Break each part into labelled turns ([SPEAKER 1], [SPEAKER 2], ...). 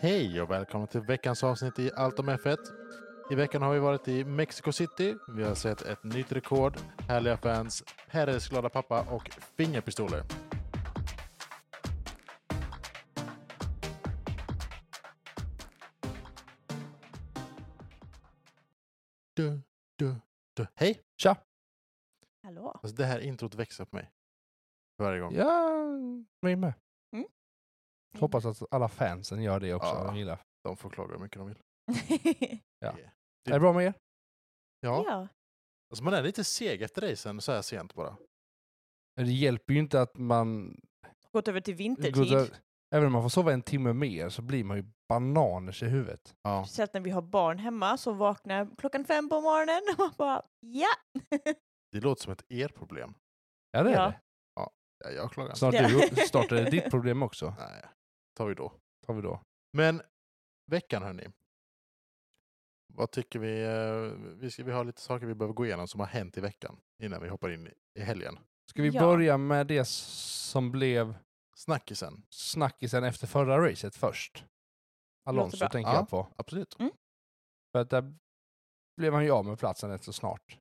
[SPEAKER 1] Hej och välkomna till veckans avsnitt i Allt om F1. I veckan har vi varit i Mexico City. Vi har sett ett nytt rekord, härliga fans, Perres glada pappa och fingerpistoler. Du, du, du. Hej!
[SPEAKER 2] Tja!
[SPEAKER 3] Hallå?
[SPEAKER 1] Alltså det här introt växer på mig. Varje gång.
[SPEAKER 2] Ja, vi med.
[SPEAKER 3] Mm.
[SPEAKER 2] Hoppas att alla fansen gör det också.
[SPEAKER 1] Ja.
[SPEAKER 2] De gillar.
[SPEAKER 1] De får klaga hur mycket de vill.
[SPEAKER 2] Är det bra med er?
[SPEAKER 1] Ja.
[SPEAKER 3] ja.
[SPEAKER 1] Alltså man är lite seg efter racen så här sent bara.
[SPEAKER 2] Det hjälper ju inte att man...
[SPEAKER 3] Gått över till
[SPEAKER 2] går
[SPEAKER 3] vintertid.
[SPEAKER 2] där- Även om man får sova en timme mer så blir man ju bananers i huvudet.
[SPEAKER 1] Ja.
[SPEAKER 3] Speciellt när vi har barn hemma så vaknar klockan fem på morgonen och man bara ja.
[SPEAKER 1] Det låter som ett er problem.
[SPEAKER 2] Ja, det är
[SPEAKER 3] Ja.
[SPEAKER 2] det.
[SPEAKER 1] Ja, jag klagar inte.
[SPEAKER 2] Snart,
[SPEAKER 3] Ja.
[SPEAKER 2] du, upp- snart är det ditt problem också.
[SPEAKER 1] Nej, tar vi då.
[SPEAKER 2] Tar vi då.
[SPEAKER 1] Men veckan hörni. Vad tycker vi? eh, Vi, ska, vi har lite saker vi behöver gå igenom som har hänt i veckan innan vi hoppar in i- i helgen.
[SPEAKER 2] Ska vi
[SPEAKER 3] Ja.
[SPEAKER 2] börja med det som blev
[SPEAKER 1] Snackisen,
[SPEAKER 2] snackisen efter förra racet först? Alonso
[SPEAKER 3] bra.
[SPEAKER 2] tänker
[SPEAKER 1] Ja.
[SPEAKER 2] jag på.
[SPEAKER 1] absolut.
[SPEAKER 2] För att där blev han ju av med platsen rätt så snart.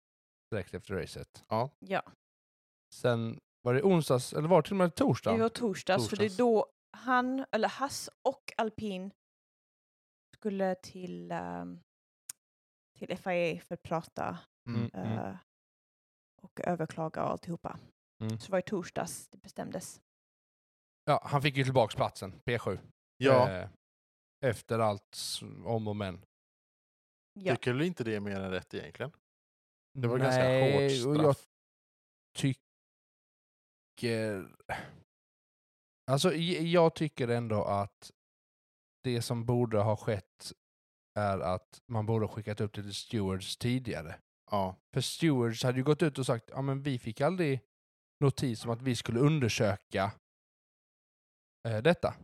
[SPEAKER 2] Direkt efter racet.
[SPEAKER 3] Ja,
[SPEAKER 2] Sen var det onsdags, eller var det till och med
[SPEAKER 3] det
[SPEAKER 2] torsdagen?
[SPEAKER 3] var torsdags för det
[SPEAKER 1] Torsdags.
[SPEAKER 3] är då han, eller Hass och Alpin skulle till, ehm, till FIA för att prata
[SPEAKER 1] Mm.
[SPEAKER 2] Mm.
[SPEAKER 3] eh, och överklaga och alltihopa.
[SPEAKER 2] Mm.
[SPEAKER 3] Så det var i torsdags det bestämdes.
[SPEAKER 2] Ja, han fick ju tillbaks platsen, P7.
[SPEAKER 1] Jag
[SPEAKER 2] Eh, efter allt s- om och men.
[SPEAKER 3] Ja.
[SPEAKER 1] tycker du inte det är mer än rätt egentligen? Det var
[SPEAKER 2] Nej,
[SPEAKER 1] ganska hårt
[SPEAKER 2] och jag
[SPEAKER 1] straff.
[SPEAKER 2] tycker... Alltså, j- jag tycker ändå att det som borde ha skett är att man borde ha skickat upp det till Stewards tidigare.
[SPEAKER 1] Ja.
[SPEAKER 2] För Stewards hade ju gått ut och sagt ja men vi fick aldrig notis om att vi skulle undersöka eh, detta.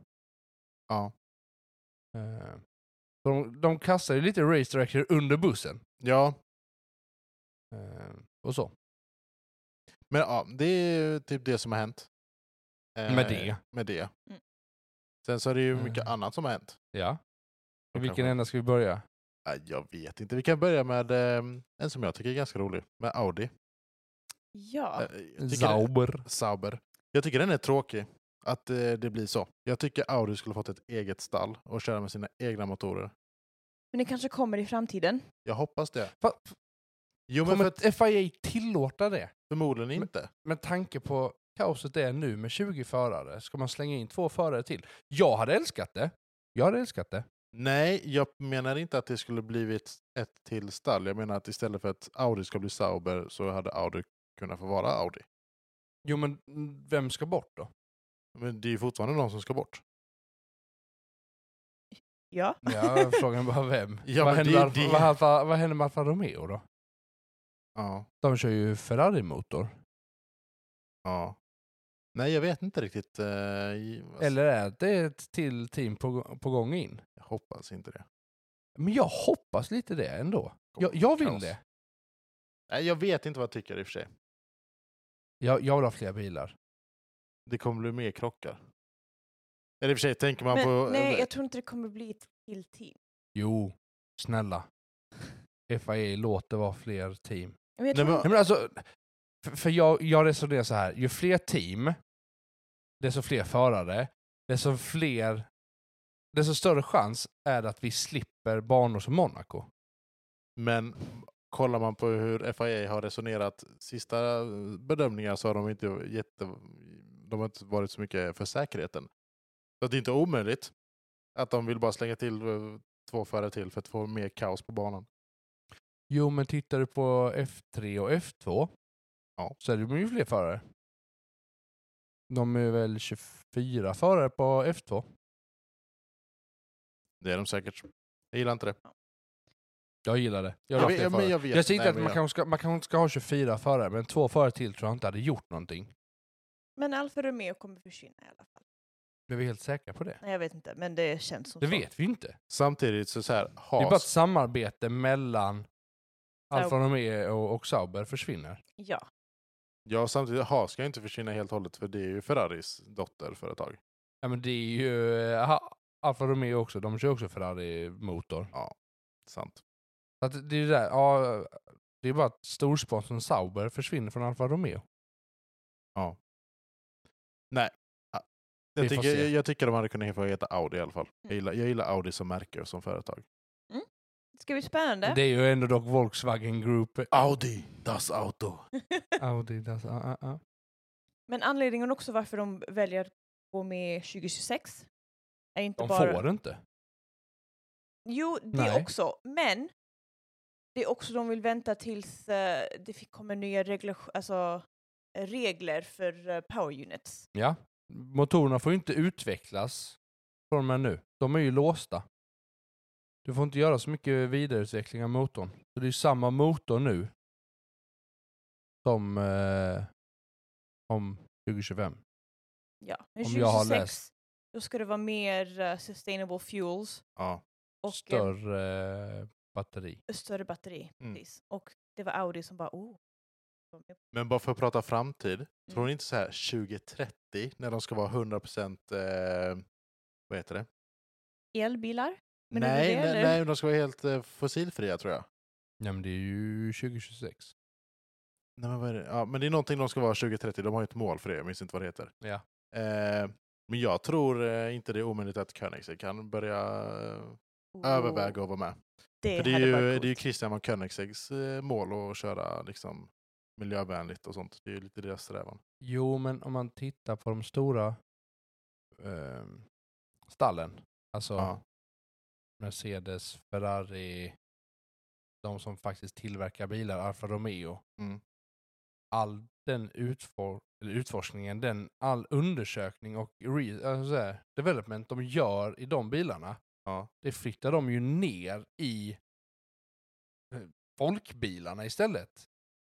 [SPEAKER 1] Ja.
[SPEAKER 2] Eh, de, de kastar ju lite race director under bussen.
[SPEAKER 1] ja,
[SPEAKER 2] Eh, och så.
[SPEAKER 1] men ja, det är ju typ det som har hänt. Eh,
[SPEAKER 2] Med det.
[SPEAKER 1] Med det.
[SPEAKER 3] Mm.
[SPEAKER 1] Sen så är det ju mycket
[SPEAKER 2] Eh.
[SPEAKER 1] annat som har hänt.
[SPEAKER 2] Ja. Och vilken
[SPEAKER 1] Kanske-
[SPEAKER 2] ända ska vi börja?
[SPEAKER 1] Ja, Äh, Jag vet inte. Vi kan börja med ehm, en som jag tycker är ganska rolig. Med Audi.
[SPEAKER 3] ja.
[SPEAKER 1] Eh, jag tycker-
[SPEAKER 2] Zauber.
[SPEAKER 1] Sauber. Jag tycker den är tråkig. Att eh, det blir så. Jag tycker Audi skulle fått ett eget stall och köra med sina egna motorer.
[SPEAKER 3] Men det kanske kommer i framtiden.
[SPEAKER 1] Jag hoppas det.
[SPEAKER 2] Fa-
[SPEAKER 1] Jo men
[SPEAKER 2] Kommer
[SPEAKER 1] för,
[SPEAKER 2] att FIA tillåta det?
[SPEAKER 1] förmodligen inte.
[SPEAKER 2] Med tanke på kaoset det är nu med 20 förare, ska man slänga in två förare till? Jag hade älskat det. Jag hade älskat det.
[SPEAKER 1] Nej, jag menar inte att det skulle blivit ett till stall. Jag menar att istället för att Audi ska bli Sauber så hade Audi kunnat få vara Audi.
[SPEAKER 2] Jo men mm, vem ska bort då?
[SPEAKER 1] Men det är ju fortfarande någon som ska bort.
[SPEAKER 3] Ja.
[SPEAKER 2] Ja, frågan bara vem.
[SPEAKER 1] Ja,
[SPEAKER 2] vad,
[SPEAKER 1] men det
[SPEAKER 2] händer
[SPEAKER 1] är
[SPEAKER 2] med
[SPEAKER 1] ju
[SPEAKER 2] Alfa-
[SPEAKER 1] det.
[SPEAKER 2] vad, Alfa- vad händer med Alfa Romeo då?
[SPEAKER 1] Ja.
[SPEAKER 2] De kör ju Ferrari-motor.
[SPEAKER 1] ja. Nej, jag vet inte riktigt. eh, i- alltså,
[SPEAKER 2] Eller är det ett till team på, på gång in?
[SPEAKER 1] Jag hoppas inte det.
[SPEAKER 2] Men jag hoppas lite det ändå. Jag, jag vill
[SPEAKER 1] Kaos.
[SPEAKER 2] det.
[SPEAKER 1] Nej, jag vet inte vad jag tycker i och för sig.
[SPEAKER 2] Jag, jag vill ha fler bilar.
[SPEAKER 1] Det kommer bli mer krockar. Eller i och för sig, tänker man
[SPEAKER 3] Men,
[SPEAKER 1] på...
[SPEAKER 3] nej, jag tror inte det kommer bli ett till team.
[SPEAKER 2] Jo, snälla. FIA låter vara fler team.
[SPEAKER 3] Men
[SPEAKER 1] Nej,
[SPEAKER 3] jag tror
[SPEAKER 1] men-
[SPEAKER 2] Nej, men alltså, för, för jag, jag resonerar så här. Ju fler team, desto fler förare, desto fler desto större chans är det att vi slipper banor som Monaco.
[SPEAKER 1] Men kollar man på hur FIA har resonerat sista eh, bedömningar så har de inte, jätte, de har inte varit så mycket för säkerheten. Så att det är inte omöjligt att de vill bara slänga till eh, två förare till för att få mer kaos på banan.
[SPEAKER 2] Jo, men tittar du på F3 och F2
[SPEAKER 1] Ja.
[SPEAKER 2] så är det ju fler förare. De är väl 24 förare på F2.
[SPEAKER 1] Det är de säkert. Jag gillar inte det.
[SPEAKER 2] Jag gillar det. Jag,
[SPEAKER 1] Jag
[SPEAKER 2] vill
[SPEAKER 1] vet-
[SPEAKER 2] ha fler
[SPEAKER 1] men
[SPEAKER 2] förare.
[SPEAKER 1] jag vet.
[SPEAKER 2] jag säger inte
[SPEAKER 1] Nej,
[SPEAKER 2] att
[SPEAKER 1] men
[SPEAKER 2] man
[SPEAKER 1] jag-
[SPEAKER 2] kanske ska, man kanske ska ha 24 förare, men två förare till tror jag inte hade gjort någonting.
[SPEAKER 3] Men Alfa Romeo kommer försvinna i alla fall.
[SPEAKER 2] Blev vi helt säkra på det?
[SPEAKER 3] Nej, jag vet inte, men det känns som
[SPEAKER 2] Det
[SPEAKER 3] så.
[SPEAKER 2] vet vi ju inte.
[SPEAKER 1] Samtidigt så, så här,
[SPEAKER 2] Det är bara ett
[SPEAKER 1] Haas,
[SPEAKER 2] samarbete mellan Alfa
[SPEAKER 3] Sauber.
[SPEAKER 2] Romeo och, och Sauber försvinner.
[SPEAKER 3] Ja.
[SPEAKER 1] ja, samtidigt, Haas ska ju inte försvinna helt och hållet för det är ju Ferraris dotterföretag.
[SPEAKER 2] Ja men det är ju eh, ha- Alfa Romeo också, de kör också Ferrari-motor.
[SPEAKER 1] Sant.
[SPEAKER 2] Så att det är ju där, ja, det är bara att storsponsorn Sauber försvinner från Alfa Romeo.
[SPEAKER 1] Jag
[SPEAKER 2] Vi får
[SPEAKER 1] tycker,
[SPEAKER 2] se.
[SPEAKER 1] jag, jag tycker de hade kunnat få heta Audi i alla fall. Jag
[SPEAKER 3] Mm.
[SPEAKER 1] gillar, jag gillar Audi som märke och som företag.
[SPEAKER 3] Det ska bli spännande.
[SPEAKER 2] Det är ju ändå dock Volkswagen Group.
[SPEAKER 1] Audi, das Auto.
[SPEAKER 2] Audi, das, ah, ah, ah.
[SPEAKER 3] Men anledningen också varför de väljer att gå med 2026 är inte
[SPEAKER 2] De
[SPEAKER 3] bara...
[SPEAKER 2] får inte.
[SPEAKER 3] Jo, det
[SPEAKER 2] Nej.
[SPEAKER 3] också. Men det är också de vill vänta tills eh, det fick- kommer nya regler, alltså, eh, regler för eh, power units.
[SPEAKER 2] Ja. Motorerna får ju inte utvecklas från och med nu. De är ju låsta. Du får inte göra så mycket vidareutveckling av motorn. Så det är ju samma motor nu som eh, om 2025.
[SPEAKER 3] Ja. Men
[SPEAKER 2] Om jag har
[SPEAKER 3] 2026,
[SPEAKER 2] läst.
[SPEAKER 3] då ska det vara mer eh, sustainable fuels
[SPEAKER 1] Ja.
[SPEAKER 3] och eh, större,
[SPEAKER 2] Större eh, batteri.
[SPEAKER 3] större batteri.
[SPEAKER 1] Mm.
[SPEAKER 3] Precis. Och det var Audi som bara oh.
[SPEAKER 1] Men bara för att prata framtid.
[SPEAKER 3] Mm.
[SPEAKER 1] Tror ni inte så här 2030 när de ska vara 100% eh, vad heter det?
[SPEAKER 3] Elbilar? Menar du
[SPEAKER 1] nej,
[SPEAKER 3] det,
[SPEAKER 1] nej,
[SPEAKER 3] eller?
[SPEAKER 1] nej, de ska vara helt eh, fossilfria tror jag.
[SPEAKER 2] Ja men det är ju 2026.
[SPEAKER 1] Nej, men, vad är det? Ja, men det är någonting de ska vara 2030. De har ju ett mål för det. Jag minns inte vad det heter.
[SPEAKER 2] Ja.
[SPEAKER 1] Eh, men jag tror eh, inte det är omöjligt att Koenigsegg kan börja eh, överväga att vara med.
[SPEAKER 3] Det,
[SPEAKER 1] För det är,
[SPEAKER 3] hade varit
[SPEAKER 1] ju,
[SPEAKER 3] coolt.
[SPEAKER 1] det är ju Christian von Koenigsegs eh, mål att köra liksom, miljövänligt och sånt. Det är ju lite deras strävan.
[SPEAKER 2] Jo, men om man tittar på de stora ehm, stallen, alltså
[SPEAKER 1] Ja.
[SPEAKER 2] Mercedes, Ferrari, de som faktiskt tillverkar bilar, Alfa Romeo.
[SPEAKER 1] Mm.
[SPEAKER 2] All den utfor- eller utforskningen, den, all undersökning och re- alltså så här, development de gör i de bilarna,
[SPEAKER 1] Ja.
[SPEAKER 2] det flyttar de ju ner i eh, folkbilarna istället.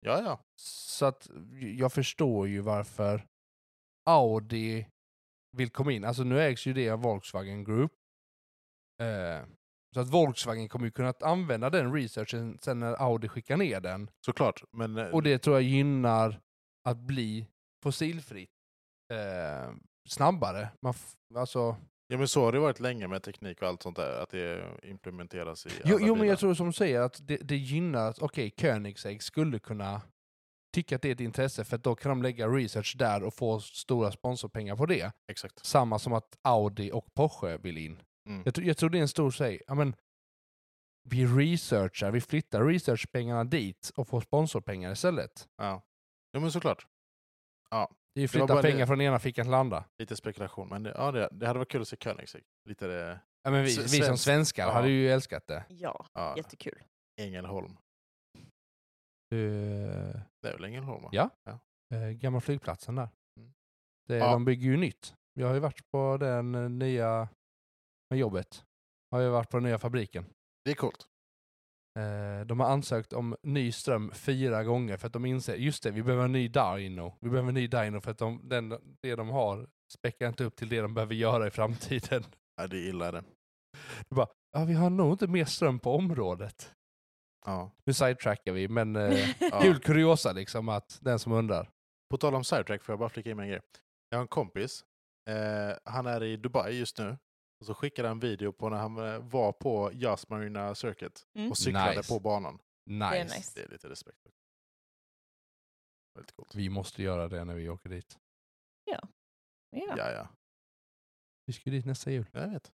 [SPEAKER 1] Ja, ja.
[SPEAKER 2] Så att jag förstår ju varför Audi vill komma in. Alltså nu ägs ju det av Volkswagen Group. Eh, så att Volkswagen kommer ju kunna använda den researchen sen när Audi skickar ner den.
[SPEAKER 1] Såklart. Men eh,
[SPEAKER 2] Och det tror jag gynnar att bli fossilfritt eh, snabbare. Man f- alltså,
[SPEAKER 1] Ja men så har det varit länge med teknik och allt sånt där, att det implementeras i
[SPEAKER 2] jo,
[SPEAKER 1] alla
[SPEAKER 2] jo men
[SPEAKER 1] bilar.
[SPEAKER 2] jag tror som du säger att det, det gynnar att okej, Koenigsegg skulle kunna tycka att det är ett intresse för att då kan de lägga research där och få stora sponsorpengar på det.
[SPEAKER 1] Exakt.
[SPEAKER 2] Samma som att Audi och Porsche vill in.
[SPEAKER 1] Mm.
[SPEAKER 2] Jag, tror- jag tror det är en stor grej. Ja, men, vi researchar, vi flyttar researchpengarna dit och får sponsorpengar istället.
[SPEAKER 1] Ja. Jo men såklart.
[SPEAKER 2] Det
[SPEAKER 1] Det
[SPEAKER 2] är ju
[SPEAKER 1] var
[SPEAKER 2] flytta
[SPEAKER 1] bara det-
[SPEAKER 2] pengar från ena fickan till andra.
[SPEAKER 1] Lite spekulation, men det, ja, det, det hade varit kul att se Koenigsegg. Lite eh, det,
[SPEAKER 2] Ja, men vi,
[SPEAKER 1] S-
[SPEAKER 2] vi som
[SPEAKER 1] svenskt.
[SPEAKER 2] svenskar
[SPEAKER 1] Ja.
[SPEAKER 2] hade ju älskat det.
[SPEAKER 3] Ja,
[SPEAKER 1] ja,
[SPEAKER 3] jättekul.
[SPEAKER 1] Ängelholm.
[SPEAKER 2] Eh,
[SPEAKER 1] Det är väl Ängelholm? va?
[SPEAKER 2] Ja. eh, gamla flygplatsen där.
[SPEAKER 1] Mm.
[SPEAKER 2] Det,
[SPEAKER 1] Ja.
[SPEAKER 2] De bygger ju nytt. Jag har ju varit på den eh, nya med jobbet. Jag har ju varit på den nya fabriken.
[SPEAKER 1] Det är coolt.
[SPEAKER 2] Eh, de har ansökt om ny ström fyra gånger för att de inser, just det, vi behöver en ny dino. Vi behöver en ny dino för att de, den, det de har späckar inte upp till det de behöver göra i framtiden.
[SPEAKER 1] Ja, det gillar det.
[SPEAKER 2] Ja, vi har nog inte mer ström på området.
[SPEAKER 1] Ja.
[SPEAKER 2] Nu sidetrackar vi, men eh,
[SPEAKER 1] Ja.
[SPEAKER 2] kul kuriosa liksom att den som undrar.
[SPEAKER 1] På tal om sidetrack får jag bara flika in med en grej. Jag har en kompis. Eh, han är i Dubai just nu. Och så skickade han en video på när han eh, var på Yas Marina Circuit
[SPEAKER 3] Mm.
[SPEAKER 1] och cyklade
[SPEAKER 2] Nice.
[SPEAKER 1] på banan.
[SPEAKER 3] Det är
[SPEAKER 2] Nice.
[SPEAKER 3] nice.
[SPEAKER 1] Det är lite respekt. Väldigt coolt.
[SPEAKER 2] Vi måste göra det när vi åker dit.
[SPEAKER 3] Ja.
[SPEAKER 1] Ja, ja.
[SPEAKER 2] Vi ska ju dit nästa jul.
[SPEAKER 1] Jag vet.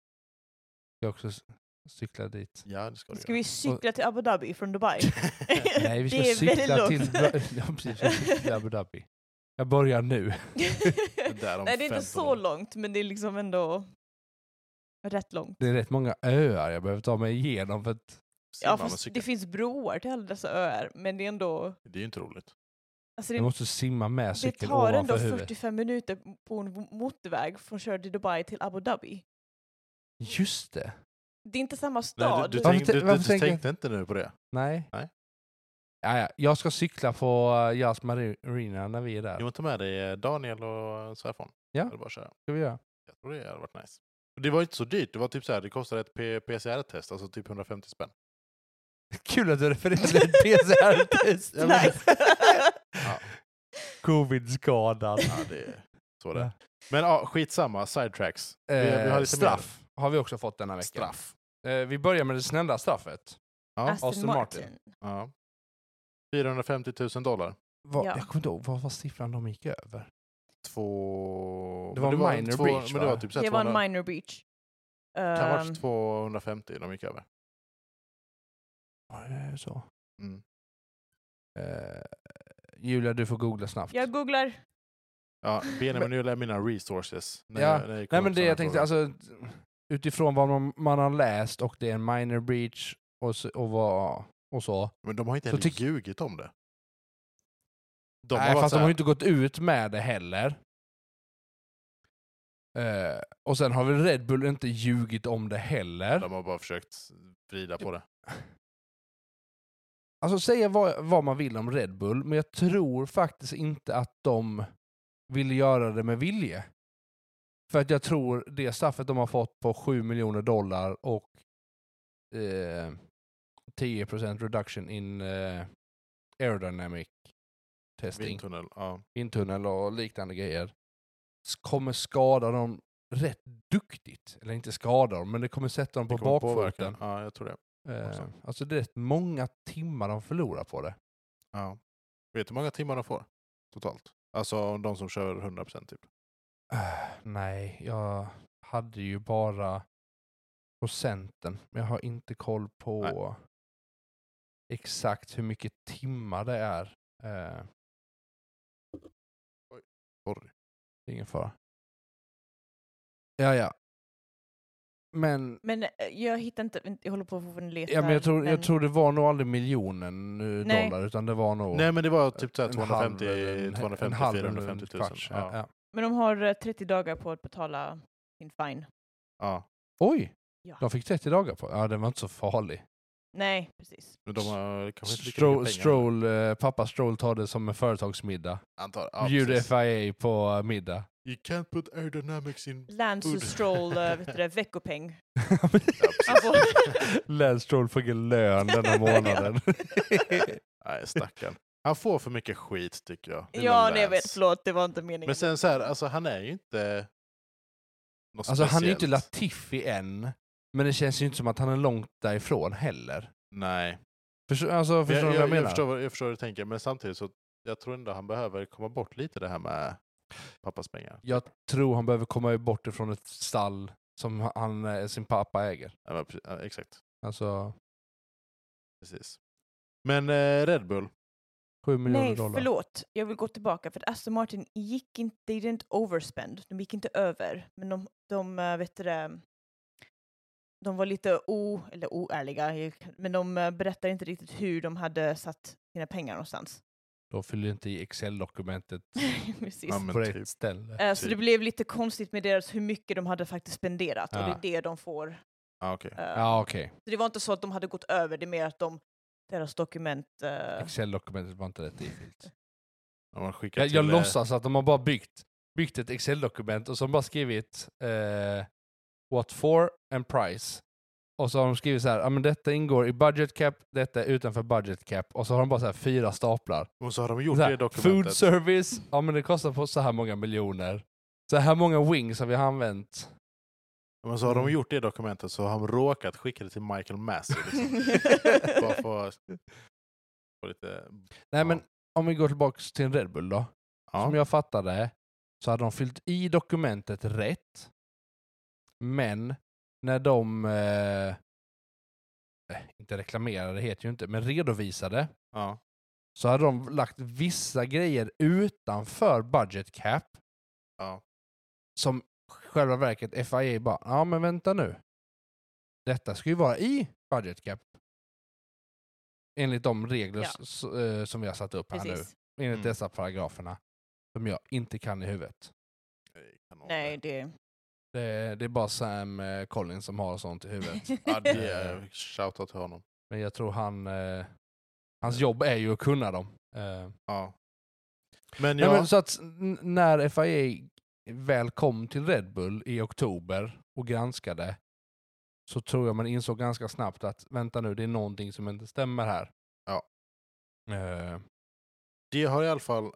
[SPEAKER 2] Jag ska också s- cykla dit.
[SPEAKER 1] Ja, det ska du
[SPEAKER 3] Ska
[SPEAKER 1] göra.
[SPEAKER 3] vi cykla till Abu Dhabi från Dubai?
[SPEAKER 2] Nej, vi ska
[SPEAKER 3] Det är väldigt
[SPEAKER 2] cykla
[SPEAKER 3] långt.
[SPEAKER 2] till ja, precis, vi ska cykla till Abu Dhabi. Jag börjar nu.
[SPEAKER 1] där om
[SPEAKER 3] Nej, det är
[SPEAKER 1] 15
[SPEAKER 3] inte så
[SPEAKER 1] år.
[SPEAKER 3] långt, men det är liksom ändå rätt långt.
[SPEAKER 2] Det är rätt många öar jag behöver ta mig igenom för att
[SPEAKER 1] Simma
[SPEAKER 3] Ja,
[SPEAKER 1] med
[SPEAKER 3] fast det
[SPEAKER 1] cykel.
[SPEAKER 3] finns broar till alla dessa öar, men det är ändå...
[SPEAKER 1] Det är ju inte roligt.
[SPEAKER 3] Alltså
[SPEAKER 2] jag
[SPEAKER 3] det,
[SPEAKER 2] måste simma med
[SPEAKER 3] det
[SPEAKER 2] cykeln
[SPEAKER 3] tar ändå
[SPEAKER 2] ovanför huvudet.
[SPEAKER 3] 45 minuter på en motorväg från kör till Dubai till Abu Dhabi.
[SPEAKER 2] Just det.
[SPEAKER 3] Det är inte samma
[SPEAKER 1] Nej,
[SPEAKER 3] stad.
[SPEAKER 1] du, du,
[SPEAKER 2] Varför
[SPEAKER 1] tänkte,
[SPEAKER 2] tän-
[SPEAKER 1] du, du,
[SPEAKER 2] varför
[SPEAKER 1] du
[SPEAKER 2] tänker-
[SPEAKER 1] tänkte inte nu på det?
[SPEAKER 2] Nej.
[SPEAKER 1] Nej.
[SPEAKER 2] Jaja, jag ska cykla på eh, Yas Marina när vi är där.
[SPEAKER 1] Jo, men ta med dig eh, Daniel och svärfar.
[SPEAKER 2] Ja.
[SPEAKER 1] Det är bara att köra.
[SPEAKER 2] Ska vi göra?
[SPEAKER 1] Jag tror det hade varit nice. Och Det var ju inte så dyrt. Det var typ så här, det kostade ett P- PCR-test, alltså typ 150 spänn.
[SPEAKER 2] Kul att du refererar till ett PCR-test.
[SPEAKER 1] Ja, men-
[SPEAKER 3] Nice.
[SPEAKER 1] Ja,
[SPEAKER 2] Covid-skadad.
[SPEAKER 1] ja det är så det är. Men ja, skitsamma, sidetracks. vi, vi har
[SPEAKER 2] Eh,
[SPEAKER 1] lite
[SPEAKER 2] straff har vi också fått denna
[SPEAKER 1] mer.
[SPEAKER 2] vecka.
[SPEAKER 1] Straff.
[SPEAKER 2] Eh, vi börjar med det snälla straffet.
[SPEAKER 1] Ja,
[SPEAKER 3] Aston,
[SPEAKER 2] Aston
[SPEAKER 3] Martin.
[SPEAKER 2] Martin.
[SPEAKER 1] Ja. 450 000 dollar.
[SPEAKER 2] Vad-
[SPEAKER 3] Ja.
[SPEAKER 2] Jag kommer inte ihåg, vad var siffran de gick över?
[SPEAKER 1] Två...
[SPEAKER 2] Det
[SPEAKER 1] men
[SPEAKER 2] var minor
[SPEAKER 1] två,
[SPEAKER 2] breach,
[SPEAKER 1] Men det
[SPEAKER 2] va?
[SPEAKER 1] var typ så här
[SPEAKER 3] Det var en
[SPEAKER 1] 200
[SPEAKER 3] minor breach.
[SPEAKER 1] kan ha
[SPEAKER 3] Ehm,
[SPEAKER 1] varit 250 de gick över.
[SPEAKER 2] Var det så?
[SPEAKER 1] Mm.
[SPEAKER 2] Eh, Julia, du får googla snabbt.
[SPEAKER 3] jag googlar.
[SPEAKER 1] Ja, Benjamin, nu lär mina resources. när
[SPEAKER 2] Ja.
[SPEAKER 1] jag- när jag kom
[SPEAKER 2] Nej
[SPEAKER 1] upp
[SPEAKER 2] men det
[SPEAKER 1] såna här
[SPEAKER 2] jag tänkte,
[SPEAKER 1] frågor.
[SPEAKER 2] alltså, utifrån vad man, man har läst och det är en minor breach och, så- och, vad, och så.
[SPEAKER 1] Men de har inte
[SPEAKER 2] så
[SPEAKER 1] heller
[SPEAKER 2] tyck-
[SPEAKER 1] ljugit om det. De
[SPEAKER 2] Nej,
[SPEAKER 1] varit
[SPEAKER 2] fast
[SPEAKER 1] så
[SPEAKER 2] de
[SPEAKER 1] här-
[SPEAKER 2] har ju inte gått ut med det heller. Eh, och sen har väl Red Bull inte ljugit om det heller.
[SPEAKER 1] De har bara försökt vrida på det.
[SPEAKER 2] Alltså säga vad, vad man vill om Red Bull, men jag tror faktiskt inte att de vill göra det med vilje. För att jag tror det straffet de har fått på 7 miljoner dollar och eh, 10% reduction in eh, aerodynamic testing.
[SPEAKER 1] Vindtunnel. Ja.
[SPEAKER 2] vindtunnel och liknande grejer s- kommer skada dem rätt duktigt. Eller inte skada dem, men det kommer sätta dem på
[SPEAKER 1] Det kommer påverka.
[SPEAKER 2] bakfoten.
[SPEAKER 1] Ja, jag tror det.
[SPEAKER 2] Eh,
[SPEAKER 1] också.
[SPEAKER 2] alltså det är rätt många timmar de förlorar på det.
[SPEAKER 1] Ja. Vet du hur många timmar de får totalt? Alltså de som kör 100% typ.
[SPEAKER 2] Eh, nej, jag hade ju bara procenten, men jag har inte koll på exakt hur mycket timmar det är. Eh,
[SPEAKER 1] Sorry.
[SPEAKER 2] det är ingen fara. Ja, ja. Men
[SPEAKER 3] Men eh, jag hittar inte, jag håller på att fortfarande leta.
[SPEAKER 2] Ja, men jag, tror,
[SPEAKER 3] men-
[SPEAKER 2] jag tror det var nog aldrig miljonen eh,
[SPEAKER 3] Nej.
[SPEAKER 2] dollar, utan det var nog
[SPEAKER 1] Nej men det var typ så här
[SPEAKER 2] en halv
[SPEAKER 1] 250,
[SPEAKER 2] eller en-
[SPEAKER 1] 250
[SPEAKER 2] en halv eller en
[SPEAKER 1] 450 000.
[SPEAKER 2] kvarts.
[SPEAKER 1] Ja.
[SPEAKER 2] Ja.
[SPEAKER 1] Ja.
[SPEAKER 2] Ja.
[SPEAKER 3] men de har eh, 30 dagar på att betala sin fine.
[SPEAKER 2] Oj!
[SPEAKER 3] Ja.
[SPEAKER 2] De fick 30 dagar på Ja, den var inte så farlig.
[SPEAKER 3] Nej, precis.
[SPEAKER 1] Men de har kanske inte lika
[SPEAKER 2] Stroll,
[SPEAKER 1] mycket pengar.
[SPEAKER 2] Stroll, eh, pappa Stroll tar det som en företagsmiddag.
[SPEAKER 1] Antar, ja,
[SPEAKER 2] Bjuder
[SPEAKER 1] precis.
[SPEAKER 2] FIA på eh, middag.
[SPEAKER 1] You can't put aerodynamics in...
[SPEAKER 3] Lance
[SPEAKER 1] Food.
[SPEAKER 3] Stroll, eh, vet du det, veckopeng.
[SPEAKER 1] precis.
[SPEAKER 3] Han får-
[SPEAKER 2] Lance Stroll fick en lön denna månaden.
[SPEAKER 1] Nej stackarn. Han får för mycket skit tycker jag. Lilla
[SPEAKER 3] ja, nej
[SPEAKER 1] Lance.
[SPEAKER 3] jag vet, förlåt, det var inte meningen.
[SPEAKER 1] Men sen så här, alltså han är ju inte... Något
[SPEAKER 2] alltså han är ju inte
[SPEAKER 1] speciellt.
[SPEAKER 2] Latifi än, men det känns ju inte som att han är långt därifrån heller.
[SPEAKER 1] Nej.
[SPEAKER 2] Förstår, alltså, förstår
[SPEAKER 1] jag,
[SPEAKER 2] du vad jag menar?
[SPEAKER 1] förstår, vad- jag förstår vad du tänker, men samtidigt så jag tror ändå han behöver komma bort lite det här med pappas pengar.
[SPEAKER 2] Jag tror han behöver komma bort ifrån ett stall som han, eh, sin pappa äger.
[SPEAKER 1] Ja, men pre- ja, exakt,
[SPEAKER 2] Alltså
[SPEAKER 1] precis. Men eh, Red Bull,
[SPEAKER 2] 7 miljoner
[SPEAKER 3] nej,
[SPEAKER 2] dollar.
[SPEAKER 3] förlåt. Jag vill gå tillbaka för att Aston Martin gick inte, they didn't overspend. De gick inte över, men de, de eh, vet du det, de var lite o, eller oärliga, jag kan- men de eh, berättade inte riktigt hur de hade satt sina pengar någonstans.
[SPEAKER 2] De fyller inte i Excel-dokumentet
[SPEAKER 3] Precis.
[SPEAKER 1] Ja, men
[SPEAKER 2] på rätt
[SPEAKER 1] typ.
[SPEAKER 2] ställe.
[SPEAKER 3] Eh, Så
[SPEAKER 1] Typ.
[SPEAKER 3] det blev lite konstigt med deras hur mycket de hade faktiskt spenderat och det
[SPEAKER 2] Ja.
[SPEAKER 3] är det de får.
[SPEAKER 1] ah, okej.
[SPEAKER 3] eh,
[SPEAKER 2] Ja, okej.
[SPEAKER 3] Så det var inte så att de hade gått över, det är mer att de, deras dokument... eh,
[SPEAKER 2] Excel-dokumentet var inte rätt ifyllt.
[SPEAKER 1] Om man skickar
[SPEAKER 2] Jag, jag
[SPEAKER 1] till, eh,
[SPEAKER 2] låtsas att de har bara byggt, byggt ett Excel-dokument och så har de bara skrivit eh, what for and price. Och så har de skrivit så här, ah, men detta ingår i budget cap, detta är utanför budget cap. Och så har de bara så här fyra staplar.
[SPEAKER 1] Och så har de gjort
[SPEAKER 2] Så
[SPEAKER 1] det
[SPEAKER 2] här,
[SPEAKER 1] i
[SPEAKER 2] food
[SPEAKER 1] dokumentet.
[SPEAKER 2] service, ja men det kostar på så här många miljoner. Så här många wings har vi använt.
[SPEAKER 1] Men så har
[SPEAKER 2] Mm.
[SPEAKER 1] de gjort det i dokumentet så har de råkat skicka det till Michael Massey. Liksom. Bara för att få lite...
[SPEAKER 2] Nej men om vi går tillbaka till en Red Bull då. Som
[SPEAKER 1] Ja.
[SPEAKER 2] jag fattade så hade de fyllt i dokumentet rätt. Men när de, eh, eh, inte reklamerade det heter ju inte, men redovisade
[SPEAKER 1] Ja.
[SPEAKER 2] så hade de lagt vissa grejer utanför budget cap
[SPEAKER 1] Ja.
[SPEAKER 2] som själva verket FIA bara, ja men vänta nu. Detta ska ju vara i budget cap. Enligt de regler
[SPEAKER 3] Ja.
[SPEAKER 2] s- eh, som vi har satt upp här
[SPEAKER 3] Precis.
[SPEAKER 2] nu. Enligt
[SPEAKER 1] Mm.
[SPEAKER 2] dessa paragraferna. Som jag inte kan i huvudet.
[SPEAKER 1] Kanon.
[SPEAKER 3] Nej, det...
[SPEAKER 2] Det, det är bara Sam eh, Collins som har sånt i huvudet.
[SPEAKER 1] Ja, det är shoutout till honom.
[SPEAKER 2] men jag tror han, eh, hans jobb är ju att kunna dem. Eh,
[SPEAKER 1] Ja. Men
[SPEAKER 2] Nej,
[SPEAKER 1] jag...
[SPEAKER 2] men så att n- när FIA väl kom till Red Bull i oktober och granskade så tror jag man insåg ganska snabbt att vänta nu, det är någonting som inte stämmer här.
[SPEAKER 1] Ja.
[SPEAKER 2] Eh,
[SPEAKER 1] Det har i alla fall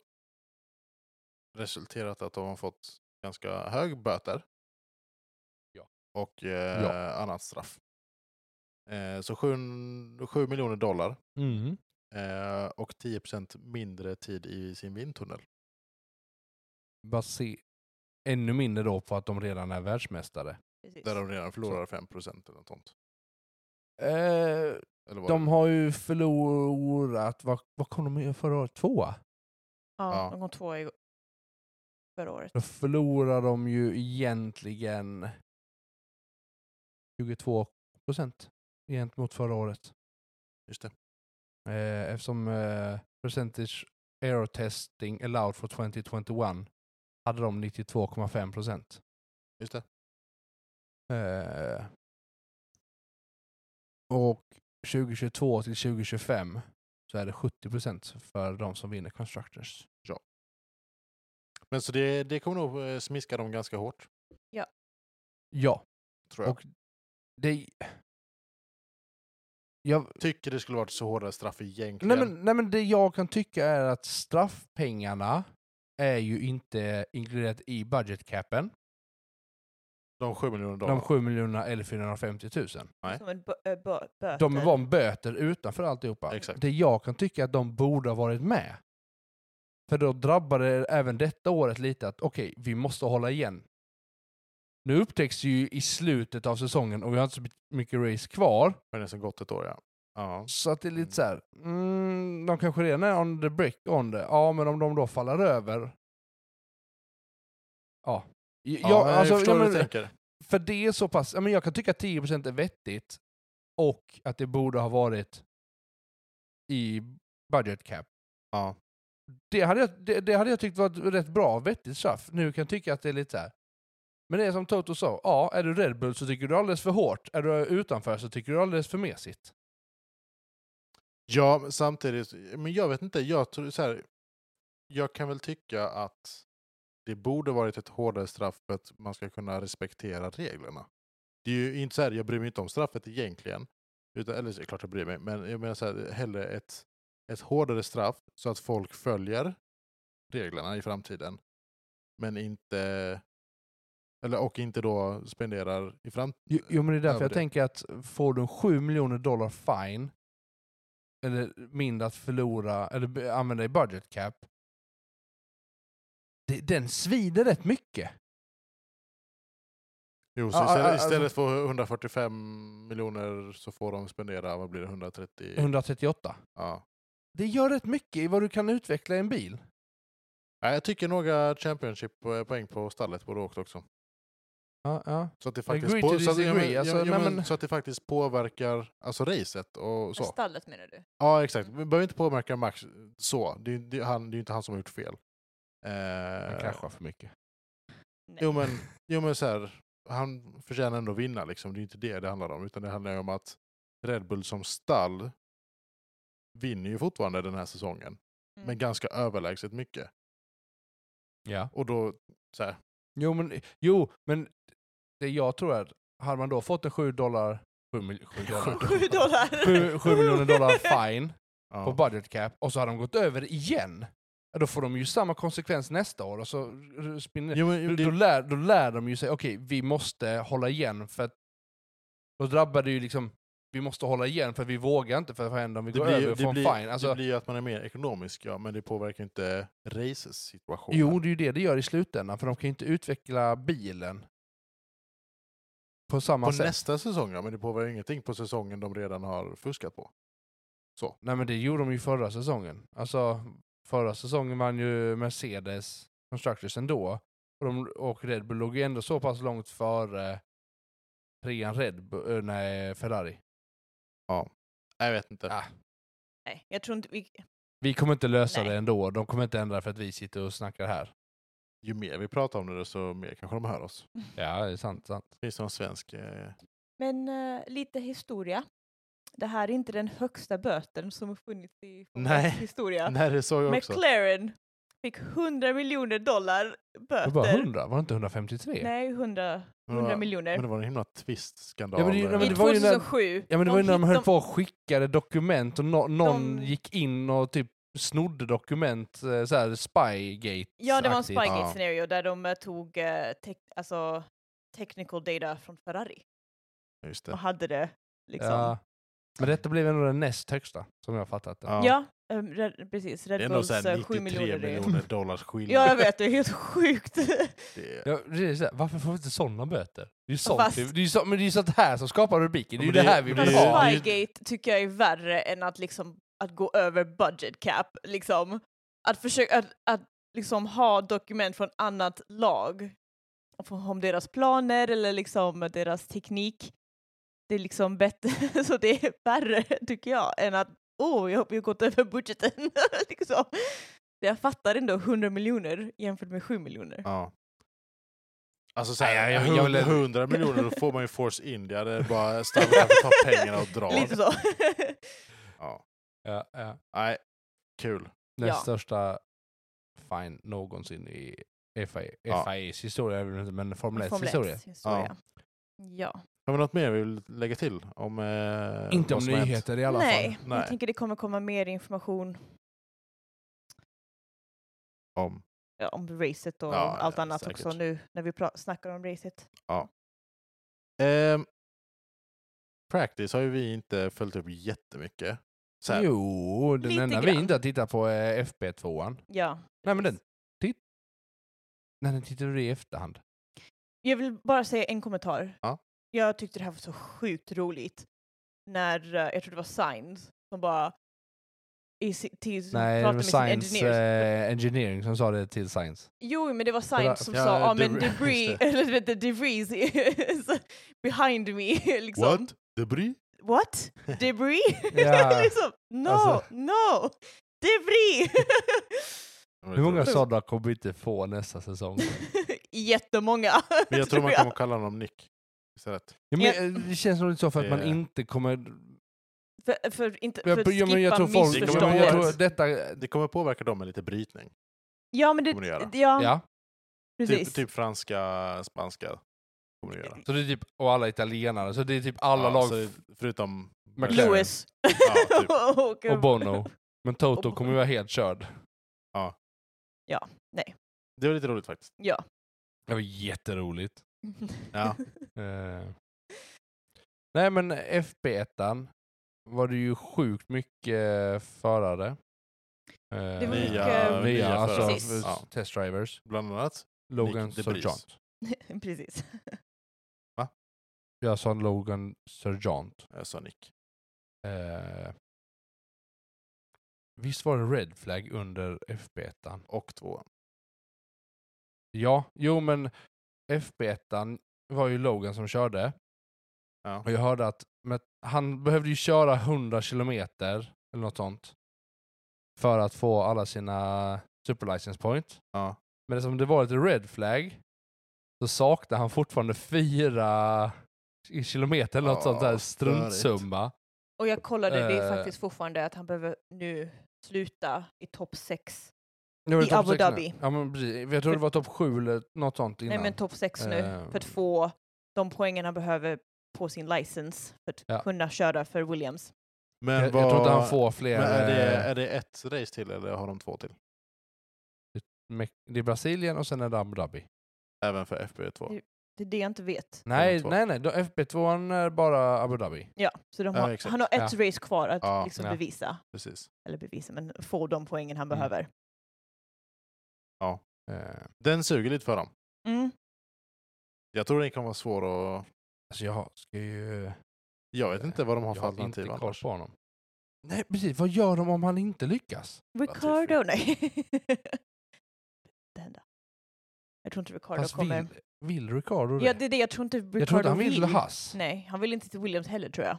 [SPEAKER 1] resulterat att de har fått ganska hög böter.
[SPEAKER 2] Ja.
[SPEAKER 1] Och eh,
[SPEAKER 2] Ja.
[SPEAKER 1] annat straff. Eh, så 7, 7 miljoner dollar
[SPEAKER 2] Mm.
[SPEAKER 1] eh, och 10 mindre tid i sin vindtunnel.
[SPEAKER 2] Base- ännu mindre då på att de redan är världsmästare.
[SPEAKER 3] Precis.
[SPEAKER 1] Där de redan förlorar 5 eller något sånt.
[SPEAKER 2] Eh,
[SPEAKER 1] Eller vad
[SPEAKER 2] de
[SPEAKER 1] det-
[SPEAKER 2] har ju förlorat, vad, vad kom de med förra året? Tvåa?
[SPEAKER 3] Ja,
[SPEAKER 1] Ja.
[SPEAKER 3] de kom två i förra året.
[SPEAKER 2] Då förlorar de ju egentligen 22 procent gentemot förra året.
[SPEAKER 1] Just det.
[SPEAKER 2] Eh, eftersom eh, percentage error testing allowed for 2021 hade de 92,5 procent.
[SPEAKER 1] Just det.
[SPEAKER 2] Eh, och 2022 till 2025 så är det 70% för de som vinner Constructors.
[SPEAKER 1] Men så det, det kommer nog eh, smiska dem ganska hårt.
[SPEAKER 2] Ja,
[SPEAKER 1] Tror jag.
[SPEAKER 2] Och- det... Jag,
[SPEAKER 1] Tycker det skulle varit så hårda straff egentligen.
[SPEAKER 2] nej, men, nej men det jag kan tycka är att straffpengarna är ju inte inkluderat i budgetcapen.
[SPEAKER 1] De 7 miljoner dollar.
[SPEAKER 2] De 7 miljonerna eller 450 000.
[SPEAKER 1] Nej.
[SPEAKER 3] Som en bö- ö, bö- böter.
[SPEAKER 2] De var en böter utanför alltihopa.
[SPEAKER 1] Exakt.
[SPEAKER 2] Det jag kan tycka att de borde ha varit med. För då drabbade det även detta året lite att okej, vi måste hålla igen. Nu upptäcks ju i slutet av säsongen och vi har inte så mycket race kvar.
[SPEAKER 1] Men det har gått ett år ja. ja.
[SPEAKER 2] Så att det är lite så här, mm, de kanske redan är on the brick on det. Ja, men om de då faller över. Ja. Ja,
[SPEAKER 1] Ja, jag
[SPEAKER 2] alltså,
[SPEAKER 1] förstår
[SPEAKER 2] ja,
[SPEAKER 1] hur du
[SPEAKER 2] men-
[SPEAKER 1] tänker.
[SPEAKER 2] för det är så pass, ja, men jag kan tycka att 10% är vettigt och att det borde ha varit i budget cap.
[SPEAKER 1] Ja.
[SPEAKER 2] Det hade jag, det, det hade jag tyckt var ett rätt bra vettigt straff. Nu kan jag tycka att det är lite så här. Men det är som Toto sa, ja, är du Red Bull så tycker du alldeles för hårt. Är du utanför så tycker du alldeles för mesigt.
[SPEAKER 1] Ja, men samtidigt, men jag vet inte, jag tror så här, jag kan väl tycka att det borde varit ett hårdare straff för att man ska kunna respektera reglerna. Det är ju inte så här, jag bryr mig inte om straffet egentligen, utan, eller det är klart jag bryr mig, men jag menar så här, hellre ett, ett hårdare straff så att folk följer reglerna i framtiden, men inte, eller, och inte då spenderar i framtiden.
[SPEAKER 2] Jo, jo men det är därför
[SPEAKER 1] Över
[SPEAKER 2] jag
[SPEAKER 1] det.
[SPEAKER 2] tänker att får du en 7 miljoner dollar fine, eller mindre att förlora, eller be- använda i budget cap, det, den svider rätt mycket.
[SPEAKER 1] Jo, så
[SPEAKER 2] Ja, ja,
[SPEAKER 1] istället,
[SPEAKER 2] ja, alltså-
[SPEAKER 1] istället för 145 miljoner så får de spendera, vad blir det, 130?
[SPEAKER 2] 138.
[SPEAKER 1] Ja.
[SPEAKER 2] Det gör rätt mycket i vad du kan utveckla i en bil.
[SPEAKER 1] Nej, jag tycker några Championship-poäng eh, på stallet borde åkt också.
[SPEAKER 2] Ja, ja.
[SPEAKER 1] Så att det faktiskt,
[SPEAKER 2] Agree to
[SPEAKER 1] så, att, ja, men,
[SPEAKER 2] disagree,
[SPEAKER 1] ja,
[SPEAKER 2] alltså,
[SPEAKER 1] ja,
[SPEAKER 2] nej,
[SPEAKER 1] men,
[SPEAKER 2] men-
[SPEAKER 1] så att det faktiskt påverkar alltså, racet och så.
[SPEAKER 3] Stallet menar du?
[SPEAKER 1] Ja, exakt. Vi behöver inte påverka Max så. Det, är- det, är han, det är ju inte han som har gjort fel.
[SPEAKER 2] Han
[SPEAKER 1] Eh,
[SPEAKER 2] kraschar för mycket.
[SPEAKER 3] Nej.
[SPEAKER 1] jo, men, jo, men så här, han förtjänar ändå att vinna. Liksom. Det är inte det det handlar om, utan det handlar ju om att Red Bull som stall vinner ju fortfarande den här säsongen,
[SPEAKER 3] Mm.
[SPEAKER 1] men ganska överlägset mycket.
[SPEAKER 2] Ja.
[SPEAKER 1] Och då, så här,
[SPEAKER 2] Jo, men, jo, men det jag tror är, att hade man då fått en 7 dollar, 7, mil, 7 dollar,
[SPEAKER 3] Sju dollar!
[SPEAKER 2] 7, 7 miljoner dollar fine,
[SPEAKER 1] ja.
[SPEAKER 2] på budget cap och så har de gått över igen. Ja, Då får de ju samma konsekvens nästa år. Och så r- spinner,
[SPEAKER 1] Jo, men,
[SPEAKER 2] då, lär, då lär de ju sig, okej, vi måste hålla igen för att då drabbar det ju liksom, vi måste hålla igen för vi vågar inte för vad händer om vi
[SPEAKER 1] Det
[SPEAKER 2] går
[SPEAKER 1] blir,
[SPEAKER 2] över
[SPEAKER 1] ju-
[SPEAKER 2] och
[SPEAKER 1] det,
[SPEAKER 2] får
[SPEAKER 1] blir,
[SPEAKER 2] en fine? Alltså,
[SPEAKER 1] det blir ju att man är mer ekonomisk, ja, men det påverkar inte race-situationen.
[SPEAKER 2] jo, det är ju det det gör i slutändan för de kan ju inte utveckla bilen på samma
[SPEAKER 1] på
[SPEAKER 2] sätt.
[SPEAKER 1] nästa säsong, ja, men det påverkar ingenting på säsongen de redan har fuskat på.
[SPEAKER 2] Nej men det gjorde de ju förra säsongen. Alltså förra säsongen vann ju Mercedes Constructors ändå. Och, de, och Red Bull låg ju ändå så pass långt före trean Red Bull, eh, nej Ferrari.
[SPEAKER 1] Jag vet inte.
[SPEAKER 2] Ja.
[SPEAKER 3] Nej, jag tror inte vi...
[SPEAKER 2] Vi kommer inte lösa
[SPEAKER 3] Nej.
[SPEAKER 2] det ändå. De kommer inte ändra för att vi sitter och snackar här.
[SPEAKER 1] Ju mer vi pratar om det, desto mer kanske de hör oss.
[SPEAKER 2] Ja, det är sant. sant.
[SPEAKER 1] Finns det någon svensk? Eh...
[SPEAKER 3] Men eh, lite historia. Det här är inte den högsta böten som har funnits i Formel
[SPEAKER 1] Nej.
[SPEAKER 3] 1 historia.
[SPEAKER 1] Nej, det såg jag också.
[SPEAKER 3] McLaren fick 100 miljoner dollar
[SPEAKER 2] Det
[SPEAKER 3] böter.
[SPEAKER 2] var bara 100, var det inte 153?
[SPEAKER 3] Nej, 100, 100
[SPEAKER 1] var-
[SPEAKER 3] miljoner.
[SPEAKER 1] Men det var en himla twist-skandal.
[SPEAKER 2] Ja, men det- ja, men
[SPEAKER 3] I
[SPEAKER 2] det var ju när-
[SPEAKER 3] 2007.
[SPEAKER 2] Ja men det var ju när de höll
[SPEAKER 3] hit-
[SPEAKER 2] på och skickade dokument och no, någon
[SPEAKER 3] De-
[SPEAKER 2] gick in och typ snodde dokument, eh, så här spygate
[SPEAKER 3] Ja, det var en
[SPEAKER 1] Ja.
[SPEAKER 3] Spygate scenario där de eh, tog eh, tec- alltså, technical data från Ferrari
[SPEAKER 1] Just
[SPEAKER 3] och
[SPEAKER 1] det.
[SPEAKER 3] hade det liksom.
[SPEAKER 2] Ja.
[SPEAKER 3] Ja,
[SPEAKER 2] Men detta blev ändå den näst högsta, som jag har fattat det.
[SPEAKER 1] Ja.
[SPEAKER 3] ehm, Red, precis.
[SPEAKER 1] Det är
[SPEAKER 3] Red
[SPEAKER 1] ändå
[SPEAKER 3] Bulls
[SPEAKER 1] så här
[SPEAKER 3] eh,
[SPEAKER 1] 93
[SPEAKER 3] 7 miljoner.
[SPEAKER 1] miljoner,
[SPEAKER 3] det är-
[SPEAKER 1] dollars skillnad.
[SPEAKER 3] Ja, jag vet, det är helt sjukt.
[SPEAKER 1] Det,
[SPEAKER 2] Ja, det är så här, varför får vi inte sådana böter? Det är ju sånt,
[SPEAKER 3] Fast-
[SPEAKER 2] det är ju så, men det är ju sånt här som skapar rubriker, det är ju
[SPEAKER 1] Men
[SPEAKER 2] det,
[SPEAKER 1] det-
[SPEAKER 2] här vi
[SPEAKER 1] men
[SPEAKER 2] vill
[SPEAKER 1] det-
[SPEAKER 2] ha.
[SPEAKER 1] Ja.
[SPEAKER 3] Spygate tycker jag är värre än att liksom att gå över budget cap, liksom. Att försöka att, att liksom ha dokument från annat lag om deras planer eller liksom deras teknik. Det är liksom bättre, så det är värre tycker jag än att åh, jag har jag har gått över budgeten. liksom. Jag fattar ändå 100 miljoner jämfört med 7 miljoner.
[SPEAKER 1] ja. Alltså såhär,
[SPEAKER 2] Nej, jag-
[SPEAKER 1] jag,
[SPEAKER 2] jag vill-
[SPEAKER 1] 100 miljoner, då får man ju Force India. Det är bara Stanley kanske tar pengarna och
[SPEAKER 3] Lite
[SPEAKER 1] drar.
[SPEAKER 3] så.
[SPEAKER 1] Ja.
[SPEAKER 2] Ja, ja.
[SPEAKER 1] Nej, kul.
[SPEAKER 2] Den
[SPEAKER 3] Ja.
[SPEAKER 2] största fine någonsin i FIA,
[SPEAKER 1] Ja.
[SPEAKER 2] FIAs historia, är väl inte, men Formel 1
[SPEAKER 3] Formel
[SPEAKER 2] historia.
[SPEAKER 3] 1 historia. ja.
[SPEAKER 1] Har vi något mer vi vill lägga till? Om, eh,
[SPEAKER 2] Inte
[SPEAKER 1] vad
[SPEAKER 2] om
[SPEAKER 1] som hänt?
[SPEAKER 2] nyheter i alla
[SPEAKER 3] Nej,
[SPEAKER 2] fall.
[SPEAKER 3] men
[SPEAKER 1] Nej.
[SPEAKER 3] jag tänker det kommer komma mer information
[SPEAKER 1] Om.
[SPEAKER 3] ja, om racet och
[SPEAKER 1] Ja,
[SPEAKER 3] allt
[SPEAKER 1] ja,
[SPEAKER 3] annat
[SPEAKER 1] säkert.
[SPEAKER 3] också nu när vi pra- snackar om racet.
[SPEAKER 1] Ehm, practice har ju vi inte följt upp jättemycket. Så här,
[SPEAKER 2] Jo, den
[SPEAKER 3] Lite
[SPEAKER 2] enda vi
[SPEAKER 3] grann.
[SPEAKER 2] inte har tittat på är FB2an.
[SPEAKER 3] Ja.
[SPEAKER 2] Nej men den, titt... Nej den tittade du i efterhand.
[SPEAKER 3] Jag vill bara säga en kommentar.
[SPEAKER 1] Ja.
[SPEAKER 3] Jag tyckte det här var så sjukt roligt när, eh, jag tror det var Signs som bara i, si- till, som
[SPEAKER 2] Nej, det
[SPEAKER 3] pratade
[SPEAKER 2] var
[SPEAKER 3] med sin
[SPEAKER 2] Science
[SPEAKER 3] engineer.
[SPEAKER 2] eh, Engineering som sa det till Science.
[SPEAKER 3] Jo, men det var
[SPEAKER 2] Det var-
[SPEAKER 3] Signs som
[SPEAKER 1] ja,
[SPEAKER 3] sa ja ah,
[SPEAKER 1] debris-
[SPEAKER 3] men debris,
[SPEAKER 1] just
[SPEAKER 3] eller du vet, the debris is behind me. liksom.
[SPEAKER 1] What? Debris?
[SPEAKER 3] What? Debris?
[SPEAKER 2] Ja.
[SPEAKER 3] liksom, no,
[SPEAKER 2] Alltså-
[SPEAKER 3] no! Debris!
[SPEAKER 2] Hur många sådana kommer vi inte få nästa säsong?
[SPEAKER 3] Jättemånga.
[SPEAKER 1] Men jag tror man kommer kalla honom Nick istället.
[SPEAKER 2] Ja, men, eh, det känns nog lite så för att man
[SPEAKER 1] Det-
[SPEAKER 2] inte kommer...
[SPEAKER 3] För, för, inte, för
[SPEAKER 2] Jag,
[SPEAKER 3] att skippa
[SPEAKER 2] ja, men jag tror folk...
[SPEAKER 1] Det
[SPEAKER 2] Ja,
[SPEAKER 1] kommer
[SPEAKER 2] men
[SPEAKER 1] vara-
[SPEAKER 2] jag
[SPEAKER 3] missförståndet.
[SPEAKER 2] tror detta...
[SPEAKER 1] Det kommer påverka dem med lite brytning. Typ-
[SPEAKER 3] Ja, men det,
[SPEAKER 1] kommer det göra.
[SPEAKER 3] ja,
[SPEAKER 2] Ja.
[SPEAKER 3] precis.
[SPEAKER 1] Typ, typ franska, spanska. Kommer det göra.
[SPEAKER 2] Så det är typ, och alla italienare, så det är typ alla
[SPEAKER 1] Ja,
[SPEAKER 2] lag
[SPEAKER 1] så det- Förutom...
[SPEAKER 2] McLaren.
[SPEAKER 3] Lewis.
[SPEAKER 1] Ja, typ.
[SPEAKER 3] och,
[SPEAKER 2] typ- och Bono. Men Toto
[SPEAKER 3] Och-
[SPEAKER 2] kommer ju vara helt körd.
[SPEAKER 1] Det var lite roligt faktiskt.
[SPEAKER 3] Ja.
[SPEAKER 2] Det var jätteroligt.
[SPEAKER 1] Ja.
[SPEAKER 2] Eh. Nej men FB1 var det ju sjukt mycket förare. Eh,
[SPEAKER 3] Det var mycket-
[SPEAKER 1] Nya- nya
[SPEAKER 2] nya alltså,
[SPEAKER 1] förare.
[SPEAKER 3] Precis.
[SPEAKER 1] Ja.
[SPEAKER 2] testdrivers.
[SPEAKER 1] Bland annat.
[SPEAKER 2] Logan
[SPEAKER 1] Nick de
[SPEAKER 2] Sir
[SPEAKER 1] Vries.
[SPEAKER 2] John.
[SPEAKER 3] precis.
[SPEAKER 2] Jag sa Logan Sir John.
[SPEAKER 1] Jag sa Nick.
[SPEAKER 2] Eh, visst var det red flag under FB1?
[SPEAKER 1] Och två.
[SPEAKER 2] Ja, jo men FB1 var ju Logan som körde
[SPEAKER 1] Ja.
[SPEAKER 2] och jag hörde att men han behövde ju köra 100 kilometer eller något sånt för att få alla sina super license point.
[SPEAKER 1] Ja.
[SPEAKER 2] Men eftersom det var ett red flag så saknade han fortfarande fyra i kilometer eller något
[SPEAKER 1] Ja,
[SPEAKER 2] sånt där
[SPEAKER 1] störigt.
[SPEAKER 2] struntsumma.
[SPEAKER 3] Och jag kollade, det är
[SPEAKER 2] Eh.
[SPEAKER 3] faktiskt fortfarande att han behöver nu sluta i topp 6.
[SPEAKER 2] Nu var det
[SPEAKER 3] I
[SPEAKER 2] topp
[SPEAKER 3] Abu
[SPEAKER 2] sex nu.
[SPEAKER 3] Dhabi.
[SPEAKER 2] Ja, men precis. Jag tror det var topp sju eller något sånt innan.
[SPEAKER 3] Nej, men topp 6 nu.
[SPEAKER 2] Eh.
[SPEAKER 3] För att få de poängen han behöver på sin license för att
[SPEAKER 2] Ja.
[SPEAKER 3] kunna köra för Williams.
[SPEAKER 1] Men
[SPEAKER 2] jag, jag
[SPEAKER 1] vad-
[SPEAKER 2] tror inte han får
[SPEAKER 1] Men
[SPEAKER 2] fler.
[SPEAKER 1] är, det,
[SPEAKER 2] eh,
[SPEAKER 1] är det ett race till eller har de två till?
[SPEAKER 2] Mex- det är Brasilien och sen är det Abu Dhabi.
[SPEAKER 1] Även för FB2?
[SPEAKER 3] Det är det jag inte vet.
[SPEAKER 2] Nej,
[SPEAKER 1] två.
[SPEAKER 2] nej, nej. då- FB2 är bara Abu Dhabi.
[SPEAKER 3] Ja, så de
[SPEAKER 1] Ja,
[SPEAKER 3] har,
[SPEAKER 1] exakt.
[SPEAKER 3] han har ett race kvar att
[SPEAKER 1] Ja,
[SPEAKER 3] liksom
[SPEAKER 2] ja.
[SPEAKER 3] bevisa.
[SPEAKER 1] Precis.
[SPEAKER 3] Eller bevisa, men få de poängen han
[SPEAKER 2] Mm.
[SPEAKER 3] behöver.
[SPEAKER 2] Eh,
[SPEAKER 1] Den suger lite för dem.
[SPEAKER 3] Mm.
[SPEAKER 1] Jag tror den kan vara svår att...
[SPEAKER 2] alltså jag ska ju...
[SPEAKER 1] Jag vet inte vad de har
[SPEAKER 2] Jag
[SPEAKER 1] för
[SPEAKER 2] har inte
[SPEAKER 1] alternativ
[SPEAKER 2] koll
[SPEAKER 1] annars.
[SPEAKER 2] på honom. Nej, precis. Vad gör de om han inte lyckas?
[SPEAKER 3] Ricardo, nej. det händer. Jag tror inte Ricardo
[SPEAKER 2] Fast
[SPEAKER 3] kommer.
[SPEAKER 2] vill, vill Ricardo det?
[SPEAKER 3] Ja, det är det. Jag tror inte Ricardo
[SPEAKER 2] jag tror inte han vill,
[SPEAKER 3] vill.
[SPEAKER 2] Haas.
[SPEAKER 3] Nej, han vill inte till Williams heller tror jag.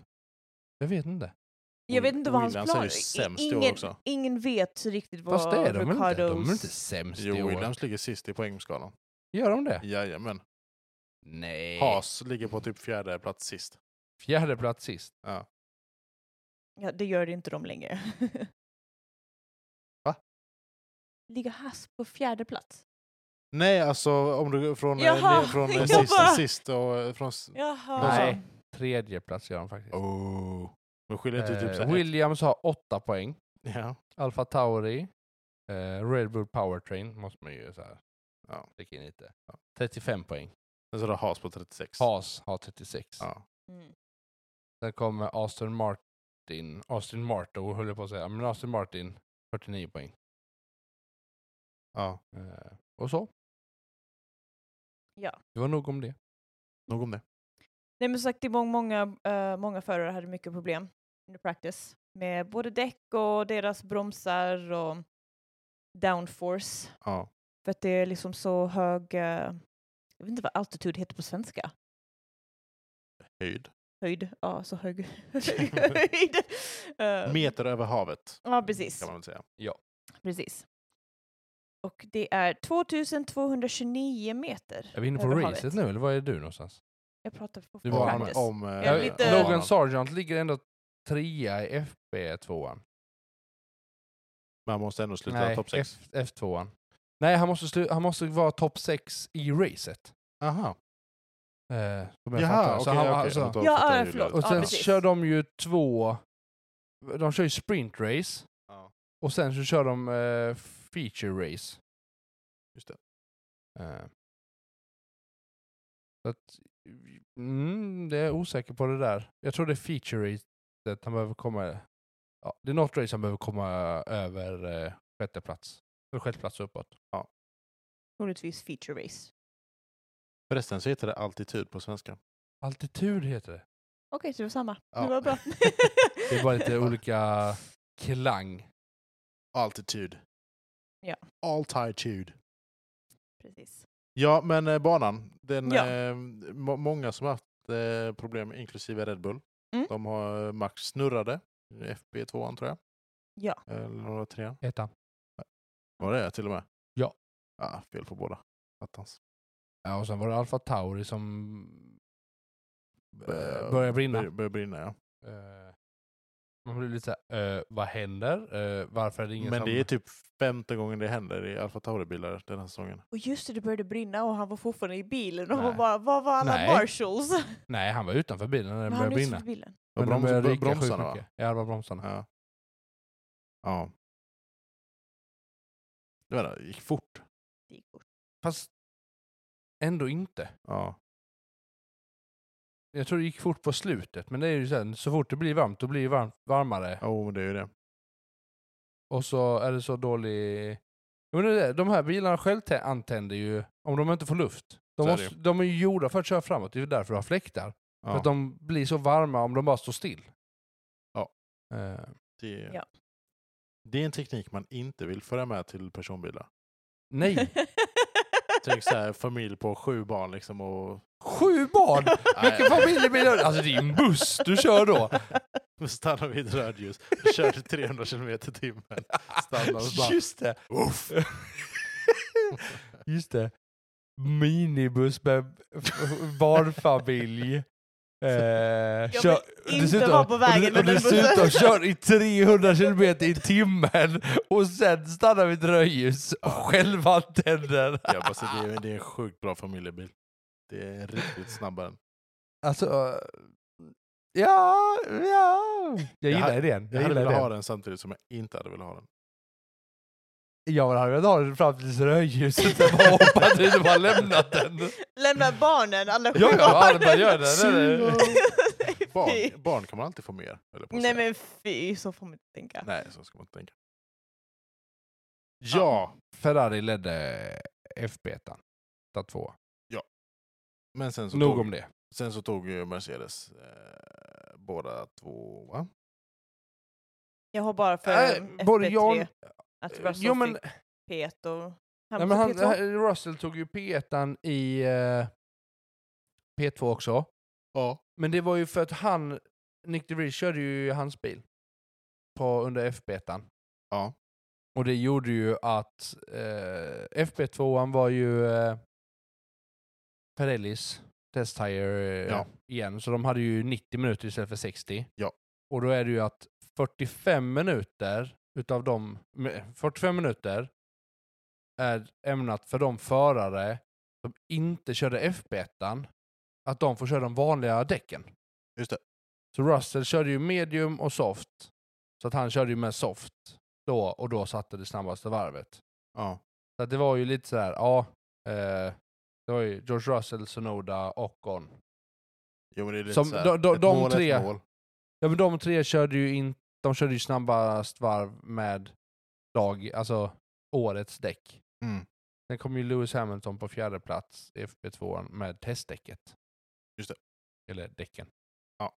[SPEAKER 2] Jag vet inte.
[SPEAKER 1] Will-
[SPEAKER 3] Jag vet inte vad hans
[SPEAKER 1] Williams är
[SPEAKER 3] plan
[SPEAKER 1] ju sämst i år
[SPEAKER 3] ingen,
[SPEAKER 1] också.
[SPEAKER 3] ingen vet så riktigt vad
[SPEAKER 2] Fast det är de väl inte? De är
[SPEAKER 3] Ricardos...
[SPEAKER 2] väl inte sämst
[SPEAKER 1] Jo,
[SPEAKER 2] i år?
[SPEAKER 1] Williams ligger sist i poängskalan.
[SPEAKER 2] Gör de det?
[SPEAKER 1] Jajamän.
[SPEAKER 2] Nej.
[SPEAKER 1] Haas ligger på typ fjärde plats sist.
[SPEAKER 2] Fjärde plats sist.
[SPEAKER 1] Ja.
[SPEAKER 3] Ja, det gör inte de längre.
[SPEAKER 1] Va?
[SPEAKER 3] Ligger Haas på fjärde plats?
[SPEAKER 1] Nej, alltså om du från, eh,
[SPEAKER 3] Jaha,
[SPEAKER 1] ner- från eh,
[SPEAKER 3] jag
[SPEAKER 1] sist,
[SPEAKER 3] bara-
[SPEAKER 1] sist och eh, från... s-
[SPEAKER 3] Jaha.
[SPEAKER 2] Nej. Tredje plats gör de faktiskt.
[SPEAKER 1] Oh. Men skiljer inte typ så här
[SPEAKER 2] Eh,
[SPEAKER 1] ett-
[SPEAKER 2] Williams har åtta poäng.
[SPEAKER 1] Ja.
[SPEAKER 2] Alfa Tauri, eh, Red Bull Powertrain måste man ju så här
[SPEAKER 1] Ja.
[SPEAKER 2] sticka in lite. 35 poäng.
[SPEAKER 1] Men så har du Haas på 36.
[SPEAKER 2] Haas har 36.
[SPEAKER 1] Ja.
[SPEAKER 3] Mm.
[SPEAKER 2] Sen kommer Aston Martin, Aston Martin höll jag på att säga, men Aston Martin 49 poäng.
[SPEAKER 1] ja.
[SPEAKER 2] Eh, och så.
[SPEAKER 3] Ja.
[SPEAKER 2] Det var nog om det.
[SPEAKER 1] Nog om det.
[SPEAKER 3] Nej men som sagt, det är många, många, eh, många förare hade mycket problem under practice med både däck och deras bromsar och downforce.
[SPEAKER 1] Ja.
[SPEAKER 3] För att det är liksom så hög, eh, jag vet inte vad altitud heter på svenska.
[SPEAKER 1] Höjd.
[SPEAKER 3] Höjd, ja så hög höjd. Eh,
[SPEAKER 1] Meter över havet.
[SPEAKER 3] ja precis,
[SPEAKER 1] Kan man väl säga.
[SPEAKER 3] precis. Och det är 2229 meter.
[SPEAKER 2] Är vi inne på
[SPEAKER 3] över
[SPEAKER 2] racet
[SPEAKER 3] havet.
[SPEAKER 2] nu eller var är du någonstans?
[SPEAKER 3] Jag pratar på
[SPEAKER 2] Du var
[SPEAKER 1] Om,
[SPEAKER 3] practice.
[SPEAKER 1] om, eh,
[SPEAKER 3] Jag är lite-
[SPEAKER 1] banan.
[SPEAKER 2] Logan Sargent ligger ändå trea i FB2an.
[SPEAKER 1] Man måste ändå sluta
[SPEAKER 2] Nej,
[SPEAKER 1] topp 6.
[SPEAKER 2] F- F2an. Nej, han måste, slu- han måste vara topp 6 i racet.
[SPEAKER 1] Aha.
[SPEAKER 2] Eh, som jag fattar.
[SPEAKER 1] Jaha,
[SPEAKER 2] Så
[SPEAKER 1] okej.
[SPEAKER 2] han-
[SPEAKER 1] okej.
[SPEAKER 2] alltså-
[SPEAKER 1] Jag tar-
[SPEAKER 3] Ja,
[SPEAKER 1] fattar
[SPEAKER 3] ja,
[SPEAKER 1] hur det
[SPEAKER 3] förlåt.
[SPEAKER 1] låter.
[SPEAKER 2] och sen
[SPEAKER 3] precis.
[SPEAKER 2] kör de ju två... De kör ju sprintrace
[SPEAKER 1] Ja.
[SPEAKER 2] och sen så kör de eh, feature race.
[SPEAKER 1] Just det.
[SPEAKER 2] Eh. Så att, mm, det är jag osäker på det där. Jag tror det är feature racet han behöver komma... Ja, det är något race han behöver komma över eh, sjätte plats. Eller sjätte plats uppåt.
[SPEAKER 3] Troligtvis feature race.
[SPEAKER 1] Förresten så heter det altitud på svenska.
[SPEAKER 2] Altitud heter det.
[SPEAKER 3] Okej, så det var samma.
[SPEAKER 1] Ja.
[SPEAKER 3] Det var bra.
[SPEAKER 2] Det är bara lite olika klang.
[SPEAKER 1] Altitud.
[SPEAKER 3] Ja.
[SPEAKER 1] Altitude.
[SPEAKER 3] Precis.
[SPEAKER 1] Ja, men eh, banan. Den,
[SPEAKER 3] Ja.
[SPEAKER 1] eh, må- många som har haft eh, problem, inklusive Red Bull.
[SPEAKER 3] Mm.
[SPEAKER 1] De har eh, Max snurrade. FB2 tror jag.
[SPEAKER 3] Ja.
[SPEAKER 1] Eller var det trean?
[SPEAKER 2] Ettan.
[SPEAKER 1] Var det till och med?
[SPEAKER 2] Ja.
[SPEAKER 1] Ah, fel på båda. Attans.
[SPEAKER 2] Ja, och sen var det Alfa Tauri som eh,
[SPEAKER 1] Bör-
[SPEAKER 2] började brinna.
[SPEAKER 1] Bör- Börjar brinna ja.
[SPEAKER 2] Eh, Man blir lite såhär, eh, vad händer? Eh, varför är det ingen
[SPEAKER 1] Men
[SPEAKER 2] som...
[SPEAKER 1] det är typ femte gången det händer i Alfa Tauri-bilar den här säsongen.
[SPEAKER 3] Och just det, det började brinna och han var fortfarande i bilen och
[SPEAKER 2] Nej.
[SPEAKER 3] var bara, var var alla
[SPEAKER 2] Nej.
[SPEAKER 3] marshalls?
[SPEAKER 2] Nej, han var utanför bilen när den
[SPEAKER 3] Men han
[SPEAKER 2] började
[SPEAKER 3] lyfte inte
[SPEAKER 2] brinna.
[SPEAKER 3] bilen.
[SPEAKER 1] Och
[SPEAKER 2] Men den började ryka sjukt
[SPEAKER 1] bromsarna va?
[SPEAKER 2] mycket. Ja, det var bromsarna.
[SPEAKER 1] Ja. Ja. Jag menar, det gick fort.
[SPEAKER 3] Det gick fort.
[SPEAKER 2] Fast ändå inte.
[SPEAKER 1] Ja.
[SPEAKER 2] Jag tror det gick fort på slutet, men det är ju sen, så fort det blir varmt, då blir det varmt, varmare.
[SPEAKER 1] Jo, men det är ju det.
[SPEAKER 2] Och så är det så dålig... Men det är det, de här bilarna själv tä- antänder ju om de inte får luft. De,
[SPEAKER 1] Så är
[SPEAKER 2] måste, de är ju gjorda för att köra framåt, det är ju därför du har fläktar. För
[SPEAKER 1] Ja.
[SPEAKER 2] att de blir så varma om de bara står still.
[SPEAKER 1] Ja.
[SPEAKER 2] Eh,
[SPEAKER 1] det, är,
[SPEAKER 3] Ja.
[SPEAKER 1] det är en teknik man inte vill föra med till personbilar.
[SPEAKER 2] nej,
[SPEAKER 1] Tänk så här, familj på sju barn liksom och...
[SPEAKER 2] sju barn! Vilken
[SPEAKER 1] Nej.
[SPEAKER 2] familjebil är det? Alltså det är en buss du kör då.
[SPEAKER 1] Stanna vid ett rödljus, kör 300 km i timmen. Stanna och bara...
[SPEAKER 2] Just det. Just det. Minibuss med barnfamilj. Eh,
[SPEAKER 3] men
[SPEAKER 2] kör,
[SPEAKER 3] inte vara på vägen
[SPEAKER 2] och, och
[SPEAKER 3] med den bussen.
[SPEAKER 2] dessutom kör i 300 kilometer i timmen och sen stannar vid ett rödljus och själva antänder.
[SPEAKER 1] Jag bara, så det, är, det är en sjukt bra familjebil. Det är riktigt snabbare.
[SPEAKER 2] Alltså, ja, ja. Jag
[SPEAKER 1] Jag
[SPEAKER 2] gillar
[SPEAKER 1] hade-
[SPEAKER 2] idén.
[SPEAKER 1] Jag hade
[SPEAKER 2] Jag gillar
[SPEAKER 1] velat ha
[SPEAKER 2] idén.
[SPEAKER 1] den samtidigt som jag inte hade velat ha den.
[SPEAKER 2] Jag hade velat ha den fram tills rödljuset var bara hoppat ut och bara lämnat den.
[SPEAKER 3] Lämna barnen, alla sju
[SPEAKER 2] Ja, ja,
[SPEAKER 3] barnen.
[SPEAKER 2] han bara gör det. det, det.
[SPEAKER 3] Nej, fy.
[SPEAKER 1] Barn, barn kan man alltid få mer. Eller på att
[SPEAKER 3] Nej
[SPEAKER 1] säga.
[SPEAKER 3] men fy, så får man inte tänka.
[SPEAKER 1] Nej, så ska man inte tänka. Ja,
[SPEAKER 2] Ferrari ledde FB1. Ta två.
[SPEAKER 1] men sen så,
[SPEAKER 2] Nog
[SPEAKER 1] tog,
[SPEAKER 2] om det.
[SPEAKER 1] sen så tog ju Mercedes eh, båda två, va?
[SPEAKER 3] Jag har bara för
[SPEAKER 2] Nej,
[SPEAKER 3] FP3
[SPEAKER 2] både jag-
[SPEAKER 3] att Russell
[SPEAKER 2] Jo, men,
[SPEAKER 3] fick P1 och
[SPEAKER 2] nej,
[SPEAKER 3] Hamilton
[SPEAKER 2] men han,
[SPEAKER 3] P2.
[SPEAKER 2] Russell tog ju P1 i eh, P2 också.
[SPEAKER 1] Ja.
[SPEAKER 2] Men det var ju för att han, Nick DeVries körde ju hans bil på, under FB1.
[SPEAKER 1] Ja.
[SPEAKER 2] Och det gjorde ju att eh, FB2 var ju eh, Pirellis Test Tire eh,
[SPEAKER 1] Ja.
[SPEAKER 2] igen, så de hade ju 90 minuter istället för 60.
[SPEAKER 1] Ja.
[SPEAKER 2] Och då är det ju att 45 minuter utav de, 45 minuter är ämnat för de förare som inte körde FB1, att de får köra de vanliga däcken.
[SPEAKER 1] Just det.
[SPEAKER 2] Så Russell körde ju medium och soft. Så att han körde ju med soft då och då satte det snabbaste varvet.
[SPEAKER 1] Ja.
[SPEAKER 2] Så att det var ju lite så här, ja. Eh, det var ju George Russell, Sonoda, Ocon.
[SPEAKER 1] Jo, men det är lite
[SPEAKER 2] Som
[SPEAKER 1] så här,
[SPEAKER 2] de- de-
[SPEAKER 1] ett
[SPEAKER 2] de
[SPEAKER 1] mål, ett
[SPEAKER 2] tre.
[SPEAKER 1] mål.
[SPEAKER 2] Ja men de tre körde ju in, de körde ju snabbast varv med dag, alltså årets däck.
[SPEAKER 1] Mm,
[SPEAKER 2] Sen kom ju Lewis Hamilton på fjärde plats i FP2 med testdäcket.
[SPEAKER 1] Just det.
[SPEAKER 2] Eller däcken.
[SPEAKER 1] Ja.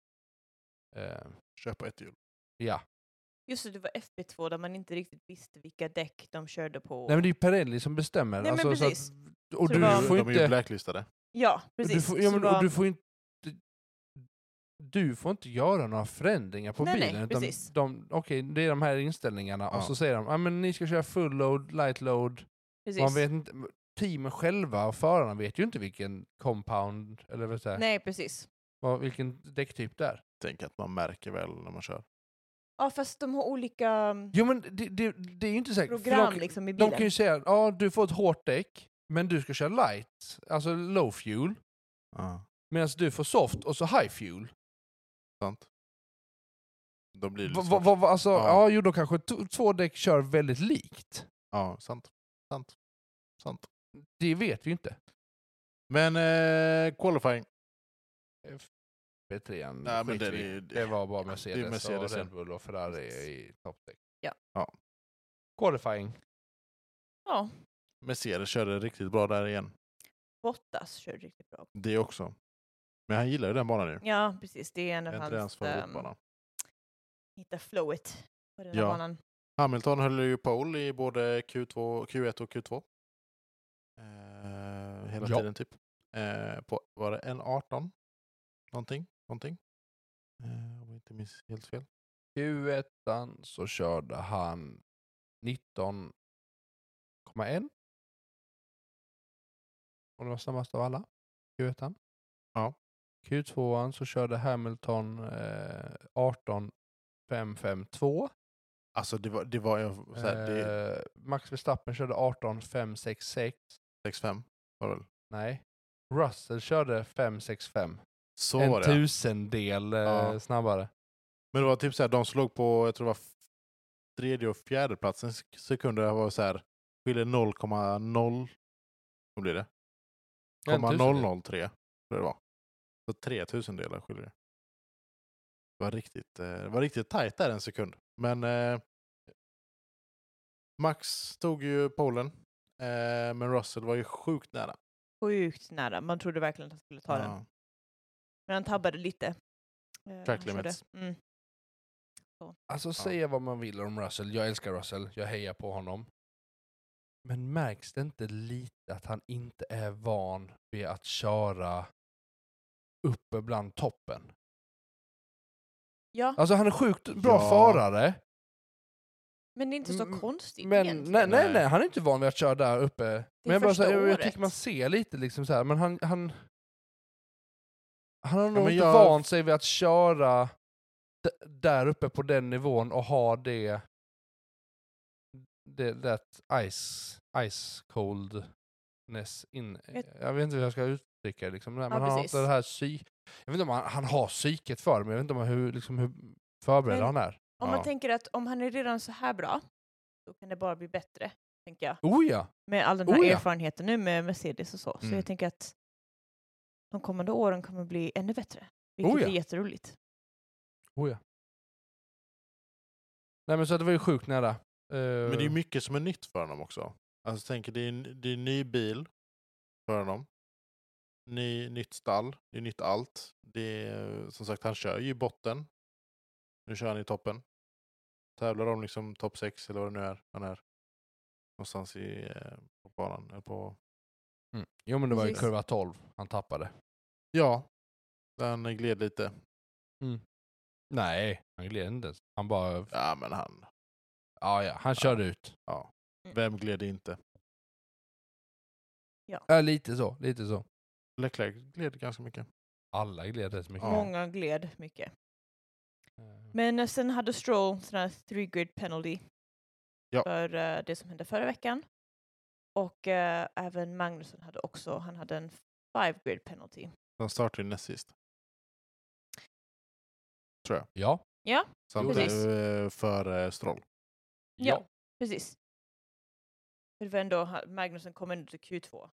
[SPEAKER 2] Eh,
[SPEAKER 1] köpa ett hjul.
[SPEAKER 2] ja.
[SPEAKER 3] Just det, det var FB2 där man inte riktigt visste vilka däck de körde på.
[SPEAKER 2] Nej men det är ju Pirelli som bestämmer. alltså,
[SPEAKER 3] Nej, men
[SPEAKER 2] så att-
[SPEAKER 3] precis.
[SPEAKER 2] och
[SPEAKER 3] Så
[SPEAKER 2] du
[SPEAKER 3] det var-
[SPEAKER 2] får
[SPEAKER 1] de är ju
[SPEAKER 2] inte...
[SPEAKER 1] blacklistade.
[SPEAKER 3] Ja,
[SPEAKER 2] Du
[SPEAKER 3] precis.
[SPEAKER 2] får, ja,
[SPEAKER 3] Så
[SPEAKER 2] men,
[SPEAKER 3] det var-
[SPEAKER 2] och du får inte... Du får inte göra några förändringar på
[SPEAKER 3] Nej, nej,
[SPEAKER 2] bilen. utan
[SPEAKER 3] precis.
[SPEAKER 2] de, Okej, det är de här inställningarna
[SPEAKER 1] Ja.
[SPEAKER 2] och så säger de ah, men ni ska köra full load, light load,
[SPEAKER 3] precis.
[SPEAKER 2] Man vet inte, teamen själva och förarna vet ju inte vilken compound, eller vad säger,
[SPEAKER 3] Nej, precis.
[SPEAKER 2] vad, vilken däcktyp det är.
[SPEAKER 1] Tänk att man märker väl när man kör.
[SPEAKER 3] Ja, fast de har olika mm,
[SPEAKER 2] Jo men det, det, det är ju inte säkert. för
[SPEAKER 3] program
[SPEAKER 2] de,
[SPEAKER 3] liksom i bilen.
[SPEAKER 2] de kan ju säga ja du får ett hårt däck, men du ska köra light, alltså low fuel,
[SPEAKER 1] Ja.
[SPEAKER 2] medan du får soft och så high fuel.
[SPEAKER 1] Sant. Då blir det lite
[SPEAKER 2] Va, va,
[SPEAKER 1] svårt.
[SPEAKER 2] va, alltså,
[SPEAKER 1] Ja.
[SPEAKER 2] ja. jo då kanske t- två däck kör väldigt likt.
[SPEAKER 1] Ja, sant. Sant. Sant.
[SPEAKER 2] Det vet vi ju inte.
[SPEAKER 1] Men eh, qualifying.
[SPEAKER 2] B3 an
[SPEAKER 1] Nej, men
[SPEAKER 2] skiter
[SPEAKER 1] den
[SPEAKER 2] vi i.
[SPEAKER 1] är ju-
[SPEAKER 2] det var bara
[SPEAKER 1] det
[SPEAKER 2] Mercedes,
[SPEAKER 1] är Mercedes,
[SPEAKER 2] och
[SPEAKER 1] ja.
[SPEAKER 2] Red Bull och Ferrari i toppdäck.
[SPEAKER 3] Ja.
[SPEAKER 1] Ja.
[SPEAKER 2] Qualifying.
[SPEAKER 3] Ja,
[SPEAKER 1] Mercedes körde riktigt bra där igen.
[SPEAKER 3] Bottas kör riktigt bra.
[SPEAKER 1] Det också. Men han gillar ju den banan nu.
[SPEAKER 3] Ja, precis. Det är en av
[SPEAKER 1] Det är inte hans
[SPEAKER 3] hans... ehm,
[SPEAKER 1] favoritbana.
[SPEAKER 3] hitta flowet på den här
[SPEAKER 1] Ja.
[SPEAKER 3] banan.
[SPEAKER 1] Hamilton höll ju pole i både Q2, Q1 och Q2. Eh, hela
[SPEAKER 2] Ja.
[SPEAKER 1] tiden typ. Eh, på, var det en 18 Någonting, någonting. Eh, om jag inte minns helt fel.
[SPEAKER 2] Q1 så körde han 19,1. Och det var snabbast av alla. Q1.
[SPEAKER 1] Ja.
[SPEAKER 2] Q2 så körde Hamilton eh, 18,552.
[SPEAKER 1] Alltså det var, det var ju så här, det är
[SPEAKER 2] Eh, Max Verstappen körde 18,566.
[SPEAKER 1] 6-5 var det väl?
[SPEAKER 2] Nej. Russell körde 565.
[SPEAKER 1] Så
[SPEAKER 2] en
[SPEAKER 1] var det. ja.
[SPEAKER 2] tusendel eh,
[SPEAKER 1] Ja.
[SPEAKER 2] snabbare.
[SPEAKER 1] Men det var typ så här, de slog på, jag tror det var f- tredje och fjärde platsen sek- sekunder. Det var så här, skiljer 0,0. Vad blir det?
[SPEAKER 2] En
[SPEAKER 3] typ.
[SPEAKER 2] tusendel.
[SPEAKER 1] 0,003 tror jag det var. Så tre tusendelar skiljer det. Det var riktigt, eh, det var riktigt tajt där en sekund. Men eh, Max tog ju polen. Eh, men Russell var ju sjukt nära.
[SPEAKER 3] Sjukt nära. Man trodde verkligen att han skulle ta den.
[SPEAKER 1] Ja,
[SPEAKER 3] Men han tabbade lite. Eh, när
[SPEAKER 1] Track
[SPEAKER 3] han körde.
[SPEAKER 1] limits.
[SPEAKER 3] Mm.
[SPEAKER 2] Alltså säga vad man vill om Russell, jag älskar Russell, jag hejar på honom. Men märks det inte lite att han inte är van vid att köra uppe bland toppen?
[SPEAKER 3] Ja,
[SPEAKER 2] Alltså han är sjukt bra
[SPEAKER 1] Ja.
[SPEAKER 2] förare,
[SPEAKER 3] men det är inte så
[SPEAKER 2] Mm,
[SPEAKER 3] konstigt
[SPEAKER 2] men
[SPEAKER 3] egentligen.
[SPEAKER 2] nej, nej,
[SPEAKER 1] Nej.
[SPEAKER 2] nej, han är inte van vid att köra där uppe. Men jag, bara, så
[SPEAKER 3] första
[SPEAKER 2] här, jag, jag
[SPEAKER 3] året.
[SPEAKER 2] tycker man ser lite liksom så här, men han... Han, han har nog
[SPEAKER 1] men
[SPEAKER 2] inte
[SPEAKER 1] jag-
[SPEAKER 2] vant sig vid att köra d- där uppe på den nivån och ha det... Det that ice, ice coldness in...
[SPEAKER 3] Jag-
[SPEAKER 2] Jag vet inte hur jag ska uttrycka det liksom. Men
[SPEAKER 3] Ja,
[SPEAKER 2] han har
[SPEAKER 3] precis.
[SPEAKER 2] inte det här psy... Jag vet inte om han, han har psyket för det, men jag vet inte om hur, liksom, hur förberedd
[SPEAKER 3] Men-
[SPEAKER 2] han är.
[SPEAKER 3] Om
[SPEAKER 1] Ja.
[SPEAKER 3] man tänker att om han är redan så här bra, då kan det bara bli bättre, tänker jag.
[SPEAKER 2] Oh ja!
[SPEAKER 3] Med all den här
[SPEAKER 2] Oh, ja.
[SPEAKER 3] erfarenheten nu med Mercedes och så. Så
[SPEAKER 1] Mm.
[SPEAKER 3] jag tänker att de kommande åren kommer bli ännu bättre. Vilket
[SPEAKER 2] Oh, ja.
[SPEAKER 3] är jätteroligt.
[SPEAKER 2] Oh ja. Nej men så att det var ju sjukt nära. Eh,
[SPEAKER 1] Men det är ju mycket som är nytt för honom också. Alltså tänk, det är, en- det är en ny bil för honom. Ny, nytt stall, det är nytt allt. Det är, som sagt, han kör ju i botten. Nu kör han i toppen. Tävlar om liksom topp 6 eller vad det nu är. Han är någonstans i, eh, på banan. Eller på,
[SPEAKER 2] Mm. Jo men det var ju
[SPEAKER 3] Precis.
[SPEAKER 2] kurva 12 han tappade.
[SPEAKER 1] ja, han gled lite.
[SPEAKER 2] Nej, han gled inte ens. Han bara,
[SPEAKER 1] Ja, men han.
[SPEAKER 2] ja ja, han körde ut.
[SPEAKER 1] Vem gled inte?
[SPEAKER 2] Ja, lite så, lite så.
[SPEAKER 1] Leclerc gled ganska mycket.
[SPEAKER 2] Alla gled rätt mycket.
[SPEAKER 1] Ja.
[SPEAKER 3] Många gled mycket. Men eh, sen hade Stroll sån här three grid penalty
[SPEAKER 1] Ja.
[SPEAKER 3] för eh, det som hände förra veckan. Och eh, även Magnusson hade också, han hade en five grid penalty.
[SPEAKER 1] Han startade ju näst sist.
[SPEAKER 2] Ja,
[SPEAKER 3] Ja,
[SPEAKER 1] Samt
[SPEAKER 3] Precis.
[SPEAKER 1] eh, för eh, Stroll.
[SPEAKER 3] Ja. precis. För det var ändå, Magnusen kom ändå till Q2.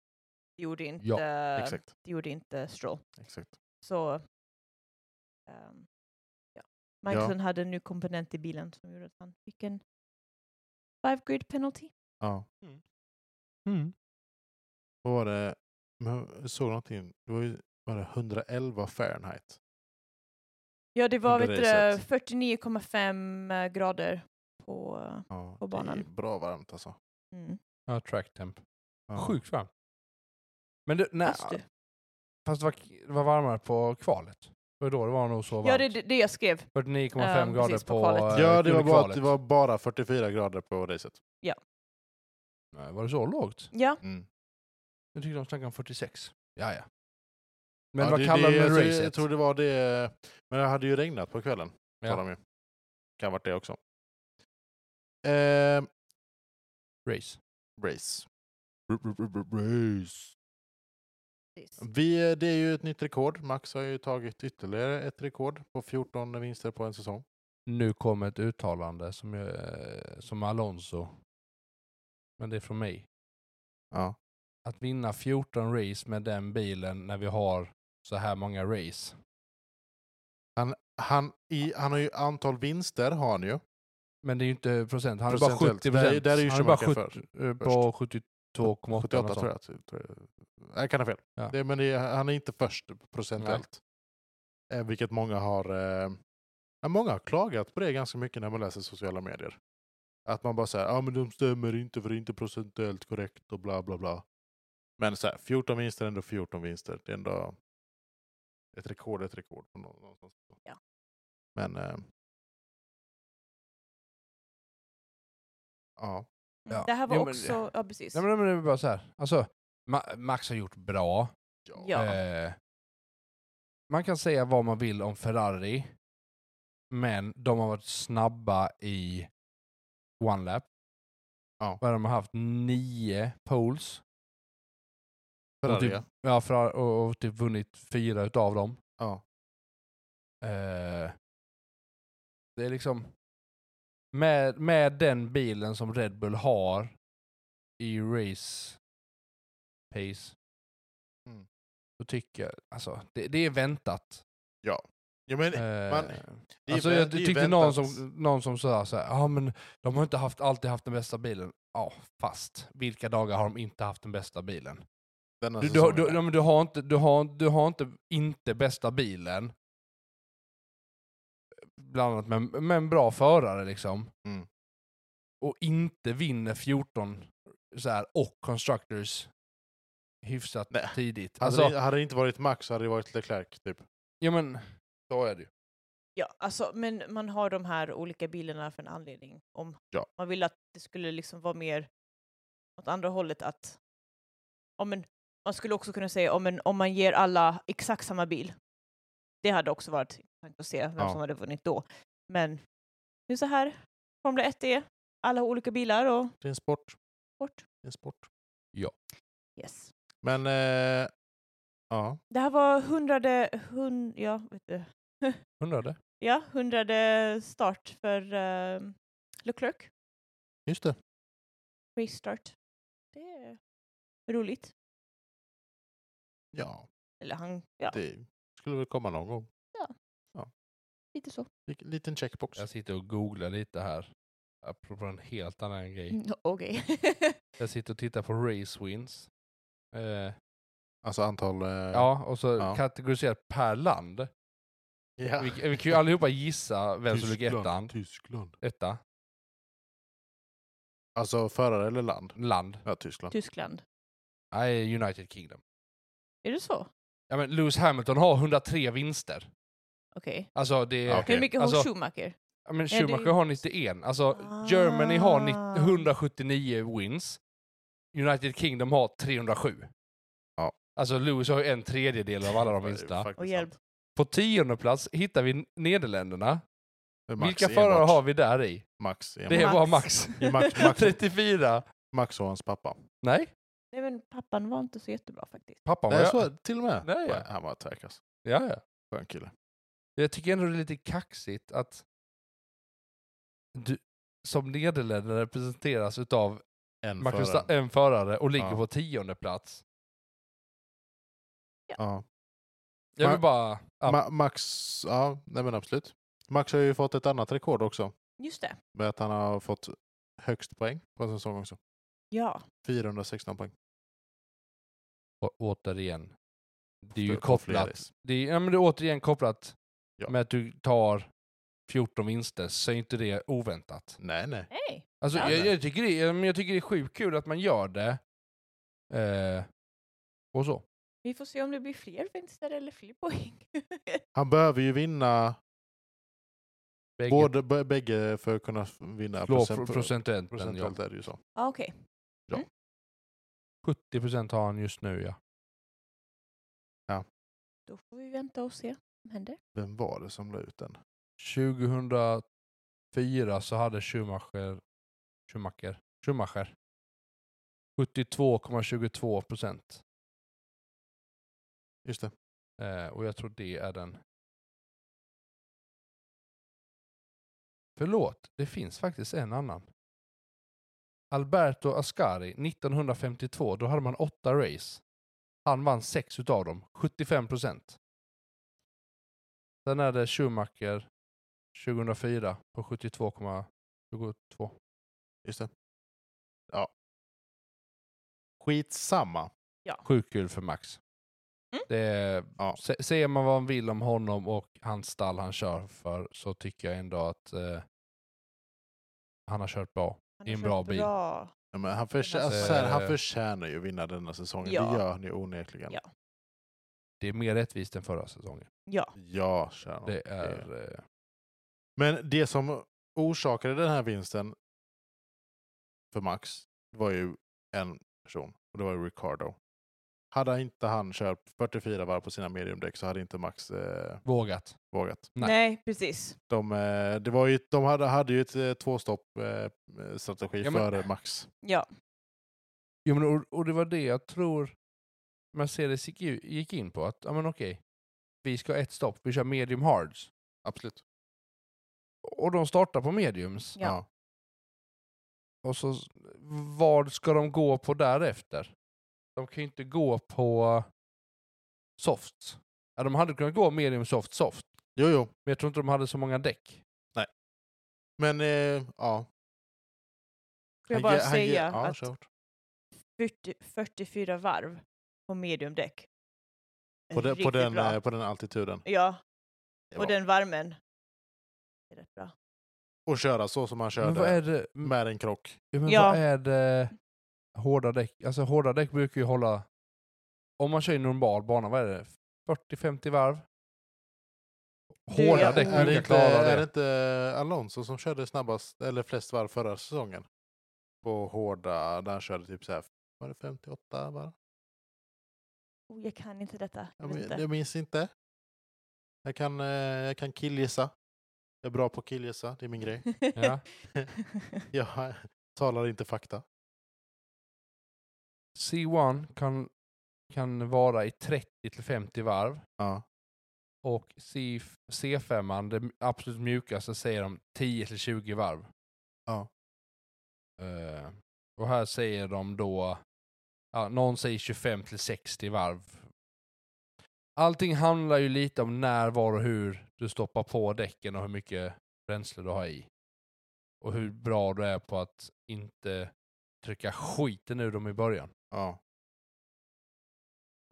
[SPEAKER 3] Det gjorde inte, eh,
[SPEAKER 1] Exakt.
[SPEAKER 3] det gjorde inte Stroll.
[SPEAKER 1] Exakt.
[SPEAKER 3] Så... ehm, ja. Magnusen hade en ny komponent i bilen som gjorde att han fick en five grid penalty.
[SPEAKER 1] Ja.
[SPEAKER 2] Mm.
[SPEAKER 1] Vad var det? Men jag såg någonting. Det var ju var det 111 Fahrenheit.
[SPEAKER 3] Ja, det var
[SPEAKER 1] Under
[SPEAKER 3] vet du det,
[SPEAKER 1] racet.
[SPEAKER 3] 49,5 eh, grader på... eh,
[SPEAKER 1] Ja,
[SPEAKER 3] På
[SPEAKER 1] Det är
[SPEAKER 3] banan.
[SPEAKER 1] bra varmt alltså.
[SPEAKER 3] Mm.
[SPEAKER 2] Ja, track temp.
[SPEAKER 1] Ja.
[SPEAKER 2] Sjukt varmt. Men det, nej,
[SPEAKER 3] Fast du-
[SPEAKER 2] fast det var, det var varmare på kvalet. Det var då det var nog så varmt.
[SPEAKER 3] Ja, det är det, det jag skrev.
[SPEAKER 2] 49,5
[SPEAKER 3] Ehm,
[SPEAKER 2] grader
[SPEAKER 3] precis, på
[SPEAKER 2] på,
[SPEAKER 3] kvalet.
[SPEAKER 2] eh,
[SPEAKER 1] Ja, det var, bara,
[SPEAKER 2] kvalet.
[SPEAKER 1] det var bara 44 grader på racet.
[SPEAKER 2] Nej, var det så lågt?
[SPEAKER 3] Ja,
[SPEAKER 1] Mm.
[SPEAKER 2] Jag tyckte de snackade om 46. Ja, ja. Men
[SPEAKER 1] Ja,
[SPEAKER 2] vad
[SPEAKER 1] det-
[SPEAKER 2] kallar
[SPEAKER 1] det-
[SPEAKER 2] de
[SPEAKER 1] alltså,
[SPEAKER 2] racet?
[SPEAKER 1] Jag tror det var det. Men det hade ju regnat på kvällen.
[SPEAKER 2] Ja.
[SPEAKER 1] Ja. De ju. Kan varit det också. Eh,
[SPEAKER 2] Race.
[SPEAKER 1] race. R- r- r- r- Race.
[SPEAKER 3] precis.
[SPEAKER 2] Mm,
[SPEAKER 1] Vi, det är ju ett nytt rekord. Max har ju tagit ytterligare ett rekord på 14 vinster på en säsong.
[SPEAKER 2] Nu kommer ett uttalande som, eh, som Alonso. Men det är från mig.
[SPEAKER 1] Ja.
[SPEAKER 2] Att vinna 14 race med den bilen när vi har så här många race.
[SPEAKER 1] Han, i, han har ju antal vinster har han ju.
[SPEAKER 2] Men det är ju inte procent. Han är bara 70
[SPEAKER 1] Procentuellt.
[SPEAKER 2] procent.
[SPEAKER 1] Där- där är ju
[SPEAKER 2] han är bara
[SPEAKER 1] Schumacher
[SPEAKER 2] 70, eh, på 72,8
[SPEAKER 1] 78
[SPEAKER 2] eller
[SPEAKER 1] tror
[SPEAKER 2] sånt.
[SPEAKER 1] jag. att- tror jag. Jag kan ha fel.
[SPEAKER 2] Ja.
[SPEAKER 1] Det, men det, är- han är inte först procentuellt. Eh, vilket många har, eh, ja, många har klagat på det ganska mycket när man läser sociala medier. Att man bara säger ja ah, men de stämmer inte för det är inte procentuellt korrekt och bla bla bla. Men så här, 14 vinster är ändå 14 vinster. Det är ändå ett rekord, ett rekord. på nå- någonstans.
[SPEAKER 3] Ja.
[SPEAKER 1] Men eh, ja,
[SPEAKER 3] Mm.
[SPEAKER 2] Ja.
[SPEAKER 3] Det här var
[SPEAKER 2] Jo, men-
[SPEAKER 3] också... Ja, precis.
[SPEAKER 2] Nej, men, men det är bara så här. Alltså, Ma- Max har gjort bra.
[SPEAKER 3] Ja.
[SPEAKER 2] Eh, man kan säga vad man vill om Ferrari, men de har varit snabba i one lap.
[SPEAKER 1] Ja.
[SPEAKER 2] Vad De har haft nio poles. och,
[SPEAKER 1] Ferrari,
[SPEAKER 2] typ,
[SPEAKER 1] ja.
[SPEAKER 2] ja, Ferrari, och, och typ vunnit fyra utav dem.
[SPEAKER 1] ja.
[SPEAKER 2] Eh, det är liksom... Med, med den bilen som Red Bull har i race pace,
[SPEAKER 1] Mm.
[SPEAKER 2] då tycker jag... Alltså, det, det är väntat.
[SPEAKER 1] Ja, men,
[SPEAKER 2] Eh,
[SPEAKER 1] man- det är
[SPEAKER 2] alltså,
[SPEAKER 1] vä-
[SPEAKER 2] jag
[SPEAKER 1] det är ju
[SPEAKER 2] tyckte någon
[SPEAKER 1] väntat.
[SPEAKER 2] som, någon som sa så här, ja men de har inte haft, alltid haft den bästa bilen. Ja, fast vilka dagar har de inte haft den bästa bilen?
[SPEAKER 1] Denna
[SPEAKER 2] Du, du,
[SPEAKER 1] säsongen
[SPEAKER 2] har- du,
[SPEAKER 1] är-
[SPEAKER 2] ja, men du har inte, du har, du har inte, inte bästa bilen. Bland annat, men, men bra förare liksom.
[SPEAKER 1] Mm.
[SPEAKER 2] Och inte vinner 14 så här, och Constructors hyfsat
[SPEAKER 1] Nej.
[SPEAKER 2] tidigt.
[SPEAKER 1] Hade,
[SPEAKER 2] Alltså,
[SPEAKER 1] det, hade det inte varit Max så hade det varit Leclerc. Typ.
[SPEAKER 2] ja men, så är det ju.
[SPEAKER 3] Ja, alltså, men man har de här olika bilarna för en anledning. Om
[SPEAKER 1] Ja.
[SPEAKER 3] Man vill att det skulle liksom vara mer åt andra hållet att... Om en, man skulle också kunna säga om, en, om man ger alla exakt samma bil. Det hade också varit intressant att se vem
[SPEAKER 1] Ja.
[SPEAKER 3] som hade vunnit då. Men det är så här Formel 1 är. Alla har olika bilar och
[SPEAKER 1] Det är en sport.
[SPEAKER 3] bort.
[SPEAKER 1] Det är en sport.
[SPEAKER 3] Yes.
[SPEAKER 1] Men eh, ja,
[SPEAKER 3] Det här var hundrade... Hund, ja, vet du.
[SPEAKER 2] Undrade.
[SPEAKER 3] ja, hundrade start för eh, Leclerc.
[SPEAKER 1] just det.
[SPEAKER 3] restart. Det är roligt.
[SPEAKER 1] Ja,
[SPEAKER 3] Eller han, ja,
[SPEAKER 1] det skulle väl komma någon gång.
[SPEAKER 3] lite så.
[SPEAKER 1] Lik- Liten checkbox.
[SPEAKER 2] Jag sitter och googlar lite här. Apropå en helt annan grej.
[SPEAKER 3] Mm, Okej.
[SPEAKER 2] Jag sitter och tittar på race wins. Eh,
[SPEAKER 1] Alltså antal... Eh,
[SPEAKER 2] ja, och så
[SPEAKER 1] Ja.
[SPEAKER 2] kategoriserat per land.
[SPEAKER 1] ja.
[SPEAKER 2] Vi, vi kan ju allihopa gissa vem som ligger
[SPEAKER 1] Tyskland,
[SPEAKER 2] ettan.
[SPEAKER 1] Tyskland.
[SPEAKER 2] Etta.
[SPEAKER 1] Alltså förare eller land?
[SPEAKER 2] Land.
[SPEAKER 1] Ja, Tyskland.
[SPEAKER 3] Tyskland.
[SPEAKER 2] Nej, United Kingdom.
[SPEAKER 3] Är det så?
[SPEAKER 2] Ja, men Lewis Hamilton har 103 vinster.
[SPEAKER 3] Okej.
[SPEAKER 2] Alltså det är...
[SPEAKER 1] Ja, okej.
[SPEAKER 3] Hur mycket har
[SPEAKER 2] Alltså-
[SPEAKER 3] Schumacher?
[SPEAKER 2] Ja, men
[SPEAKER 3] det är ju-
[SPEAKER 2] Schumacher har 91. Alltså Germany har
[SPEAKER 3] Ah.
[SPEAKER 2] 90, 179 wins. United Kingdom har 307.
[SPEAKER 1] Ja.
[SPEAKER 2] Alltså Lewis har ju en tredjedel av alla de
[SPEAKER 1] Det är
[SPEAKER 2] vinsterna.
[SPEAKER 1] faktiskt
[SPEAKER 3] Och hjälp.
[SPEAKER 1] sant.
[SPEAKER 2] På tionde plats hittar vi Nederländerna.
[SPEAKER 1] Det är Max
[SPEAKER 2] Vilka förare
[SPEAKER 1] enbart.
[SPEAKER 2] har vi där i?
[SPEAKER 1] Max, enbart.
[SPEAKER 2] Det
[SPEAKER 3] Max.
[SPEAKER 2] var Max.
[SPEAKER 1] Det är Max, Max,
[SPEAKER 2] 34.
[SPEAKER 1] Max och hans pappa.
[SPEAKER 2] Nej,
[SPEAKER 3] Nej men pappan var inte så jättebra faktiskt.
[SPEAKER 2] pappan var...
[SPEAKER 1] Nej,
[SPEAKER 2] jag-
[SPEAKER 1] så, till och med.
[SPEAKER 2] Nej, ja.
[SPEAKER 1] Han var tvärkass.
[SPEAKER 2] Ja, ja.
[SPEAKER 1] Skön kille.
[SPEAKER 2] Jag tycker ändå det är lite kaxigt att du, som Nederländerna representeras utav
[SPEAKER 1] En
[SPEAKER 2] Magnus,
[SPEAKER 1] förare.
[SPEAKER 2] en förare och ligger
[SPEAKER 1] Ja.
[SPEAKER 2] på tionde plats.
[SPEAKER 1] Ja.
[SPEAKER 2] Jag
[SPEAKER 1] Ma-
[SPEAKER 2] vill bara... Ja,
[SPEAKER 1] Ma- Max, ja, nej men absolut. Max har ju fått ett annat rekord också.
[SPEAKER 3] Just det.
[SPEAKER 1] Med att han har fått högst poäng på en säsong också.
[SPEAKER 3] Ja.
[SPEAKER 1] 416 poäng.
[SPEAKER 2] å- återigen. Det är ju
[SPEAKER 1] På- på flera
[SPEAKER 2] kopplat.
[SPEAKER 1] race.
[SPEAKER 2] Det är, ja, men det är återigen kopplat
[SPEAKER 1] Ja.
[SPEAKER 2] med att du tar 14 vinster, så är inte det oväntat.
[SPEAKER 1] Nej, nej.
[SPEAKER 3] Hej!
[SPEAKER 2] Alltså,
[SPEAKER 1] Ja,
[SPEAKER 2] jag,
[SPEAKER 1] nej.
[SPEAKER 2] jag, tycker det, jag, jag tycker det är sjukt kul att man gör det. Eh, och så.
[SPEAKER 3] Vi får se om det blir fler vinster eller fler poäng.
[SPEAKER 1] Han behöver ju vinna
[SPEAKER 2] Bägge
[SPEAKER 1] både b- bägge för att kunna f- vinna.
[SPEAKER 2] slår
[SPEAKER 1] procent-
[SPEAKER 2] pro- procentuellt. den, ja.
[SPEAKER 1] procentuellt är det ju så.
[SPEAKER 3] ah, Okej.
[SPEAKER 2] 70 procent har han just nu, ja.
[SPEAKER 3] Då får vi vänta och se vad som händer.
[SPEAKER 1] Vem var det som la ut den?
[SPEAKER 2] 2004 så hade Schumacher, Schumacher, Schumacher 72,22 procent.
[SPEAKER 1] Just det.
[SPEAKER 2] Eh, och jag tror det är den. Förlåt, det finns faktiskt en annan. Alberto Ascari 1952, då hade man åtta race. Han vann sex utav dem, 75 procent. Sen är det Schumacher 2004 på 72,22.
[SPEAKER 1] Just det. Ja. Skitsamma.
[SPEAKER 2] Sjukt kul för Max.
[SPEAKER 3] Mm.
[SPEAKER 2] Det är,
[SPEAKER 1] Ja.
[SPEAKER 2] se- Säger man vad man vill om honom och hans stall han kör för så tycker jag ändå att eh, han har kört bra.
[SPEAKER 3] Han
[SPEAKER 2] Det är en
[SPEAKER 3] har
[SPEAKER 2] bra
[SPEAKER 3] kört
[SPEAKER 2] bil.
[SPEAKER 3] Bra.
[SPEAKER 1] Ja, men han, förtjä-
[SPEAKER 3] Eh.
[SPEAKER 1] alltså, så här, han förtjänar ju att vinna denna säsongen.
[SPEAKER 3] Ja.
[SPEAKER 1] Det gör han ju onekligen.
[SPEAKER 3] Ja.
[SPEAKER 2] Det är mer rättvist än förra säsongen.
[SPEAKER 3] Ja.
[SPEAKER 1] Ja, kära nån.
[SPEAKER 2] Det är... Eh,
[SPEAKER 1] Men det som orsakade den här vinsten för Max var ju en person och det var ju Ricardo. Hade inte han kört 44 varv på sina mediumdäck så hade inte Max eh,
[SPEAKER 2] vågat.
[SPEAKER 1] vågat.
[SPEAKER 2] Nej.
[SPEAKER 3] Nej. precis.
[SPEAKER 1] De, eh, det var ju, de hade, hade ju ett eh, tvåstopp eh, strategi
[SPEAKER 2] Ja, men-
[SPEAKER 3] eh,
[SPEAKER 1] före Max.
[SPEAKER 3] Ja.
[SPEAKER 2] Jo, men, och, och det var det jag tror Mercedes gick, ju- gick in på. Att ja, men okej, vi ska ha ett stopp. Vi kör medium hards.
[SPEAKER 1] Absolut.
[SPEAKER 2] Och de startar på mediums.
[SPEAKER 3] Ja.
[SPEAKER 2] Och så, vad ska de gå på därefter? De kan ju inte gå på softs. Ja, de hade kunnat gå medium soft soft,
[SPEAKER 1] Jo, jo.
[SPEAKER 2] men jag tror inte de hade så många däck.
[SPEAKER 1] Men eh, ja.
[SPEAKER 3] Får jag
[SPEAKER 1] Han
[SPEAKER 3] bara
[SPEAKER 1] ge- han ge-
[SPEAKER 3] säga
[SPEAKER 1] ja,
[SPEAKER 3] att
[SPEAKER 1] kör hårt.
[SPEAKER 3] 40, 44 varv på mediumdäck.
[SPEAKER 1] På, den- på,
[SPEAKER 3] Riktigt
[SPEAKER 1] den,
[SPEAKER 3] bra.
[SPEAKER 1] eh, på den altituden.
[SPEAKER 3] Ja,
[SPEAKER 1] Det
[SPEAKER 3] och
[SPEAKER 1] var-
[SPEAKER 3] den varmen. Det är rätt bra.
[SPEAKER 1] Och köra så som han
[SPEAKER 2] Men vad
[SPEAKER 1] körde
[SPEAKER 2] är det, men,
[SPEAKER 1] med en krock.
[SPEAKER 2] men
[SPEAKER 3] Ja.
[SPEAKER 2] vad är det hårda däck? Alltså hårda däck brukar ju hålla, om man kör i normal bana, vad är det? 40-50 varv?
[SPEAKER 3] Du,
[SPEAKER 2] Hårda
[SPEAKER 3] jag-
[SPEAKER 2] däck
[SPEAKER 1] är, det
[SPEAKER 2] brukar
[SPEAKER 1] inte,
[SPEAKER 2] klara
[SPEAKER 1] är det
[SPEAKER 2] det.
[SPEAKER 1] inte Alonso som körde snabbast, eller flest varv förra säsongen? På hårda, där han körde typ så här, var det 58 varv?
[SPEAKER 3] Oh, jag kan inte detta. Jag
[SPEAKER 1] Jag,
[SPEAKER 3] vet
[SPEAKER 1] min-
[SPEAKER 3] inte.
[SPEAKER 1] jag minns inte. Jag kan, eh, jag kan killgissa. Jag är bra på att killgissa, det är min grej.
[SPEAKER 2] Ja.
[SPEAKER 1] Jag talar inte fakta.
[SPEAKER 2] C1 kan, kan vara i 30-50 varv.
[SPEAKER 1] Ja.
[SPEAKER 2] Och C- C5, det absolut mjukaste, säger de 10-20 varv.
[SPEAKER 1] Ja.
[SPEAKER 2] Eh, och här säger de då, ja, någon säger 25-60 varv. Allting handlar ju lite om när, var och hur du stoppar på däcken och hur mycket bränsle du har i. Och hur bra du är på att inte trycka skiten ur dem i början.
[SPEAKER 1] ja.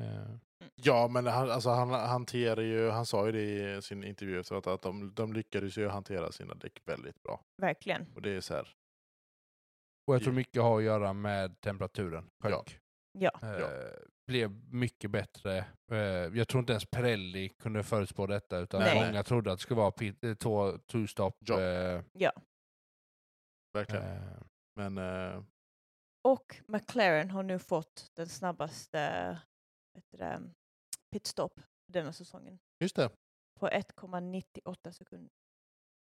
[SPEAKER 2] Eh,
[SPEAKER 1] Ja, men han, alltså, han hanterar ju, han sa ju det i sin intervju efteråt, att de, de lyckades ju hantera sina däck väldigt bra.
[SPEAKER 3] Verkligen.
[SPEAKER 1] Och det är så här,
[SPEAKER 2] Och jag tror mycket har att göra med temperaturen.
[SPEAKER 1] Ja.
[SPEAKER 2] Sjönk.
[SPEAKER 3] Ja.
[SPEAKER 2] Eh,
[SPEAKER 1] Ja.
[SPEAKER 2] Blev mycket bättre. Eh, jag tror inte ens Pirelli kunde förutspå detta utan
[SPEAKER 3] Nej.
[SPEAKER 2] många trodde att det skulle vara pit, eh, två, two stop.
[SPEAKER 1] Ja.
[SPEAKER 2] Eh,
[SPEAKER 1] verkligen.
[SPEAKER 2] eh,
[SPEAKER 1] Men eh,
[SPEAKER 3] Och McLaren har nu fått den snabbaste vet du det, pitstop denna säsongen.
[SPEAKER 1] just det,
[SPEAKER 3] På 1,98 sekunder.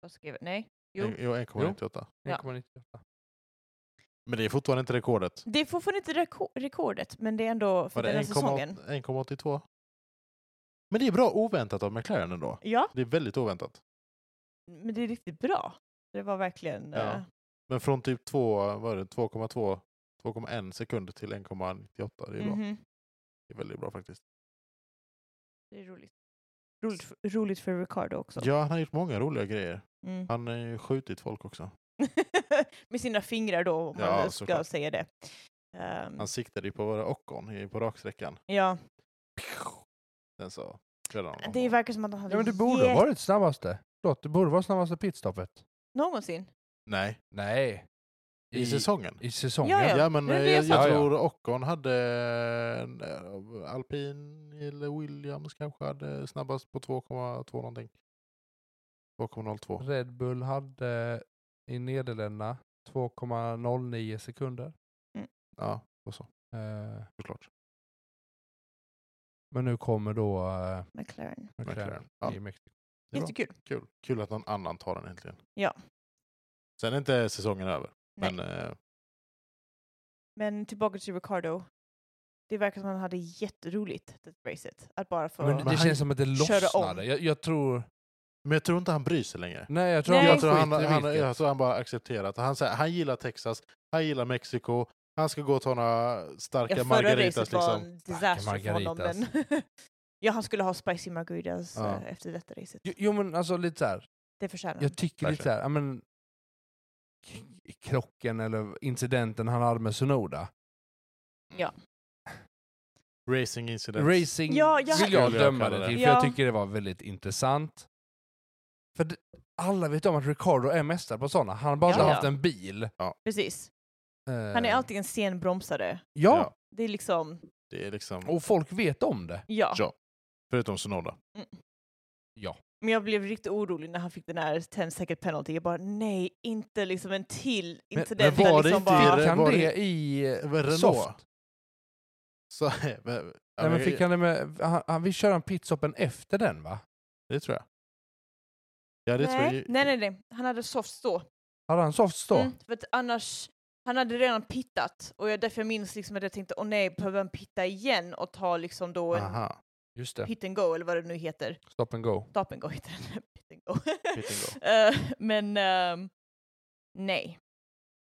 [SPEAKER 3] Vad skrev jag? Nej. Jo.
[SPEAKER 1] en- jo. 1,98.
[SPEAKER 2] 1,98.
[SPEAKER 1] Men det är fortfarande inte rekordet.
[SPEAKER 3] Det är fortfarande inte reko- rekordet, men det är ändå för
[SPEAKER 1] Var det
[SPEAKER 3] denna säsongen.
[SPEAKER 1] 1,8 1,82? Men det är bra oväntat av McLaren ändå.
[SPEAKER 3] Ja,
[SPEAKER 1] Det är väldigt oväntat.
[SPEAKER 3] men det är riktigt bra. Det var verkligen...
[SPEAKER 1] Ja.
[SPEAKER 3] eh,
[SPEAKER 1] Men från typ 2, vad är det, 2,2, 2,1 sekund till 1,98. Det är bra.
[SPEAKER 3] mhm.
[SPEAKER 1] Det är väldigt bra faktiskt.
[SPEAKER 3] Det är roligt. Roligt, f- roligt för Ricardo också.
[SPEAKER 1] Ja, han har gjort många roliga grejer.
[SPEAKER 3] Mm.
[SPEAKER 1] Han har ju skjutit folk också.
[SPEAKER 3] Med sina fingrar då, om
[SPEAKER 1] Ja,
[SPEAKER 3] man ska
[SPEAKER 1] såklart. Alltså,
[SPEAKER 3] säga det. Ehm,
[SPEAKER 1] Han siktade ju på våra ockon i- på raksträckan.
[SPEAKER 3] ja,
[SPEAKER 1] Sen så körde han honom.
[SPEAKER 3] det verkar som att han hade
[SPEAKER 2] Ja, men du borde ha
[SPEAKER 3] jätte-
[SPEAKER 2] varit snabbaste. Förlåt, du borde vara snabbaste pitstoppet.
[SPEAKER 3] någonsin.
[SPEAKER 1] Nej,
[SPEAKER 2] Nej.
[SPEAKER 1] i, säsongen.
[SPEAKER 2] I säsongen.
[SPEAKER 3] Ja, ja.
[SPEAKER 1] Ja, men
[SPEAKER 3] det är
[SPEAKER 1] eh,
[SPEAKER 3] det
[SPEAKER 1] jag,
[SPEAKER 3] jag
[SPEAKER 1] jag
[SPEAKER 2] sa. Ja, ja.
[SPEAKER 1] tror Ockon hade en, eh, alpin eller Williams kanske hade snabbast på 2,2 någonting.
[SPEAKER 3] Mm.
[SPEAKER 1] 2,02.
[SPEAKER 2] Red Bull hade i Nederländerna 2,09 sekunder.
[SPEAKER 1] Ja, och så
[SPEAKER 2] Eh,
[SPEAKER 1] såklart.
[SPEAKER 2] Men nu kommer då eh,
[SPEAKER 3] McLaren.
[SPEAKER 2] McLaren
[SPEAKER 1] McLaren, ja.
[SPEAKER 2] i Mexiko.
[SPEAKER 1] Det är bra.
[SPEAKER 3] Jättekul.
[SPEAKER 1] Kul. Kul att någon annan tar den äntligen.
[SPEAKER 3] Ja.
[SPEAKER 1] Sen är inte säsongen över.
[SPEAKER 3] Nej.
[SPEAKER 1] Men eh,
[SPEAKER 3] Men tillbaka till Ricardo. Det verkar som att han hade jätteroligt, det racet. Att bara få...
[SPEAKER 2] Men det
[SPEAKER 1] han-
[SPEAKER 2] känns som att det
[SPEAKER 3] Köra om.
[SPEAKER 2] lossnade. Jag, jag tror...
[SPEAKER 1] Men jag tror inte han bryr sig längre.
[SPEAKER 2] Nej, jag tror
[SPEAKER 3] Nej.
[SPEAKER 2] han
[SPEAKER 1] Jag
[SPEAKER 2] bara
[SPEAKER 1] tror han,
[SPEAKER 2] skiter i
[SPEAKER 1] han,
[SPEAKER 2] vilket.
[SPEAKER 1] jag tror han bara accepterat. Han, säger, han gillar Texas, han gillar Mexiko, han ska gå och ta några starka
[SPEAKER 3] ja, förra
[SPEAKER 1] margaritas.
[SPEAKER 3] racet var
[SPEAKER 1] Liksom.
[SPEAKER 3] en disaster för honom. Men
[SPEAKER 2] margaritas.
[SPEAKER 3] ja, han skulle ha spicy margaritas
[SPEAKER 1] Ja.
[SPEAKER 3] eh, efter detta racet.
[SPEAKER 2] Jo, Jo, men alltså lite så här.
[SPEAKER 3] Det förtjänar han.
[SPEAKER 2] Jag tycker lite så
[SPEAKER 1] Verkligen.
[SPEAKER 2] här, ja, men k- krocken eller incidenten han hade med Sonoda.
[SPEAKER 1] Racing incident.
[SPEAKER 2] Racing
[SPEAKER 3] Ja, jag-
[SPEAKER 2] vill jag
[SPEAKER 1] Skulle jag
[SPEAKER 2] döma
[SPEAKER 1] kalla
[SPEAKER 2] det
[SPEAKER 1] det.
[SPEAKER 2] till, för
[SPEAKER 3] Ja.
[SPEAKER 2] jag tycker det var väldigt intressant. För det, alla vet om att Ricardo är mästare på sådana. Han har bara inte
[SPEAKER 3] Ja.
[SPEAKER 2] haft en bil.
[SPEAKER 3] Precis.
[SPEAKER 2] Eh,
[SPEAKER 3] Han är alltid en sen bromsare.
[SPEAKER 2] Ja,
[SPEAKER 3] Det är liksom...
[SPEAKER 1] Det är liksom...
[SPEAKER 2] och folk vet om det.
[SPEAKER 3] Ja.
[SPEAKER 1] Ja. Förutom Sonoda.
[SPEAKER 2] Ja.
[SPEAKER 3] Men jag blev riktigt orolig när han fick den här 10 second penalty. Jag bara nej, inte liksom en till
[SPEAKER 2] Men-
[SPEAKER 3] incident.
[SPEAKER 1] men var
[SPEAKER 3] där
[SPEAKER 1] det
[SPEAKER 3] liksom
[SPEAKER 1] inte
[SPEAKER 3] bara...
[SPEAKER 1] det-
[SPEAKER 2] Fick han
[SPEAKER 1] var
[SPEAKER 2] det i eh,
[SPEAKER 1] Vad är det
[SPEAKER 2] soft?
[SPEAKER 1] då? Så, ja, men,
[SPEAKER 2] Nej, men fick han det med... Han, han, vi kör en pitstoppen efter den va?
[SPEAKER 1] Det tror jag. Ja, det tror jag.
[SPEAKER 3] nej,
[SPEAKER 1] ju-
[SPEAKER 3] nej, nej, nej. Han hade soft då.
[SPEAKER 2] Hade han soft stå?
[SPEAKER 3] Mm, för att annars, han hade redan pittat och jag, därför jag minns liksom att jag tänkte åh nej, behöver han pitta igen och ta liksom då en
[SPEAKER 1] Aha.
[SPEAKER 2] Just det,
[SPEAKER 3] pit and go eller vad det nu heter.
[SPEAKER 2] stop and go.
[SPEAKER 3] Stop and go heter den. pit and go.
[SPEAKER 1] Pit and
[SPEAKER 3] Eh, men ehm, nej.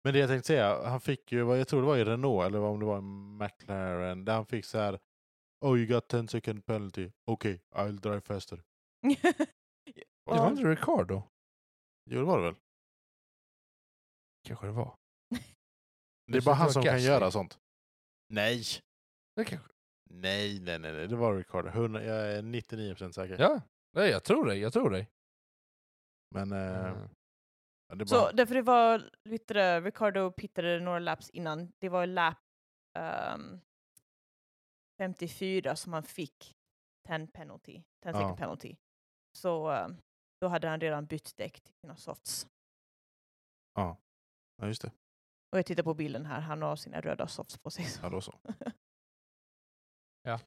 [SPEAKER 1] Men det jag tänkte säga, han fick ju, vad- jag tror det var i Renault eller om det var i McLaren, där han fick så här Oh you got 10 second penalty, okej okay, I'll drive faster.
[SPEAKER 2] Det var inte Ricardo?
[SPEAKER 1] Jo det var det väl?
[SPEAKER 2] Kanske det var.
[SPEAKER 1] Det är bara
[SPEAKER 2] så det var
[SPEAKER 1] han som kan
[SPEAKER 2] Gasly.
[SPEAKER 1] göra sånt. Nej!
[SPEAKER 2] Det kanske...
[SPEAKER 1] Nej, nej, nej, nej. det var Ricardo. 100, jag är 99% säker.
[SPEAKER 2] Ja, nej, jag tror dig. Jag tror dig.
[SPEAKER 1] Men eh,
[SPEAKER 2] Mm.
[SPEAKER 1] ja, det är bara...
[SPEAKER 3] Så därför det var lite, Ricardo pittade några laps innan. Det var lap ehm, 54 som han fick 10 penalty, 10 second
[SPEAKER 1] Ja.
[SPEAKER 3] penalty. Så ehm, då hade han redan bytt däck till sina softs.
[SPEAKER 1] Ja, just det.
[SPEAKER 3] Och jag tittar på bilden här, han har sina röda softs på sig.
[SPEAKER 1] Ja, då så.
[SPEAKER 2] Ja.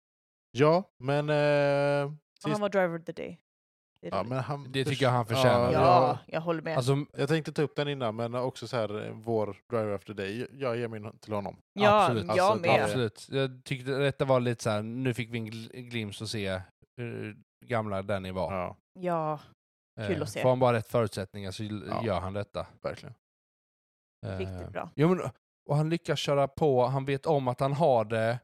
[SPEAKER 1] Ja, men... Eh,
[SPEAKER 3] Och han var driver of the day. Det, är
[SPEAKER 1] ja,
[SPEAKER 3] roligt.
[SPEAKER 1] men han,
[SPEAKER 2] Det tycker jag han förtjänar.
[SPEAKER 3] ja,
[SPEAKER 2] men-
[SPEAKER 3] jag håller med.
[SPEAKER 2] Alltså,
[SPEAKER 1] Jag tänkte ta upp den innan, men också så här, eh, vår driver after day. Jag ger min till honom.
[SPEAKER 3] ja,
[SPEAKER 2] absolut.
[SPEAKER 3] jag
[SPEAKER 1] Alltså,
[SPEAKER 3] med.
[SPEAKER 2] absolut. Jag tyckte detta var lite så här, nu fick vi en gl- glimt att se hur gamla Danny var. Eh,
[SPEAKER 1] Ja,
[SPEAKER 3] Ja, kul att se.
[SPEAKER 2] Får han bara rätt förutsättningar så l-
[SPEAKER 1] Ja.
[SPEAKER 2] gör han detta.
[SPEAKER 1] verkligen.
[SPEAKER 2] Eh,
[SPEAKER 3] Riktigt bra.
[SPEAKER 2] Jo, men, och han lyckas köra på, han vet om att han har det.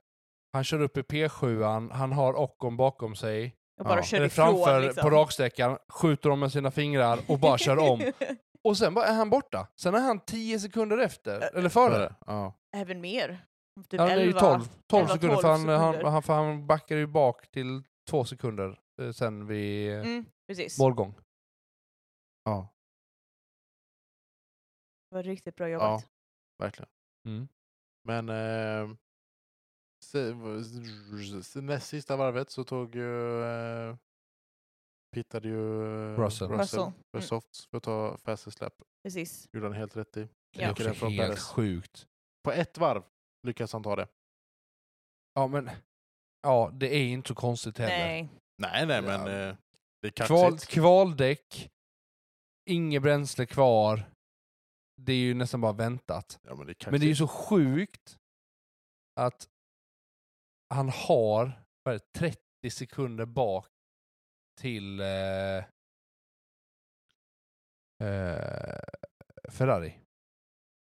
[SPEAKER 2] Han kör upp i P7, han har Ockon bakom sig.
[SPEAKER 3] jag bara
[SPEAKER 1] Ja.
[SPEAKER 3] kör
[SPEAKER 2] eller
[SPEAKER 3] ifrån
[SPEAKER 2] Eh, framför
[SPEAKER 3] liksom.
[SPEAKER 2] på raksträckan, skjuter dem med sina fingrar och bara kör om. Och sen bara är han borta. Sen är han 10 sekunder
[SPEAKER 3] Eh,
[SPEAKER 2] efter, eller före.
[SPEAKER 1] Ja.
[SPEAKER 3] Även mer. Typ
[SPEAKER 2] Ja, det är ju
[SPEAKER 3] 11.
[SPEAKER 2] 12, 12
[SPEAKER 3] 11,
[SPEAKER 2] sekunder,
[SPEAKER 3] 12
[SPEAKER 2] för, han, han,
[SPEAKER 3] sekunder.
[SPEAKER 2] han, för han backar ju bak till två sekunder eh, sen vid mm.
[SPEAKER 3] Mm, precis.
[SPEAKER 2] målgång.
[SPEAKER 1] ja,
[SPEAKER 3] Det var riktigt bra
[SPEAKER 1] ja,
[SPEAKER 3] jobbat.
[SPEAKER 1] verkligen.
[SPEAKER 2] Mm.
[SPEAKER 1] Men eh, se- v- s- näst sista varvet så tog ju... Eh, pittade ju eh,
[SPEAKER 2] Russell.
[SPEAKER 3] Russell.
[SPEAKER 1] Russell för
[SPEAKER 3] Mm.
[SPEAKER 1] softs för att ta fastest lap.
[SPEAKER 3] Precis.
[SPEAKER 1] Gjorde han helt rätt i.
[SPEAKER 2] Det är
[SPEAKER 3] Ja.
[SPEAKER 1] Lyckades
[SPEAKER 2] också
[SPEAKER 1] från
[SPEAKER 2] helt
[SPEAKER 1] Perez.
[SPEAKER 2] sjukt.
[SPEAKER 1] På ett varv lyckas han ta det.
[SPEAKER 2] Ja, men ja, det är inte så konstigt heller.
[SPEAKER 3] Nej.
[SPEAKER 1] Nej, nej, men
[SPEAKER 2] Ja.
[SPEAKER 1] eh, det är
[SPEAKER 2] Kval,
[SPEAKER 1] kaxigt.
[SPEAKER 2] kvaldäck, inget bränsle kvar. Det är ju nästan bara väntat.
[SPEAKER 1] Ja, men det är kaxigt.
[SPEAKER 2] Men det är ju så sjukt att han har vad är det, 30 sekunder bak till eh, eh, Ferrari.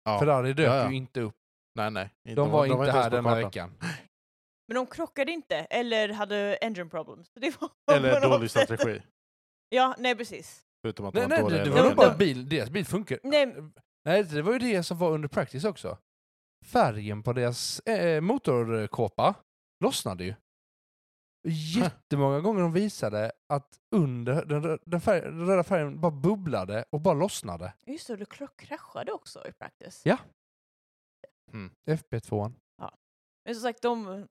[SPEAKER 1] Ja.
[SPEAKER 2] Ferrari dök
[SPEAKER 1] Ja, ja.
[SPEAKER 2] ju inte upp.
[SPEAKER 1] Nej, nej. Inte-
[SPEAKER 2] De var inte
[SPEAKER 1] ens
[SPEAKER 2] här
[SPEAKER 1] på
[SPEAKER 2] den här
[SPEAKER 1] kartan.
[SPEAKER 2] veckan.
[SPEAKER 3] Men de krockade inte, eller hade engine problems. Så Det var
[SPEAKER 1] Eller
[SPEAKER 3] på något
[SPEAKER 1] dålig
[SPEAKER 3] sätt-
[SPEAKER 1] strategi.
[SPEAKER 3] Ja, nej precis.
[SPEAKER 1] Förutom att
[SPEAKER 2] Nej,
[SPEAKER 1] de
[SPEAKER 2] nej,
[SPEAKER 1] var dåliga
[SPEAKER 2] det, det
[SPEAKER 1] i
[SPEAKER 2] var ju
[SPEAKER 1] den
[SPEAKER 2] bara
[SPEAKER 1] delen.
[SPEAKER 2] bil, deras bil funkar.
[SPEAKER 3] Nej,
[SPEAKER 2] Nej, det var ju det som var under practice också. Färgen på deras eh, motorkåpa lossnade ju. Jättemånga gånger de visade att under den, rö- den, färg, den röda färgen bara bubblade och bara lossnade.
[SPEAKER 3] just det, du kraschade också i practice.
[SPEAKER 2] Ja.
[SPEAKER 1] Mm.
[SPEAKER 2] FP2.
[SPEAKER 3] Men som sagt, de,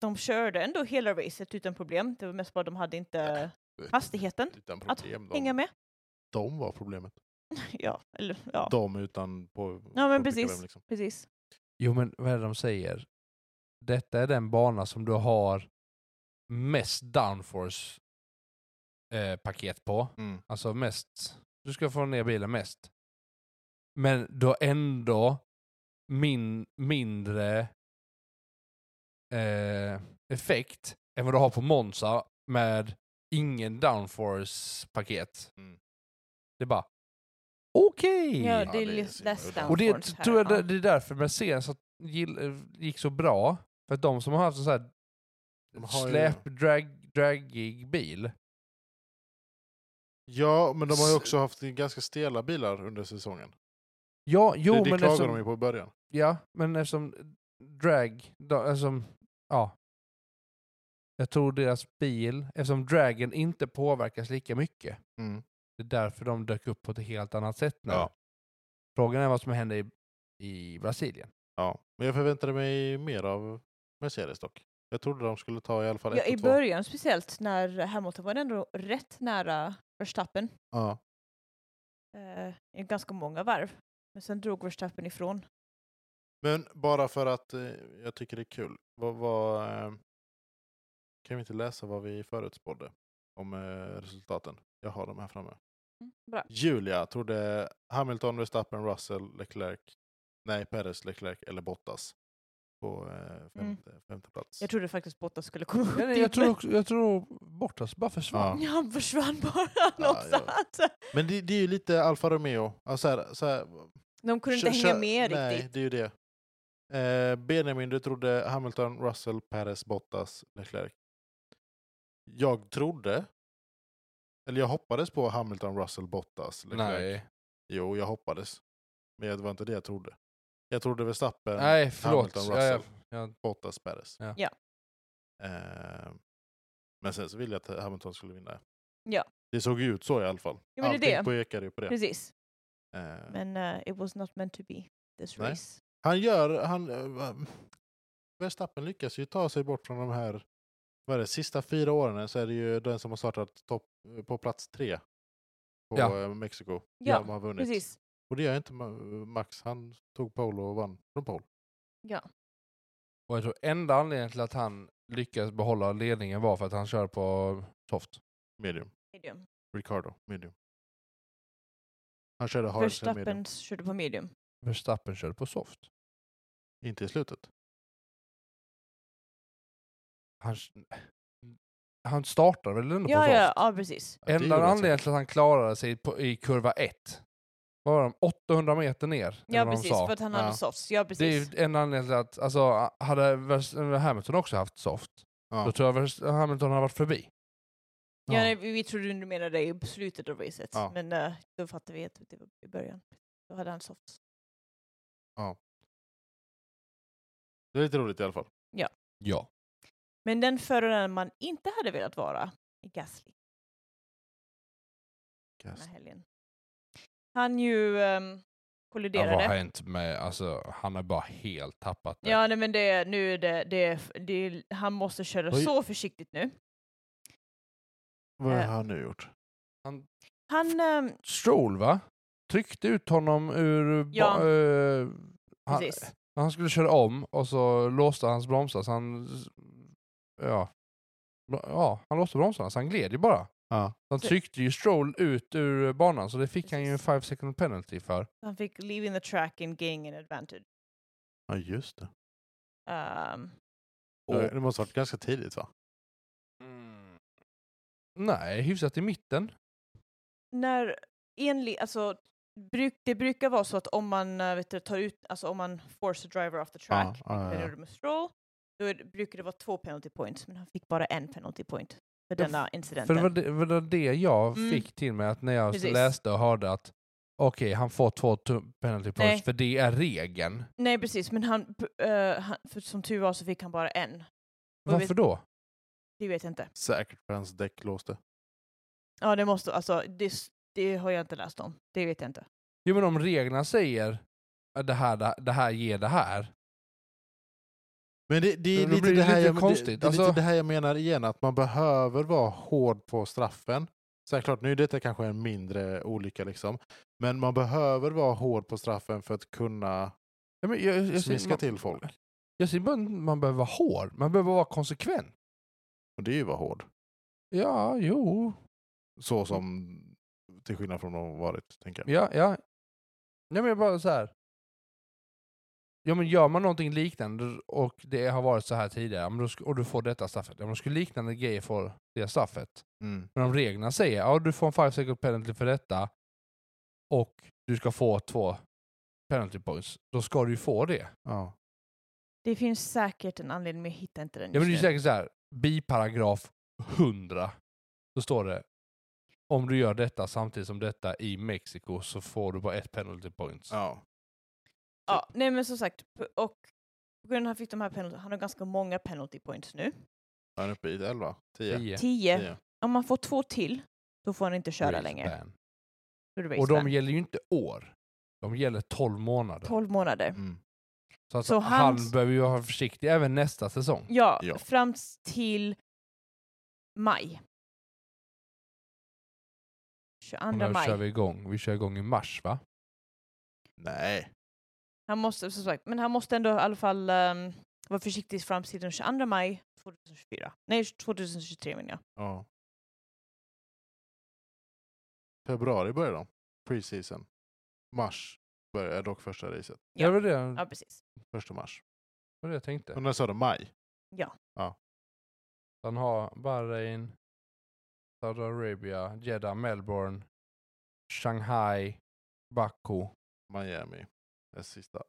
[SPEAKER 3] de körde ändå hela racet utan problem. Det var mest bara de hade inte hastigheten
[SPEAKER 1] Utan
[SPEAKER 3] att
[SPEAKER 1] problem.
[SPEAKER 3] hänga
[SPEAKER 1] De,
[SPEAKER 3] med.
[SPEAKER 1] de var problemet.
[SPEAKER 3] Ja, eller ja,
[SPEAKER 1] De utan på...
[SPEAKER 3] Ja, men
[SPEAKER 1] på vilka
[SPEAKER 3] precis.
[SPEAKER 1] vem liksom.
[SPEAKER 3] precis.
[SPEAKER 2] Jo, men vad är det de säger? Detta är den bana som du har mest downforce eh, paket på.
[SPEAKER 1] Mm.
[SPEAKER 2] Alltså mest. Du ska få ner bilen mest. Men då ändå min, mindre eh, effekt än vad du har på Monza med ingen downforce-paket.
[SPEAKER 1] Mm.
[SPEAKER 2] Det är bara okej.
[SPEAKER 3] Ja,
[SPEAKER 1] Ja,
[SPEAKER 3] det är
[SPEAKER 1] det är
[SPEAKER 3] lite
[SPEAKER 1] så
[SPEAKER 3] less
[SPEAKER 1] himla
[SPEAKER 2] Och det
[SPEAKER 3] downforce här,
[SPEAKER 2] tror jag det,
[SPEAKER 3] ja.
[SPEAKER 2] det är därför Mercedes att gill, eh, gick så bra. För att de som har haft en sån här
[SPEAKER 1] De har ju-
[SPEAKER 2] släp, drag, dragig bil.
[SPEAKER 1] Ja, men de har ju
[SPEAKER 2] S-
[SPEAKER 1] också haft ganska stela bilar under säsongen.
[SPEAKER 2] Ja, jo,
[SPEAKER 1] det det
[SPEAKER 2] men
[SPEAKER 1] klagade
[SPEAKER 2] eftersom-
[SPEAKER 1] de ju på i början.
[SPEAKER 2] Ja, men eftersom drag, då, eftersom, ja. Jag tror deras bil, eftersom dragen inte påverkas lika mycket,
[SPEAKER 1] Mm.
[SPEAKER 2] det är därför de dök upp på ett helt annat sätt nu.
[SPEAKER 1] Ja.
[SPEAKER 2] Frågan är vad som händer i, i Brasilien.
[SPEAKER 1] Ja. Men jag förväntade mig mer av Mercedes dock. Jag trodde de skulle ta i alla fall
[SPEAKER 3] Ja,
[SPEAKER 1] ett
[SPEAKER 3] i
[SPEAKER 1] och två.
[SPEAKER 3] början speciellt när Hamilton var ändå rätt nära Verstappen.
[SPEAKER 1] Ja.
[SPEAKER 3] Eh, I ganska många varv. Men sen drog Verstappen ifrån.
[SPEAKER 1] Men bara för att eh, jag tycker det är kul. Vad, vad, eh, kan vi inte läsa vad vi förutspådde om eh, resultaten? Jag har dem här framme.
[SPEAKER 3] Bra.
[SPEAKER 1] Julia trodde Hamilton, Verstappen, Russell, Leclerc. Nej, Perez, Leclerc eller Bottas. På eh, femte, femte plats.
[SPEAKER 3] Jag trodde faktiskt Bottas skulle komma upp
[SPEAKER 2] Jag,
[SPEAKER 3] dit,
[SPEAKER 2] jag, tror,
[SPEAKER 3] men-
[SPEAKER 2] också, jag tror Bottas bara försvann.
[SPEAKER 1] Ja.
[SPEAKER 3] Ja, han försvann bara
[SPEAKER 1] Ja,
[SPEAKER 3] någonstans.
[SPEAKER 1] Men det, det är ju lite Alfa Romeo. Alltså, så här, så här,
[SPEAKER 3] De kunde inte
[SPEAKER 1] kö-
[SPEAKER 3] hänga
[SPEAKER 1] kö-
[SPEAKER 3] med
[SPEAKER 1] nej,
[SPEAKER 3] riktigt.
[SPEAKER 1] det är ju det. Eh, Benjamin, du trodde Hamilton, Russell, Perez, Bottas, Leclerc. Jag trodde, eller jag hoppades på Hamilton, Russell, Bottas, Leclerc.
[SPEAKER 2] Nej.
[SPEAKER 1] Jo, jag hoppades. Men det var inte det jag trodde. Jag trodde Verstappen,
[SPEAKER 2] Nej, förlåt.
[SPEAKER 1] Hamilton,
[SPEAKER 2] Ja, ja.
[SPEAKER 1] Russell,
[SPEAKER 2] Ja.
[SPEAKER 1] Bottas, Perez.
[SPEAKER 2] Ja.
[SPEAKER 3] Ja.
[SPEAKER 1] Eh, men sen så ville jag att Hamilton skulle vinna.
[SPEAKER 3] Ja.
[SPEAKER 1] Det såg ju ut så i alla fall.
[SPEAKER 3] Ja, men det är
[SPEAKER 1] Allting
[SPEAKER 3] det.
[SPEAKER 1] pekade ju på det.
[SPEAKER 3] Precis.
[SPEAKER 1] Eh,
[SPEAKER 3] Men eh, it was not meant to be this
[SPEAKER 1] Nej.
[SPEAKER 3] race.
[SPEAKER 1] Han gör... Han, eh, va- Verstappen lyckas ju ta sig bort från de här... Vad är det, sista fyra åren så är det ju den som har startat topp, eh, på plats tre på
[SPEAKER 2] Ja.
[SPEAKER 1] eh, Mexiko.
[SPEAKER 3] Ja,
[SPEAKER 1] som har vunnit.
[SPEAKER 3] Precis.
[SPEAKER 1] Och det gör inte Ma- Max. Han tog pole och vann från pole.
[SPEAKER 2] Och jag tror enda anledningen till att han lyckades behålla ledningen var för att han kör på soft.
[SPEAKER 1] Medium.
[SPEAKER 3] Medium.
[SPEAKER 1] Ricardo, medium. Han körde hard sen medium.
[SPEAKER 3] Verstappen körde på medium.
[SPEAKER 2] Verstappen körde på soft.
[SPEAKER 1] Inte i slutet.
[SPEAKER 2] han, han startade väl ändå på
[SPEAKER 3] Ja,
[SPEAKER 2] soft?
[SPEAKER 3] ja, ja, precis.
[SPEAKER 1] det
[SPEAKER 2] Enda
[SPEAKER 1] gjorde han
[SPEAKER 2] anledningen till att han klarade sig på, i kurva 1 var de 800 meter ner. eller
[SPEAKER 3] Ja,
[SPEAKER 2] vad de
[SPEAKER 3] precis.
[SPEAKER 2] sa.
[SPEAKER 3] För att han hade
[SPEAKER 1] Ja.
[SPEAKER 3] softs.
[SPEAKER 2] Det
[SPEAKER 3] Ja,
[SPEAKER 2] är
[SPEAKER 3] precis.
[SPEAKER 2] ju en anledning till att, alltså, hade Vers- Hamilton också haft soft, då
[SPEAKER 1] Ja.
[SPEAKER 2] tror jag Vers- Hamilton hade varit förbi.
[SPEAKER 3] Ja, nej, vi, vi trodde du menade i slutet av racet.
[SPEAKER 1] Ja.
[SPEAKER 3] Men eh, då fattade vi att det var i början. Då hade han softs.
[SPEAKER 1] Det är lite roligt i alla fall.
[SPEAKER 2] ja.
[SPEAKER 3] Men den föraren man inte hade velat vara är Gasly den här helgen. Han ju ehm,
[SPEAKER 2] Ja, vad har
[SPEAKER 3] kolliderade.
[SPEAKER 2] hänt med, alltså, han har bara helt tappat det.
[SPEAKER 3] Ja, nej, men det, nu är det, det, det, han måste köra
[SPEAKER 1] Oj.
[SPEAKER 3] så försiktigt nu.
[SPEAKER 1] Vad
[SPEAKER 3] Eh.
[SPEAKER 1] har han nu gjort?
[SPEAKER 3] Han, ehm,
[SPEAKER 2] Stroll va? Tryckte ut honom ur... ba-
[SPEAKER 3] Ja.
[SPEAKER 2] eh, han,
[SPEAKER 3] precis.
[SPEAKER 2] Han skulle köra om och så låste hans bromsar så han... Ja. Ja, han låste bromsarna så han gled ju bara.
[SPEAKER 1] Ja.
[SPEAKER 2] Han
[SPEAKER 3] Så-
[SPEAKER 2] tryckte ju Stroll ut ur banan så det fick han ju en
[SPEAKER 3] Precis.
[SPEAKER 2] 5 second penalty för.
[SPEAKER 3] Han fick leaving the track and gaining an advantage.
[SPEAKER 1] Ja, just det.
[SPEAKER 3] Ehm,
[SPEAKER 2] Eh,
[SPEAKER 1] Det det måste ha varit ganska tidigt va?
[SPEAKER 2] Nej, hyfsat i mitten.
[SPEAKER 3] när enligt, alltså bruk, det brukar vara så att om man eh, vet du, tar ut, alltså om man force a driver off the track,
[SPEAKER 1] ja, ja,
[SPEAKER 3] vilket han
[SPEAKER 1] ja.
[SPEAKER 3] gjorde med Stroll, då är, det- brukar det vara två penalty points, men han fick bara en penalty point för
[SPEAKER 2] Ja,
[SPEAKER 3] denna
[SPEAKER 2] För
[SPEAKER 3] incidenten.
[SPEAKER 2] det var det, var det det jag
[SPEAKER 3] Mm.
[SPEAKER 2] fick till mig att när jag
[SPEAKER 3] Precis.
[SPEAKER 2] läste och hörde att okej, han får två tu- penalty points
[SPEAKER 3] Nej.
[SPEAKER 2] för det är regeln.
[SPEAKER 3] Nej precis, men han, p- eh, han, för som tur var så fick han bara en. Och
[SPEAKER 2] Varför
[SPEAKER 3] vet,
[SPEAKER 2] då?
[SPEAKER 3] det vet jag inte.
[SPEAKER 1] Säkert för hans däck låste.
[SPEAKER 3] Ja, det måste, alltså det, s- det har jag inte läst om. Det vet jag inte.
[SPEAKER 2] Jo men om reglerna säger att det här, det- det här ger det här.
[SPEAKER 1] Men det, det, är
[SPEAKER 2] Då
[SPEAKER 1] lite
[SPEAKER 2] blir det
[SPEAKER 1] det här
[SPEAKER 2] lite
[SPEAKER 1] jag,
[SPEAKER 2] konstigt.
[SPEAKER 1] Det, det, är
[SPEAKER 2] Alltså-
[SPEAKER 1] lite det här jag menar igen, att man behöver vara hård på straffen. Sen klart, nu är detta kanske en mindre olycka liksom. Men man behöver vara hård på straffen för att kunna
[SPEAKER 2] Ja, men jag, jag, jag,
[SPEAKER 1] smiska
[SPEAKER 2] man,
[SPEAKER 1] till folk.
[SPEAKER 2] jag säger bara att man behöver vara hård, man behöver vara konsekvent.
[SPEAKER 1] Och det är ju att vara hård.
[SPEAKER 2] Ja, jo.
[SPEAKER 1] Så som, till skillnad från vad de har varit, tänker jag.
[SPEAKER 2] Ja, ja. Nej men jag bara så här. Ja men gör man någonting liknande och det har varit så här tidigare ja, men då sk- och du får detta straffet. Ja men då skulle liknande grejer få det straffet.
[SPEAKER 1] Mm.
[SPEAKER 2] Men om reglerna säger ja du får en 5 second penalty för detta och du ska få två penalty points, då ska du ju få det.
[SPEAKER 1] Ja.
[SPEAKER 3] Det finns säkert en anledning, men jag hittar inte den
[SPEAKER 2] Ja, men det är ju
[SPEAKER 3] just nu.
[SPEAKER 2] säkert så här, biparagraf 100, då står det om du gör detta samtidigt som detta i Mexiko så får du bara ett penalty points.
[SPEAKER 1] ja.
[SPEAKER 3] Ja, nej men som sagt, p- och på grund av att han fick de här penalty, han har ganska många penalty points nu.
[SPEAKER 1] Han är uppe i 11, 10.
[SPEAKER 2] Tio.
[SPEAKER 3] Tio.
[SPEAKER 1] 10.
[SPEAKER 3] Om man får två till, då får han inte köra
[SPEAKER 2] Race
[SPEAKER 3] längre.
[SPEAKER 2] ban.
[SPEAKER 3] Då är det
[SPEAKER 2] Och
[SPEAKER 3] race ban.
[SPEAKER 2] de gäller ju inte år. De gäller 12 månader.
[SPEAKER 3] 12 månader.
[SPEAKER 1] Mm.
[SPEAKER 2] Så, att
[SPEAKER 3] Så
[SPEAKER 2] han
[SPEAKER 3] hans-
[SPEAKER 2] behöver ju vara försiktig även nästa säsong.
[SPEAKER 3] Ja,
[SPEAKER 1] Ja.
[SPEAKER 3] fram till maj. 22
[SPEAKER 2] Och nu
[SPEAKER 3] maj.
[SPEAKER 2] kör vi igång. Vi kör igång i mars va?
[SPEAKER 1] Nej.
[SPEAKER 3] Han måste, som sagt, men han måste ändå i alla fall ehm, vara försiktig fram till den 22 maj 2024. Nej, 2023 menar jag.
[SPEAKER 1] Ja. Februari börjar de. Preseason. Mars börjar dock första racet.
[SPEAKER 3] Ja.
[SPEAKER 2] Det var det, det
[SPEAKER 3] Ja, precis.
[SPEAKER 1] Första mars.
[SPEAKER 2] var det jag tänkte.
[SPEAKER 1] Och när sa du maj?
[SPEAKER 2] Han har Bahrain, Saudiarabien, Jeddah, Melbourne, Shanghai, Baku.
[SPEAKER 1] Miami. Det sista.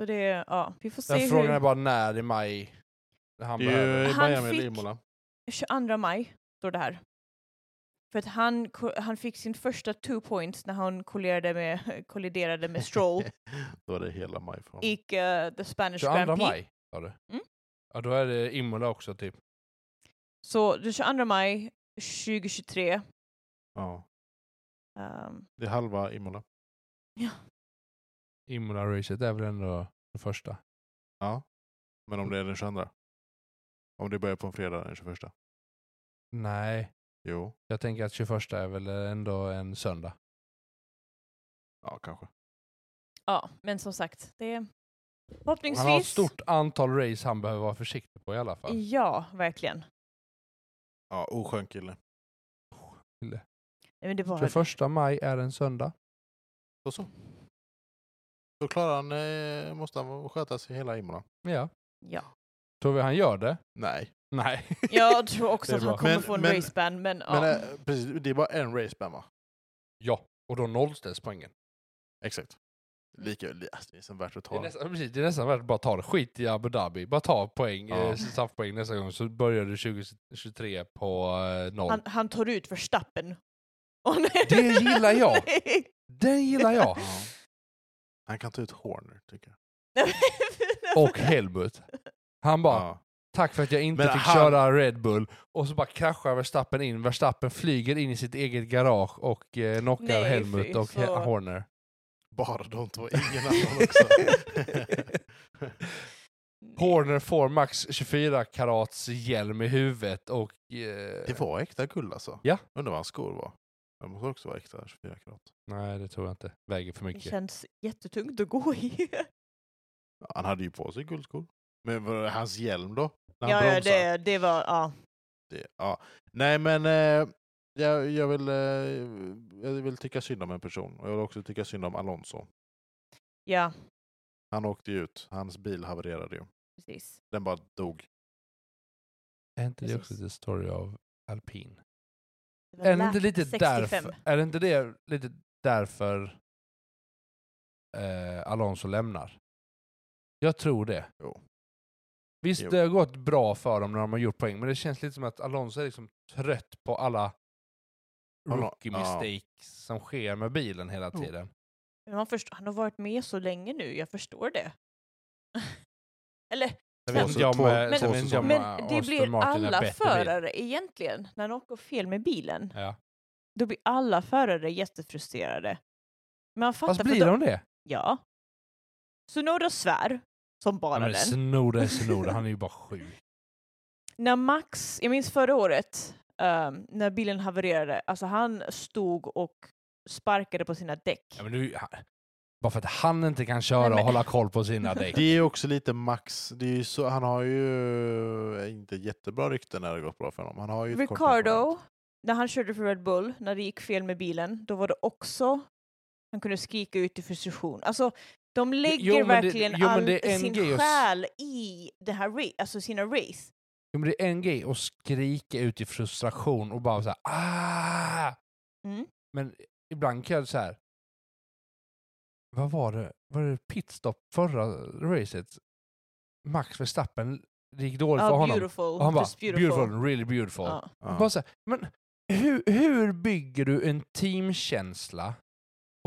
[SPEAKER 3] Så det, är- ja, vi får
[SPEAKER 2] Den
[SPEAKER 3] se
[SPEAKER 2] frågan är
[SPEAKER 3] hur...
[SPEAKER 2] bara när i maj han
[SPEAKER 1] Det är
[SPEAKER 2] behöver.
[SPEAKER 1] ju
[SPEAKER 3] Han
[SPEAKER 1] Miami eller
[SPEAKER 3] fick-
[SPEAKER 1] Imola.
[SPEAKER 3] 22 maj står det här. För att han, ko- han fick sin första two points när han kolliderade med, kolliderade med Stroll
[SPEAKER 1] Då är det hela maj från.
[SPEAKER 3] i eh, the Spanish Grand
[SPEAKER 2] 22
[SPEAKER 3] Prix.
[SPEAKER 2] maj sa du?
[SPEAKER 3] Mm.
[SPEAKER 2] Ja då är det Imola också typ.
[SPEAKER 3] Så den 22 maj 2023.
[SPEAKER 1] Ja.
[SPEAKER 3] ehm,
[SPEAKER 1] Det är halva Imola.
[SPEAKER 2] Imola-racet är väl ändå det första.
[SPEAKER 1] Ja. Men om det är den 22. Om det börjar på en fredag den 21.
[SPEAKER 2] Nej,
[SPEAKER 1] Jo.
[SPEAKER 2] jag tänker att 21 är väl ändå en söndag.
[SPEAKER 1] Ja, kanske.
[SPEAKER 3] ja, men som sagt, det är förhoppningsvis...
[SPEAKER 2] Han har ett stort antal race han behöver vara försiktig på i alla fall.
[SPEAKER 3] Ja, verkligen.
[SPEAKER 1] Ja, oskön kille.
[SPEAKER 3] Nej, men det var...
[SPEAKER 2] 21 maj är en söndag.
[SPEAKER 1] Då så. Då klarar han, eh, måste han sköta sig hela Imola.
[SPEAKER 2] Ja.
[SPEAKER 3] Ja.
[SPEAKER 2] Tror vi han gör det?
[SPEAKER 1] Nej.
[SPEAKER 2] Nej.
[SPEAKER 3] Jag tror också
[SPEAKER 2] Det är
[SPEAKER 3] att han
[SPEAKER 2] bra.
[SPEAKER 3] kommer
[SPEAKER 1] Men-
[SPEAKER 3] få en
[SPEAKER 1] men-
[SPEAKER 3] raceband, men,
[SPEAKER 1] Men
[SPEAKER 3] ja.
[SPEAKER 1] eh, precis, det är bara en raceban va?
[SPEAKER 2] Ja, och då nollställs poängen.
[SPEAKER 1] Exakt. Lika, li- alltså, det är som värt att
[SPEAKER 2] Mm. Det är,
[SPEAKER 1] ta.
[SPEAKER 2] nästan, precis, det är nästan värt att bara ta det. Skit i Abu Dhabi. Bara ta poäng,
[SPEAKER 1] Ja.
[SPEAKER 2] eh, straffpoäng nästa gång så börjar du 2023 på eh, noll.
[SPEAKER 3] han, han tar ut Verstappen. Åh, nej.
[SPEAKER 2] Det gillar jag.
[SPEAKER 3] Nej.
[SPEAKER 2] Den gillar jag!
[SPEAKER 1] Ja. Han kan ta ut Horner tycker jag.
[SPEAKER 2] Och Helmut. Han bara,
[SPEAKER 1] Ja.
[SPEAKER 2] tack för att jag inte
[SPEAKER 1] Men
[SPEAKER 2] fick
[SPEAKER 1] han-
[SPEAKER 2] köra Red Bull. Och så bara kraschar Verstappen in. Verstappen flyger in i sitt eget garage och eh, knockar
[SPEAKER 3] Nej,
[SPEAKER 2] Helmut
[SPEAKER 3] fy,
[SPEAKER 2] och He-
[SPEAKER 3] så-
[SPEAKER 2] Horner.
[SPEAKER 1] Bara de två, ingen annan också.
[SPEAKER 2] Horner får max 24 karats hjälm i huvudet och... eh,
[SPEAKER 1] det var äkta guld alltså.
[SPEAKER 2] Ja.
[SPEAKER 1] Undrar vad hans skor var. De måste också vara äkta 24 karat.
[SPEAKER 2] Nej, det tror jag inte. Väger för
[SPEAKER 3] Det
[SPEAKER 2] mycket.
[SPEAKER 3] känns jättetungt att gå i.
[SPEAKER 1] Han hade ju på sig guldskor. Men vad- hans hjälm då? När han
[SPEAKER 3] Ja, ja
[SPEAKER 1] bromsar?
[SPEAKER 3] det, det var... Ja.
[SPEAKER 1] Det- ja. Nej men eh, jag, jag, vill, eh, jag vill tycka synd om en person. Och jag vill också tycka synd om Alonso.
[SPEAKER 3] ja,
[SPEAKER 1] Han åkte ju ut. Hans bil havererade ju.
[SPEAKER 3] precis.
[SPEAKER 1] Den bara dog.
[SPEAKER 2] Är inte det
[SPEAKER 3] Precis.
[SPEAKER 2] också the story av alpin?
[SPEAKER 3] Det var
[SPEAKER 2] Är det
[SPEAKER 3] lap
[SPEAKER 2] inte lite
[SPEAKER 3] 65.
[SPEAKER 2] därför, är det inte det lite därför eh, Alonso lämnar. Jag tror det.
[SPEAKER 1] Jo.
[SPEAKER 2] Visst,
[SPEAKER 1] Jo.
[SPEAKER 2] det har gått bra för dem när de har gjort poäng, men det känns lite som att Alonso är liksom trött på alla
[SPEAKER 1] Alon-
[SPEAKER 2] rookie
[SPEAKER 1] ja.
[SPEAKER 2] mistakes som sker med bilen hela
[SPEAKER 1] Jo.
[SPEAKER 2] tiden.
[SPEAKER 3] Men han, först- han har varit med så länge nu, jag förstår det. Eller,
[SPEAKER 1] Två
[SPEAKER 2] Jag vet inte
[SPEAKER 1] sä-
[SPEAKER 2] om,
[SPEAKER 1] två- två
[SPEAKER 2] eh, jag vet inte om,
[SPEAKER 1] säsonger.
[SPEAKER 3] men
[SPEAKER 2] eh,
[SPEAKER 3] det
[SPEAKER 2] Aston
[SPEAKER 3] blir
[SPEAKER 2] Martin är
[SPEAKER 3] alla
[SPEAKER 2] bättre bil.
[SPEAKER 3] förare egentligen, när han åker fel med bilen,
[SPEAKER 2] Ja.
[SPEAKER 3] då blir alla förare jättefrustrerade. Men han fattar
[SPEAKER 2] Fast
[SPEAKER 3] för att
[SPEAKER 2] blir de det?
[SPEAKER 3] Ja. Sunoda svär, som
[SPEAKER 2] Ja,
[SPEAKER 3] bara
[SPEAKER 2] men
[SPEAKER 3] den.
[SPEAKER 2] Snodda är Snodda, han är ju bara sjuk.
[SPEAKER 3] När Max, jag minns förra året, ehm, när bilen havererade, alltså han stod och sparkade på sina däck.
[SPEAKER 2] Ja, men du, han, bara för att han inte kan köra
[SPEAKER 3] Nej, men-
[SPEAKER 2] och hålla koll på sina däck.
[SPEAKER 1] Det är ju också lite max. Det är ju så, han har ju eh, inte jättebra rykte när det gått bra för honom. Han har ju ett kort temperament.
[SPEAKER 3] Ricardo, när han körde för Red Bull, när det gick fel med bilen, då var det också, han kunde skrika ut i frustration. Alltså, de lägger
[SPEAKER 2] men det-
[SPEAKER 3] verkligen
[SPEAKER 2] jo, men
[SPEAKER 3] all
[SPEAKER 2] det är en
[SPEAKER 3] sin
[SPEAKER 2] grej att s-
[SPEAKER 3] själ i det här ra- alltså sina race.
[SPEAKER 2] Jo, men det är en grej att skrika ut i frustration och bara så här, ah!
[SPEAKER 3] Mm.
[SPEAKER 2] Men ibland kan jag så här. Vad var det? Var det pitstop förra racet? Max Verstappen, det gick dåligt för
[SPEAKER 3] Ja,
[SPEAKER 2] honom.
[SPEAKER 3] beautiful.
[SPEAKER 2] Och han bara,
[SPEAKER 3] just beautiful.
[SPEAKER 2] really beautiful.
[SPEAKER 3] Ja.
[SPEAKER 1] Ja.
[SPEAKER 2] Bara så här, men hur, hur bygger du en teamkänsla?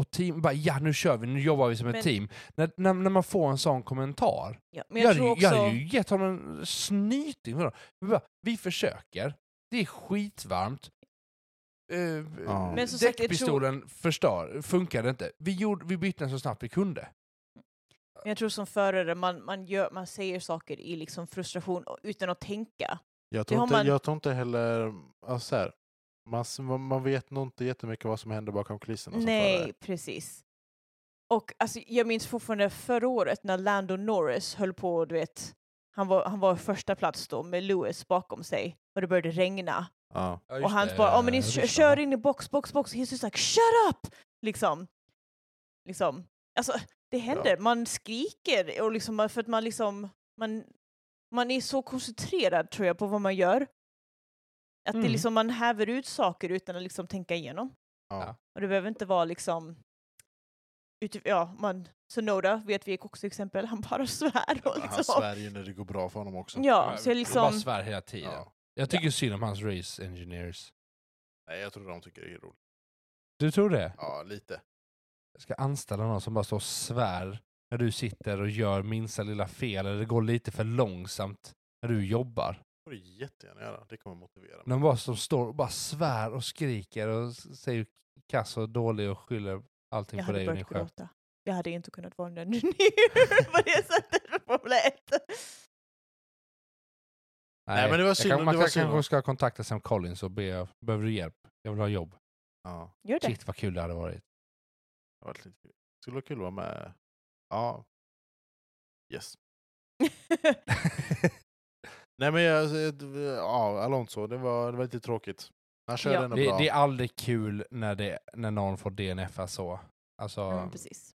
[SPEAKER 2] Och team, bara ja nu kör vi, nu jobbar vi som ett
[SPEAKER 3] Men-
[SPEAKER 2] team. När, när, när man får en sån kommentar.
[SPEAKER 3] Ja,
[SPEAKER 2] Jag,
[SPEAKER 3] men jag,
[SPEAKER 2] hade,
[SPEAKER 3] tror
[SPEAKER 2] ju-
[SPEAKER 3] också...
[SPEAKER 2] jag hade ju gett honom en snyting. för det. Vi, bara, vi försöker, det är skitvarmt. Uh,
[SPEAKER 1] Ja.
[SPEAKER 3] Men som sagt, jag tror-
[SPEAKER 2] Däckpistolen förstör, funkade inte. Vi, gjorde, vi bytte den så snabbt vi kunde.
[SPEAKER 3] Men jag tror som förare, man, man, gör, man säger saker i liksom frustration och- utan att tänka.
[SPEAKER 1] Jag tror,
[SPEAKER 3] har
[SPEAKER 1] inte,
[SPEAKER 3] man-
[SPEAKER 1] jag tror inte heller... Alltså så här, man, s- man vet nog inte jättemycket vad som händer bakom kulisserna. som förare.
[SPEAKER 3] Nej, precis. Och alltså, jag minns fortfarande förra året när Lando Norris höll på, du vet, han var, han var första plats då med Lewis bakom sig och det började regna.
[SPEAKER 1] Ja.
[SPEAKER 3] och han bara, ja men ni kö- kör in i box, box, box. He's just like, shut up! Liksom. Liksom. Alltså, det händer. Man skriker och liksom, för att man liksom, man, man är så koncentrerad tror jag på vad man gör. Att det
[SPEAKER 2] Mm.
[SPEAKER 3] liksom, man häver ut saker utan att liksom tänka igenom.
[SPEAKER 1] Ja.
[SPEAKER 2] Ja.
[SPEAKER 3] Och det behöver inte vara liksom, utif- ja, man, Sonoda vet vi också exempel, han bara svär. Och
[SPEAKER 1] Men Han
[SPEAKER 3] liksom.
[SPEAKER 1] svär ju när det går bra för honom också.
[SPEAKER 3] Ja, så jag
[SPEAKER 2] bara
[SPEAKER 3] liksom,
[SPEAKER 2] svär hela tiden.
[SPEAKER 1] Ja.
[SPEAKER 2] Jag tycker synd om hans race engineers.
[SPEAKER 1] Nej, jag tror de tycker det är roligt.
[SPEAKER 2] Du tror det?
[SPEAKER 1] Ja, lite.
[SPEAKER 2] Jag ska anställa någon som bara står och svär när du sitter och gör minsta lilla fel eller det går lite för långsamt när du jobbar.
[SPEAKER 1] Det får du jättegärna göra. Det kommer motivera mig.
[SPEAKER 2] De bara som står och bara svär och skriker och s- säger kass och dålig och skyller allting
[SPEAKER 3] jag
[SPEAKER 2] på
[SPEAKER 3] hade
[SPEAKER 2] dig och din
[SPEAKER 3] börjat
[SPEAKER 2] chef.
[SPEAKER 3] gråta. Jag hade inte kunnat vara en engineer på det sättet för Formel 1.
[SPEAKER 1] Nej, men det var
[SPEAKER 2] jag
[SPEAKER 1] synd-
[SPEAKER 2] Kan, man
[SPEAKER 1] det var
[SPEAKER 2] kan,
[SPEAKER 1] synd.
[SPEAKER 2] kanske ska kontakta Sam Collins och be behöver du hjälp? Jag vill ha jobb.
[SPEAKER 1] Ja,
[SPEAKER 3] Gör det.
[SPEAKER 2] Shit vad kul det hade varit.
[SPEAKER 1] det var lite kul. skulle vara kul att vara med. Ja. Yes. Nej men jag, alltså, ja, Alonso, det var, det var lite tråkigt. Han körde
[SPEAKER 3] Ja.
[SPEAKER 1] ändå
[SPEAKER 2] Det,
[SPEAKER 1] bra.
[SPEAKER 2] det är aldrig kul när, det, när någon får DNF så. Alltså,
[SPEAKER 3] Ja, men precis.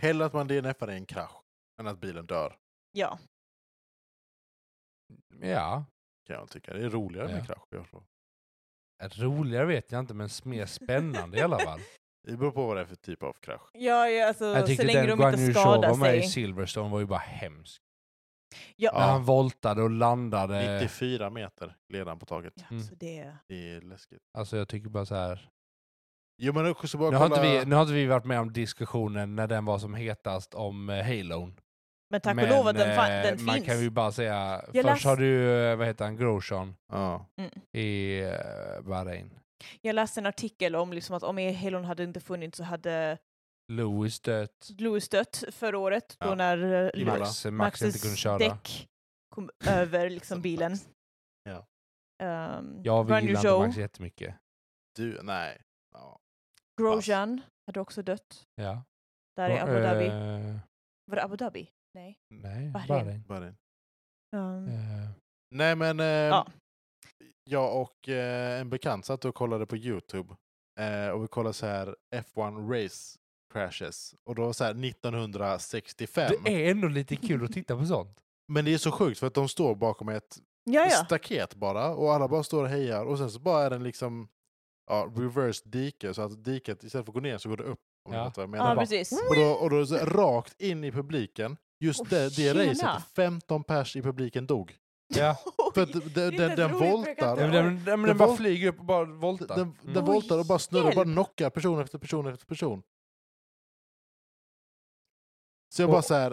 [SPEAKER 1] Hellre att man DNFar i en krasch än att bilen dör.
[SPEAKER 3] Ja,
[SPEAKER 2] ja.
[SPEAKER 1] Kan jag tycka. Det är roligare
[SPEAKER 2] Ja.
[SPEAKER 1] med krasch. Jag tror.
[SPEAKER 2] Roligare vet jag inte men mer spännande i alla fall.
[SPEAKER 1] det beror på vad det är för typ av krasch.
[SPEAKER 3] ja, ja alltså,
[SPEAKER 2] Jag
[SPEAKER 3] så
[SPEAKER 2] tyckte
[SPEAKER 3] länge
[SPEAKER 2] den
[SPEAKER 3] de
[SPEAKER 2] Guan
[SPEAKER 3] inte
[SPEAKER 2] Yu Zhou
[SPEAKER 3] skadar
[SPEAKER 2] var med i
[SPEAKER 3] sig.
[SPEAKER 2] Silverstone var ju bara hemsk.
[SPEAKER 3] Ja,
[SPEAKER 1] Ja.
[SPEAKER 2] När han eh, voltade och landade.
[SPEAKER 1] 94 meter led han på taget.
[SPEAKER 3] ja
[SPEAKER 2] Mm.
[SPEAKER 3] så det...
[SPEAKER 1] Det är läskigt.
[SPEAKER 2] Alltså jag tycker bara så här.
[SPEAKER 1] Jo men också bara
[SPEAKER 2] Nu har, inte vi,
[SPEAKER 1] kolla.
[SPEAKER 2] nu har inte vi varit med om diskussionen när den var som hetast om eh, Halon.
[SPEAKER 3] Men tack
[SPEAKER 2] Men,
[SPEAKER 3] och lov att den, fa-
[SPEAKER 2] eh,
[SPEAKER 3] den
[SPEAKER 2] man
[SPEAKER 3] finns.
[SPEAKER 2] kan ju bara säga,
[SPEAKER 3] Jag
[SPEAKER 2] först
[SPEAKER 3] läste-
[SPEAKER 2] har du, eh, vad heter han, Grosjean
[SPEAKER 1] Ja.
[SPEAKER 3] Mm.
[SPEAKER 2] i eh, Bahrain.
[SPEAKER 3] Jag läste en artikel om liksom att om Helon hade inte funnits så hade
[SPEAKER 2] Lewis dött,
[SPEAKER 3] Lewis dött förra året då
[SPEAKER 1] Ja.
[SPEAKER 3] när eh,
[SPEAKER 1] I
[SPEAKER 2] Max,
[SPEAKER 1] Imola.
[SPEAKER 2] Max, inte kunde
[SPEAKER 3] Maxes
[SPEAKER 2] köra.
[SPEAKER 3] däck kom över liksom
[SPEAKER 1] Max.
[SPEAKER 3] bilen.
[SPEAKER 1] Ja.
[SPEAKER 3] Um,
[SPEAKER 2] Jag
[SPEAKER 3] Guan Yu
[SPEAKER 2] vill inte
[SPEAKER 3] Zhou,
[SPEAKER 2] Max jättemycket.
[SPEAKER 1] Du, nej. Ja.
[SPEAKER 3] Grosjean hade också dött.
[SPEAKER 2] Ja.
[SPEAKER 3] Där i
[SPEAKER 2] Och,
[SPEAKER 3] Abu Dhabi.
[SPEAKER 2] eh,
[SPEAKER 3] Var det Abu Dhabi? Nej.
[SPEAKER 2] nej,
[SPEAKER 3] Bahrain.
[SPEAKER 2] Bahrain.
[SPEAKER 1] Bara det.
[SPEAKER 3] Um,
[SPEAKER 2] Eh,
[SPEAKER 1] Nej men, eh,
[SPEAKER 3] Ja.
[SPEAKER 1] jag och eh, en bekant satt och kollade på Youtube eh, och vi kollade så här F1 Race Crashes och då var det så här 1965.
[SPEAKER 2] Eh, Det är ändå lite kul att titta på sånt.
[SPEAKER 1] Men det är så sjukt för att de står bakom ett
[SPEAKER 3] Ja, ja.
[SPEAKER 1] staket bara och alla bara står och hejar och sen så bara är den liksom ja, reverse dike, så att diket istället för att gå ner så går det upp. Om
[SPEAKER 2] Ja.
[SPEAKER 1] ni fattar vad jag menar.
[SPEAKER 3] Ja,
[SPEAKER 2] bara-
[SPEAKER 3] precis.
[SPEAKER 1] och då, och då så, rakt in i publiken. Just
[SPEAKER 3] Åh,
[SPEAKER 1] det, det
[SPEAKER 3] tjena.
[SPEAKER 1] racet, 15 pers i publiken dog.
[SPEAKER 2] Ja.
[SPEAKER 1] För att den,
[SPEAKER 3] inte
[SPEAKER 1] den, den
[SPEAKER 3] roligt, för jag kan
[SPEAKER 1] voltar.
[SPEAKER 2] Den,
[SPEAKER 3] inte-
[SPEAKER 1] Den,
[SPEAKER 2] den, den,
[SPEAKER 1] Det
[SPEAKER 2] den bara
[SPEAKER 1] var-
[SPEAKER 2] flyger upp och bara voltar.
[SPEAKER 1] den,
[SPEAKER 2] Mm.
[SPEAKER 3] Oj,
[SPEAKER 1] voltar och bara snurrar och bara
[SPEAKER 3] hjälp.
[SPEAKER 1] knockar person efter person efter person. Så jag bara
[SPEAKER 2] Och-
[SPEAKER 1] så här...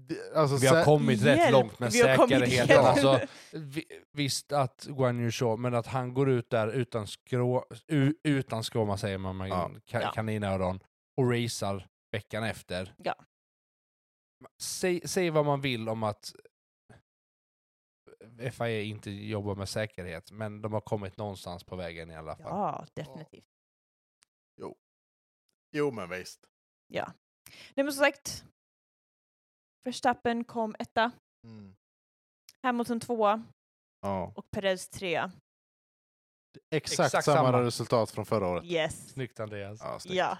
[SPEAKER 1] det- Alltså,
[SPEAKER 2] Vi har
[SPEAKER 1] sä-
[SPEAKER 2] kommit rätt
[SPEAKER 3] Hjälp,
[SPEAKER 2] långt med
[SPEAKER 3] vi har kommit
[SPEAKER 2] säkerheten.
[SPEAKER 1] igen.
[SPEAKER 2] Alltså, vi, visst att Guan Yu Shaw, men att han går ut där utan skrå, u, utan skråma säger man, man
[SPEAKER 1] Ja.
[SPEAKER 2] ka,
[SPEAKER 3] Ja.
[SPEAKER 2] kaninöron, och racear veckan efter.
[SPEAKER 3] Ja.
[SPEAKER 2] Säg, säg vad man vill om att FIA inte jobbar med säkerhet, men de har kommit någonstans på vägen i alla fall.
[SPEAKER 3] Ja, definitivt.
[SPEAKER 1] Jo men visst.
[SPEAKER 3] Nej men som sagt, Verstappen kom etta,
[SPEAKER 1] Mm.
[SPEAKER 3] Hamilton tvåa
[SPEAKER 1] Ja.
[SPEAKER 3] och Perez trea.
[SPEAKER 1] Exakt,
[SPEAKER 2] Exakt
[SPEAKER 1] samma,
[SPEAKER 2] samma.
[SPEAKER 1] resultat från förra året.
[SPEAKER 3] Yes.
[SPEAKER 2] Snyggt Andreas.
[SPEAKER 1] Ja, snyggt.
[SPEAKER 3] Ja.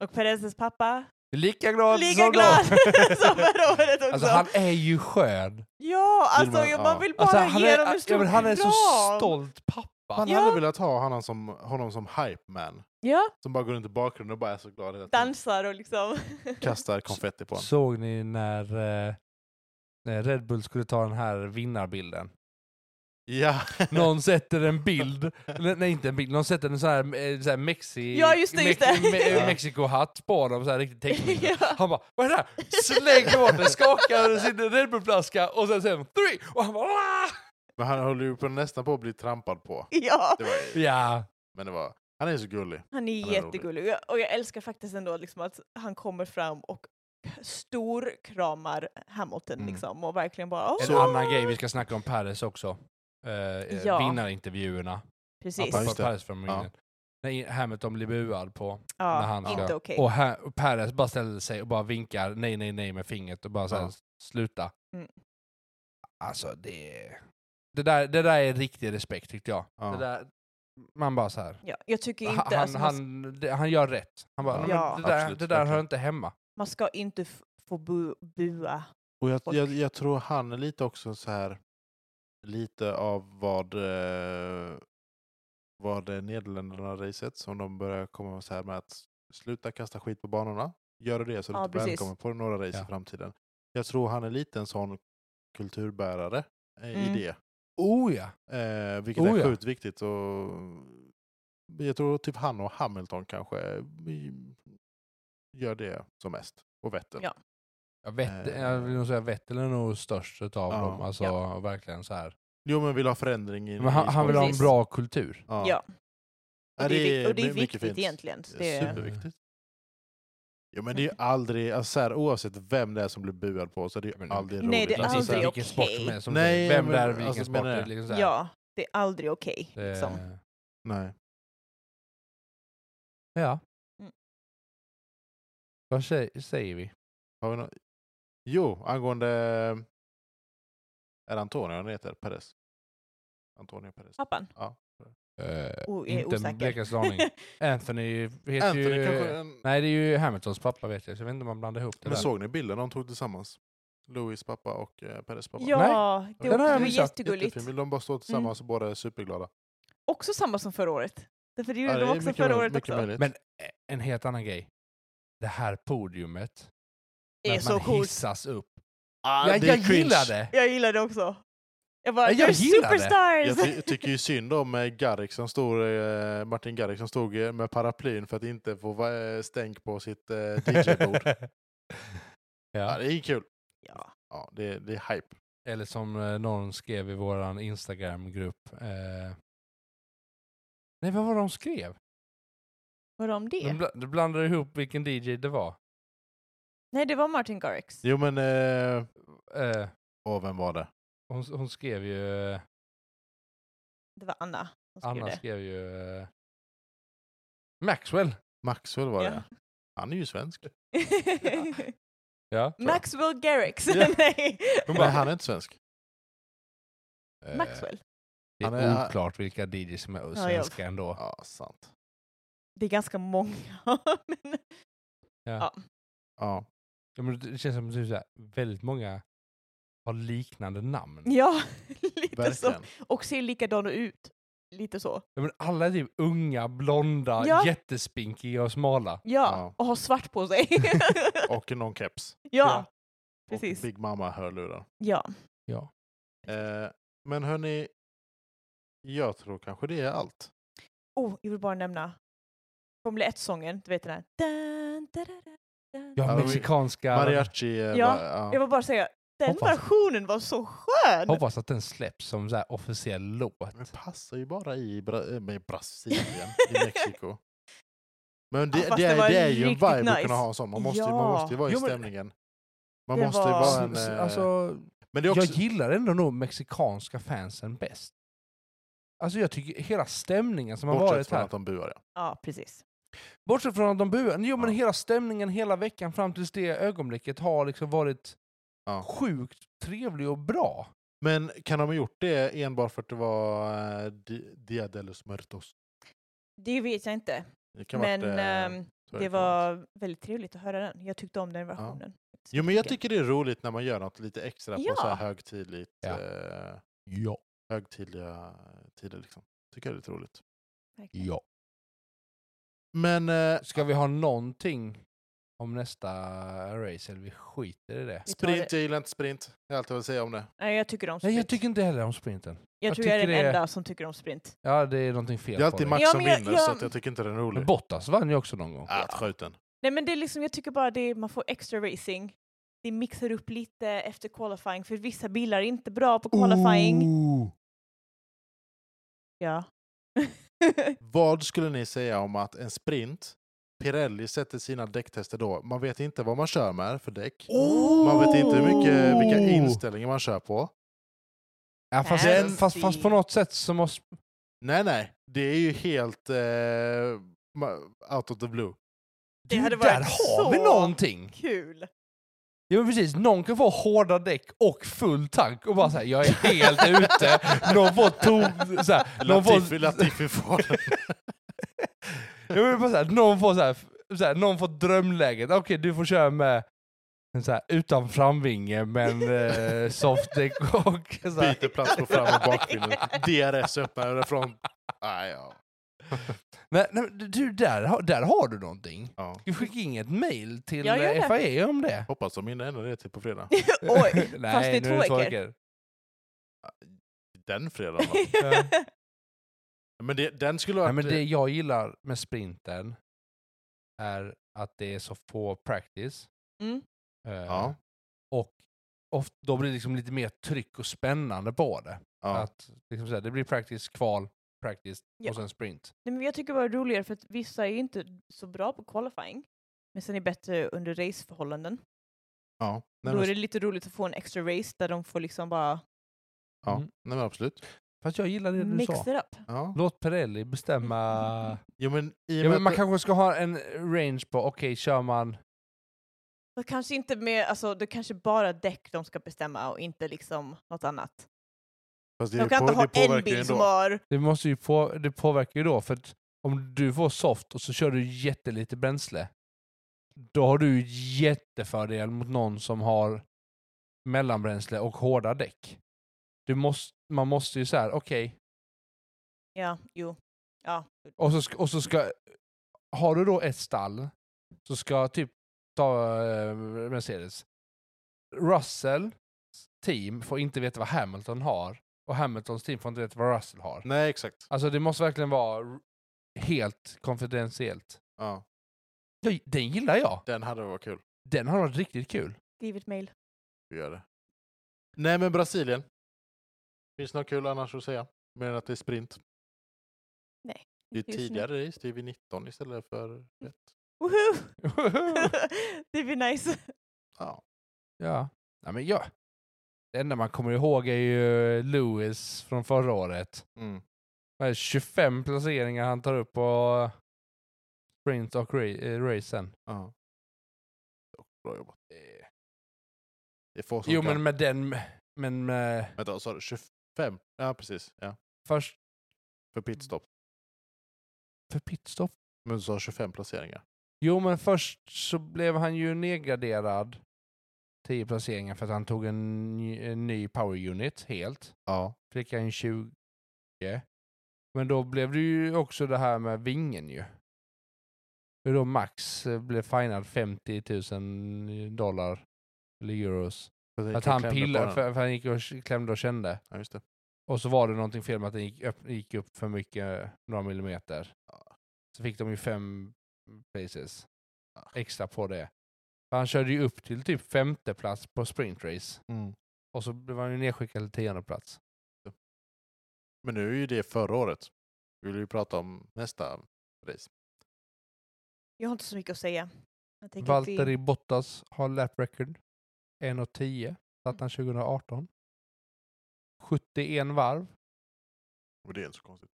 [SPEAKER 3] Och Perezes pappa,
[SPEAKER 2] Lika glad
[SPEAKER 3] lika
[SPEAKER 2] som
[SPEAKER 3] glad
[SPEAKER 2] då.
[SPEAKER 3] som förra året också.
[SPEAKER 2] Alltså han är ju skön.
[SPEAKER 3] Ja, alltså
[SPEAKER 1] Filmen,
[SPEAKER 3] jag,
[SPEAKER 1] ja.
[SPEAKER 3] man vill bara
[SPEAKER 2] Alltså, han,
[SPEAKER 3] ge
[SPEAKER 2] är,
[SPEAKER 3] dem
[SPEAKER 2] ja,
[SPEAKER 3] en stor
[SPEAKER 2] men han är så
[SPEAKER 3] kram.
[SPEAKER 2] stolt pappa.
[SPEAKER 1] Man
[SPEAKER 3] Ja.
[SPEAKER 1] hade velat ha honom som, honom som hype man.
[SPEAKER 3] Ja,
[SPEAKER 1] Som bara går runt i bakgrunden och bara är så glad hela tiden.
[SPEAKER 3] dansar och liksom.
[SPEAKER 1] Kastar konfetti på honom.
[SPEAKER 2] Såg ni när, eh, när Red Bull skulle ta den här vinnarbilden?
[SPEAKER 1] Ja.
[SPEAKER 2] Någon sätter en bild, eller, nej inte en bild, någon sätter en sån här, eh, sån här mexi,
[SPEAKER 3] Ja, just det, just det.
[SPEAKER 1] Ja.
[SPEAKER 2] Mexiko-hatt på dem, så här riktigt teckning.
[SPEAKER 3] Ja.
[SPEAKER 2] Han bara vad är det här? Slänger bort den, skakar sin Red Bull-flaska och sen säger han three! Och han bara "Ah!"
[SPEAKER 1] Men han höll ju på, nästan på att bli trampad på.
[SPEAKER 3] ja,
[SPEAKER 1] Det var,
[SPEAKER 2] Ja,
[SPEAKER 1] men det var, han är så gullig. Han
[SPEAKER 3] han är
[SPEAKER 1] är rolig.
[SPEAKER 3] jättegullig. Och jag- Och jag älskar faktiskt ändå liksom att han kommer fram och storkramar Hamilton
[SPEAKER 1] Mm.
[SPEAKER 3] liksom och verkligen bara
[SPEAKER 2] en
[SPEAKER 3] åh!
[SPEAKER 2] annan grej vi ska snacka om Paris också. Eh, eh,
[SPEAKER 3] Ja.
[SPEAKER 2] Vinnarintervjuerna.
[SPEAKER 3] Precis.
[SPEAKER 1] Ja,
[SPEAKER 2] Apropå
[SPEAKER 1] just det.
[SPEAKER 2] Paris från
[SPEAKER 1] Ja.
[SPEAKER 2] När Hamilton blir buad på när
[SPEAKER 3] Ja,
[SPEAKER 2] han ska-
[SPEAKER 3] inte okej.
[SPEAKER 2] Och, här, och Perez bara ställer sig och bara vinkar nej, nej, nej med fingret och bara såhär,
[SPEAKER 1] Ja.
[SPEAKER 2] sluta.
[SPEAKER 3] Mm.
[SPEAKER 2] Alltså det... Det där, det där är riktig respekt tyckte jag. Det
[SPEAKER 1] Ja.
[SPEAKER 2] där, man bara såhär,
[SPEAKER 3] Ja, jag tycker inte,
[SPEAKER 2] han,
[SPEAKER 3] alltså, man,
[SPEAKER 2] han, det, han gör rätt. Han bara,
[SPEAKER 1] Ja.
[SPEAKER 2] "Nej, men
[SPEAKER 3] Ja.
[SPEAKER 2] det där,
[SPEAKER 1] Absolut,
[SPEAKER 2] det där hör
[SPEAKER 1] verkligen.
[SPEAKER 2] inte hemma.
[SPEAKER 3] man ska inte f- få bu bua.
[SPEAKER 1] Och jag,
[SPEAKER 3] Och-
[SPEAKER 1] jag, jag tror han är lite också så här lite av vad eh, vad eh, Nederländerna har racet som de börjar komma så här med att sluta kasta skit på banorna. Gör du det så är du
[SPEAKER 3] Ja,
[SPEAKER 1] inte
[SPEAKER 3] precis.
[SPEAKER 1] välkommen på några race
[SPEAKER 2] Ja.
[SPEAKER 1] i framtiden. Jag tror han är lite en sån kulturbärare eh,
[SPEAKER 3] Mm.
[SPEAKER 1] i det.
[SPEAKER 2] Oh ja!
[SPEAKER 1] Eh, vilket
[SPEAKER 2] Oh,
[SPEAKER 1] är
[SPEAKER 2] ja.
[SPEAKER 1] sjukt viktigt. Och jag tror typ han och Hamilton kanske mm, gör det som mest. Och Vettel.
[SPEAKER 3] Ja.
[SPEAKER 2] Jag, vet,
[SPEAKER 1] Eh.
[SPEAKER 2] jag vill nog säga Vettel är nog störst utav
[SPEAKER 1] Ja.
[SPEAKER 2] dem. Alltså
[SPEAKER 3] Ja.
[SPEAKER 2] verkligen så här.
[SPEAKER 1] Jo men vill ha förändring. I,
[SPEAKER 2] Men han,
[SPEAKER 1] i
[SPEAKER 2] han vill ha en
[SPEAKER 3] Precis.
[SPEAKER 2] bra kultur.
[SPEAKER 1] Ja.
[SPEAKER 3] Ja.
[SPEAKER 1] Ja,
[SPEAKER 3] Och det är, vik- och det är
[SPEAKER 1] mycket
[SPEAKER 3] viktigt
[SPEAKER 1] fint.
[SPEAKER 3] egentligen. Det
[SPEAKER 1] Det är
[SPEAKER 3] är,
[SPEAKER 1] superviktigt. Jo men det är ju aldrig, alltså så här, oavsett vem det är som blir buad på så är det ju
[SPEAKER 2] Men-
[SPEAKER 1] aldrig roligt.
[SPEAKER 3] Nej, det är
[SPEAKER 1] Alltså,
[SPEAKER 2] Precis,
[SPEAKER 1] så här,
[SPEAKER 3] aldrig
[SPEAKER 2] vilken sport som
[SPEAKER 3] okej.
[SPEAKER 2] helst. som
[SPEAKER 1] Nej,
[SPEAKER 2] säger, Vem
[SPEAKER 1] men
[SPEAKER 2] där, vilken
[SPEAKER 1] alltså,
[SPEAKER 2] sport.
[SPEAKER 1] menar
[SPEAKER 2] det är
[SPEAKER 1] jag.
[SPEAKER 2] Liksom så här.
[SPEAKER 3] ja, det är aldrig okej.
[SPEAKER 2] Det-
[SPEAKER 3] liksom.
[SPEAKER 1] Nej.
[SPEAKER 2] Ja.
[SPEAKER 3] Mm.
[SPEAKER 2] Vad sä- säger vi?
[SPEAKER 1] Har vi nå- Jo, angående... Är det Antonio han heter? Perez? Antonio Perez.
[SPEAKER 3] Pappan, o- är
[SPEAKER 2] inte
[SPEAKER 3] osäker.
[SPEAKER 2] blekaste aning. Anthony heter
[SPEAKER 1] Eh, Anthony
[SPEAKER 2] ju...
[SPEAKER 1] kanske... En...
[SPEAKER 2] Nej, det är ju Hamiltons pappa vet jag, så jag vet inte om man blandar ihop det
[SPEAKER 1] Men
[SPEAKER 2] där.
[SPEAKER 1] såg ni bilden de tog tillsammans? Louis pappa och eh, Perez pappa.
[SPEAKER 3] ja, det
[SPEAKER 1] Den har
[SPEAKER 3] var
[SPEAKER 2] jag
[SPEAKER 3] också
[SPEAKER 2] missat.
[SPEAKER 3] jättegulligt. Mm.
[SPEAKER 1] Jättefin bild. De bara står tillsammans och båda är superglada.
[SPEAKER 3] Också samma som förra året. Därför det gjorde
[SPEAKER 1] Ja,
[SPEAKER 3] de
[SPEAKER 1] är
[SPEAKER 3] också förra
[SPEAKER 1] möj-
[SPEAKER 3] året
[SPEAKER 1] mycket
[SPEAKER 3] också.
[SPEAKER 1] möjligt.
[SPEAKER 2] Men e-, en helt annan grej. Det här podiumet,
[SPEAKER 3] Det
[SPEAKER 2] när
[SPEAKER 3] är
[SPEAKER 2] man
[SPEAKER 3] så coolt.
[SPEAKER 2] hissas upp.
[SPEAKER 1] Ah,
[SPEAKER 2] jag
[SPEAKER 1] det är
[SPEAKER 2] jag
[SPEAKER 1] cringe.
[SPEAKER 2] gillar det!
[SPEAKER 3] Jag gillar det också. Jag
[SPEAKER 2] Ja,
[SPEAKER 3] bara,
[SPEAKER 2] jag
[SPEAKER 3] jag
[SPEAKER 2] gillar det.
[SPEAKER 1] Jag
[SPEAKER 3] superstars!
[SPEAKER 1] ty tycker ju synd om eh, Garrick som stod, eh, Martin Garrick som stod eh, med paraplyn för att inte få va- eh, stänk på sitt eh, DJ-bord. ja,
[SPEAKER 2] ja.
[SPEAKER 1] det är kul.
[SPEAKER 3] ja.
[SPEAKER 1] Ja, det, det är hype.
[SPEAKER 2] Eller som eh, någon skrev i våran Instagram-grupp. Eh... Nej, vad var de skrev?
[SPEAKER 3] Var det om det?
[SPEAKER 2] De, bla- de blandade ihop vilken DJ det var.
[SPEAKER 3] Nej, det var Martin Garrix.
[SPEAKER 1] Jo men, eh,
[SPEAKER 2] Eh,
[SPEAKER 1] åh, vem var det?
[SPEAKER 2] hon, hon skrev ju... eh,
[SPEAKER 3] Det var Anna som skrev
[SPEAKER 2] Anna
[SPEAKER 3] det.
[SPEAKER 2] skrev ju... eh, Maxwell!
[SPEAKER 1] Maxwell var
[SPEAKER 3] Ja.
[SPEAKER 1] det. Han är ju svensk.
[SPEAKER 2] Ja.
[SPEAKER 3] Maxwell Garrix.
[SPEAKER 1] Ja.
[SPEAKER 3] Nej.
[SPEAKER 2] Hon
[SPEAKER 1] Nej, han är inte svensk.
[SPEAKER 2] eh,
[SPEAKER 3] Maxwell.
[SPEAKER 2] Det
[SPEAKER 1] Han är-
[SPEAKER 2] är oklart vilka DJs som är
[SPEAKER 3] Ja,
[SPEAKER 2] svenska ändå.
[SPEAKER 1] Ja, sant.
[SPEAKER 3] Det är ganska många. men...
[SPEAKER 1] Ja.
[SPEAKER 2] Ja, men det känns som att typ så här, väldigt många har liknande namn.
[SPEAKER 3] Ja, lite så.
[SPEAKER 1] Verkligen.
[SPEAKER 3] Och ser likadana ut. lite så.
[SPEAKER 2] Ja, men alla är typ unga, blonda,
[SPEAKER 3] Ja.
[SPEAKER 2] jättespinkiga och smala.
[SPEAKER 3] Ja,
[SPEAKER 1] Ja.
[SPEAKER 3] och ha svart på sig.
[SPEAKER 1] Och någon keps.
[SPEAKER 3] ja,
[SPEAKER 1] Och
[SPEAKER 3] precis.
[SPEAKER 1] Big Mama-hörlurar.
[SPEAKER 3] Ja.
[SPEAKER 1] Eh, men hörni, jag tror kanske det är allt.
[SPEAKER 3] Oh, jag vill bara nämna Formel 1-sången, du vet den här. Dun, da, da, da, dun.
[SPEAKER 2] Ja,
[SPEAKER 1] Ja, vi-
[SPEAKER 2] mexikanska.
[SPEAKER 1] Mariachi. eh,
[SPEAKER 3] Ja,
[SPEAKER 1] va- ja.
[SPEAKER 3] Jag vill bara säga, den
[SPEAKER 2] Hoppas.
[SPEAKER 3] versionen var så skön!
[SPEAKER 2] Hoppas att den släpps som så här officiell låt.
[SPEAKER 1] Men passar ju bara i Bra- eh, med Brasilien, i Mexiko. Men det,
[SPEAKER 3] Ja, fast
[SPEAKER 1] det,
[SPEAKER 3] det
[SPEAKER 1] är,
[SPEAKER 3] var
[SPEAKER 1] det är ju en
[SPEAKER 3] riktigt
[SPEAKER 1] vibe att
[SPEAKER 3] nice.
[SPEAKER 1] kunna ha en sån. Man måste, ju- man
[SPEAKER 3] Ja.
[SPEAKER 1] måste ju vara i
[SPEAKER 2] Jo, men-
[SPEAKER 1] stämningen. Man
[SPEAKER 3] Det
[SPEAKER 1] måste ju
[SPEAKER 3] var-
[SPEAKER 1] vara en...
[SPEAKER 2] S- s-
[SPEAKER 1] eh,
[SPEAKER 2] alltså,
[SPEAKER 1] men det är också,
[SPEAKER 2] Jag gillar ändå nog mexikanska fansen bäst. Alltså jag tycker hela stämningen som har
[SPEAKER 1] bortsett
[SPEAKER 2] varit
[SPEAKER 1] från
[SPEAKER 2] här.
[SPEAKER 1] att de buar. Ja.
[SPEAKER 3] Ja, precis.
[SPEAKER 2] Bortsett från att de buar. Jo men
[SPEAKER 1] Ja.
[SPEAKER 2] hela stämningen hela veckan fram tills det ögonblicket har liksom varit
[SPEAKER 1] Ja.
[SPEAKER 2] sjukt trevlig och bra.
[SPEAKER 1] Men kan de ha gjort det enbart för att det var eh, Di- Dia de los Muertos?
[SPEAKER 3] Det vet jag inte,
[SPEAKER 1] Det kan
[SPEAKER 3] men
[SPEAKER 1] varit, eh,
[SPEAKER 3] ehm,
[SPEAKER 1] så är
[SPEAKER 3] det
[SPEAKER 1] kan ha varit.
[SPEAKER 3] var väldigt trevligt att höra den. Jag tyckte om den versionen.
[SPEAKER 1] Jo, men jag tycker det är roligt när man gör något lite extra på
[SPEAKER 3] Ja.
[SPEAKER 1] så här högtidligt.
[SPEAKER 2] Ja.
[SPEAKER 1] Eh,
[SPEAKER 2] Ja.
[SPEAKER 1] högtidliga tider liksom. Tycker jag det är lite roligt.
[SPEAKER 3] Verkligen.
[SPEAKER 2] ja.
[SPEAKER 1] Men eh,
[SPEAKER 2] Ska vi ha någonting om nästa race eller vi skiter i det?
[SPEAKER 3] Vi tar
[SPEAKER 1] Sprint,
[SPEAKER 3] det-
[SPEAKER 1] jag gillar inte sprint. Det är allt jag vill säga om det.
[SPEAKER 3] Nej, jag tycker om sprint.
[SPEAKER 2] Nej jag tycker inte heller om sprinten.
[SPEAKER 3] Jag
[SPEAKER 2] jag
[SPEAKER 3] tror jag är den
[SPEAKER 2] tycker det är-
[SPEAKER 3] enda som tycker om sprint.
[SPEAKER 2] Ja det är någonting
[SPEAKER 1] Det
[SPEAKER 2] fel
[SPEAKER 1] är
[SPEAKER 2] på
[SPEAKER 1] alltid
[SPEAKER 2] det.
[SPEAKER 1] Max
[SPEAKER 3] Ja,
[SPEAKER 1] som
[SPEAKER 3] men jag-
[SPEAKER 1] vinner så
[SPEAKER 3] jag-
[SPEAKER 1] att jag tycker inte den är
[SPEAKER 2] Men
[SPEAKER 1] rolig.
[SPEAKER 2] Bottas vann ju också någon gång.
[SPEAKER 1] Ah, skjut den.
[SPEAKER 3] Nej, men det är liksom, jag tycker bara det är, man får extra racing. Det mixar upp lite efter qualifying, för vissa bilar är inte bra på qualifying.
[SPEAKER 1] Oh!
[SPEAKER 2] Ooh.
[SPEAKER 3] Ja.
[SPEAKER 1] Vad skulle ni säga om att en sprint, Pirelli sätter sina däcktester då. Man vet inte vad man kör med för däck.
[SPEAKER 2] Oh!
[SPEAKER 1] Man vet inte hur mycket, vilka inställningar man kör på.
[SPEAKER 2] Ja, fast,
[SPEAKER 3] Den-
[SPEAKER 2] fast, fast på något sätt så måste...
[SPEAKER 1] Nej, nej. Det är ju helt eh, ma- out of the blue.
[SPEAKER 3] Det
[SPEAKER 2] Du,
[SPEAKER 3] hade
[SPEAKER 2] där
[SPEAKER 3] varit
[SPEAKER 2] har
[SPEAKER 3] så-
[SPEAKER 2] vi någonting!
[SPEAKER 3] Kul!
[SPEAKER 2] Ja men precis, någon kan få hårda däck och full tank och bara såhär, jag är helt ute, någon får tom... Så här, någon
[SPEAKER 1] Latifi,
[SPEAKER 2] får,
[SPEAKER 1] Latifi får den.
[SPEAKER 2] jag vill bara så här, någon får, så här, så här, någon får drömläget, okej du får köra med så här, utan framvinge men eh, softdäck och så här.
[SPEAKER 1] byter plats på fram och bakbilen. DRS öppnar därifrån. Ah, ja.
[SPEAKER 2] Nej, nej, men du, där, har- där har du någonting.
[SPEAKER 1] Ja.
[SPEAKER 2] Du skickar inget mail till
[SPEAKER 3] Jag gör
[SPEAKER 2] eh,
[SPEAKER 3] det.
[SPEAKER 2] FIA om det.
[SPEAKER 1] Hoppas de hinner ändra det till på fredag.
[SPEAKER 3] Oj!
[SPEAKER 2] Nej,
[SPEAKER 3] fast det är
[SPEAKER 2] nu
[SPEAKER 3] två veckor.
[SPEAKER 1] Den fredagen va? Men det, den skulle ha
[SPEAKER 2] Nej,
[SPEAKER 1] varit... eh,
[SPEAKER 2] men det jag gillar med sprinten är att det är så få practice.
[SPEAKER 3] Mm.
[SPEAKER 2] eh,
[SPEAKER 1] Ja.
[SPEAKER 2] Och ofta, då blir det liksom lite mer tryck och spännande på det.
[SPEAKER 1] ja.
[SPEAKER 2] Att, liksom så här, det blir practice, kval, practice
[SPEAKER 3] Ja.
[SPEAKER 2] och sen sprint.
[SPEAKER 3] Nej, men jag tycker bara det är roligare för att vissa är ju inte så bra på qualifying, men sen är bättre under raceförhållanden.
[SPEAKER 1] Ja, nej,
[SPEAKER 3] Då är
[SPEAKER 1] men, alltså
[SPEAKER 3] det lite roligt att få en extra race där de får liksom bara
[SPEAKER 1] ja,
[SPEAKER 2] Mm.
[SPEAKER 1] nej, men absolut.
[SPEAKER 2] Fast jag gillar det du
[SPEAKER 3] mix
[SPEAKER 2] sa.
[SPEAKER 3] it up.
[SPEAKER 1] Ja.
[SPEAKER 2] Låt Pirelli
[SPEAKER 3] Mm,
[SPEAKER 2] bestämma.
[SPEAKER 1] Jo, men, i och
[SPEAKER 2] ja,
[SPEAKER 1] med
[SPEAKER 2] men man
[SPEAKER 1] att-
[SPEAKER 2] kanske ska ha en range på, okej kör man
[SPEAKER 3] Och kanske inte med, alltså det kanske bara däck de ska bestämma och inte liksom något annat.
[SPEAKER 1] fast det,
[SPEAKER 3] De kan
[SPEAKER 1] på,
[SPEAKER 3] inte ha
[SPEAKER 1] det påverkar
[SPEAKER 3] en
[SPEAKER 1] ju
[SPEAKER 3] bil
[SPEAKER 1] ändå.
[SPEAKER 3] som har...
[SPEAKER 2] Det, måste ju på, det påverkar ju då, för att om du får soft och så kör du jättelite bränsle, då har du jättefördel mot någon som har mellanbränsle och hårda däck. Du måste, man måste ju så här, okej,
[SPEAKER 3] Ja, jo. Ja.
[SPEAKER 2] och, så ska- och så ska... Har du då ett stall, så ska typ ta eh, Mercedes. Russells team får inte veta vad Hamilton har, och Hamiltons team får inte veta vad Russell har.
[SPEAKER 1] Nej, exakt.
[SPEAKER 2] Alltså det måste verkligen vara r- helt konfidentiellt.
[SPEAKER 1] Ja,
[SPEAKER 2] Jag, den gillar jag.
[SPEAKER 1] den hade varit kul.
[SPEAKER 2] Den har varit riktigt kul.
[SPEAKER 3] Skriv ett mejl.
[SPEAKER 1] Vi gör det. Nej, men Brasilien. Finns det något kul annars att säga? Mer än att det är sprint. Det är
[SPEAKER 3] Just nu. Mm.
[SPEAKER 1] tidigare race, det är vid 19 istället för ett.
[SPEAKER 3] Woho! det blir nice.
[SPEAKER 1] Ja.
[SPEAKER 2] ja. Nej, men jag, det enda man kommer ihåg är ju Lewis från förra året.
[SPEAKER 1] Mm.
[SPEAKER 2] Det är 25 placeringar han tar upp på sprint och ra- eh, racen.
[SPEAKER 1] ja. Bra jobbat.
[SPEAKER 2] Eh,
[SPEAKER 1] Det är få som
[SPEAKER 2] Jo
[SPEAKER 1] kan.
[SPEAKER 2] men med den... Men med
[SPEAKER 1] Vänta, sa du 25? Ja, precis. Ja.
[SPEAKER 2] först
[SPEAKER 1] För pitstop.
[SPEAKER 2] för pitstop.
[SPEAKER 1] Men du sa 25 placeringar.
[SPEAKER 2] Jo men först så blev han ju nedgraderad 10 placeringar för att han tog en, ny- en ny power unit helt.
[SPEAKER 1] Ja.
[SPEAKER 2] Fick han 20. Men då blev det ju också det här med vingen ju. Hur då Max eh, blev finad 50 000 dollar eller euros.
[SPEAKER 1] För gick
[SPEAKER 2] Att
[SPEAKER 1] och
[SPEAKER 2] han
[SPEAKER 1] klämde på
[SPEAKER 2] pillade,
[SPEAKER 1] den.
[SPEAKER 2] för, för han gick och k- klämde och kände.
[SPEAKER 1] Ja, just det.
[SPEAKER 2] Och så var det någonting fel med att den gick, öpp, gick upp för mycket, några millimeter. Så fick de ju fem places extra på det. För han körde ju upp till typ femte plats på sprintrace.
[SPEAKER 1] Mm.
[SPEAKER 2] Och så blev han ju nedskickad till tionde plats.
[SPEAKER 1] Men nu är ju det förra året. Vi vill ju prata om nästa race.
[SPEAKER 3] Jag har inte så mycket att säga. Jag tänker att vi-
[SPEAKER 2] Valtteri Bottas har lap record 1.10, satt han 2018. 71 varv.
[SPEAKER 1] Och det är inte så konstigt.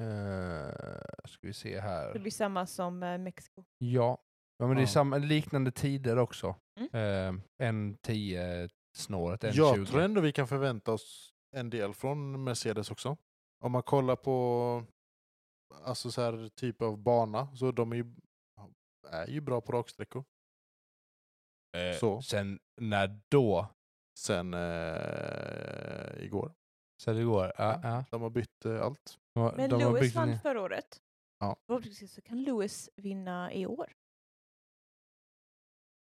[SPEAKER 2] Uh, ska vi se
[SPEAKER 3] Det
[SPEAKER 2] här.
[SPEAKER 3] blir samma som eh, Mexiko.
[SPEAKER 2] Ja, ja men det är
[SPEAKER 1] Ja.
[SPEAKER 2] samma, liknande tider också.
[SPEAKER 3] Mm.
[SPEAKER 2] Eh, en 10 snåret, en
[SPEAKER 1] Jag
[SPEAKER 2] 20.
[SPEAKER 1] tror ändå vi kan förvänta oss en del från Mercedes också. Om man kollar på alltså så här typ av bana så de är ju, är ju bra på raksträckor.
[SPEAKER 2] Eh,
[SPEAKER 1] så.
[SPEAKER 2] Sen när då?
[SPEAKER 1] Sen eh, igår.
[SPEAKER 2] Så det går. Ja, ja.
[SPEAKER 1] De har bytt eh, allt.
[SPEAKER 2] De har-
[SPEAKER 3] Men
[SPEAKER 2] de har
[SPEAKER 3] Lewis
[SPEAKER 2] byggt en-
[SPEAKER 3] vann förra året.
[SPEAKER 1] Ja.
[SPEAKER 3] Förhoppningsvis så kan Lewis vinna i år.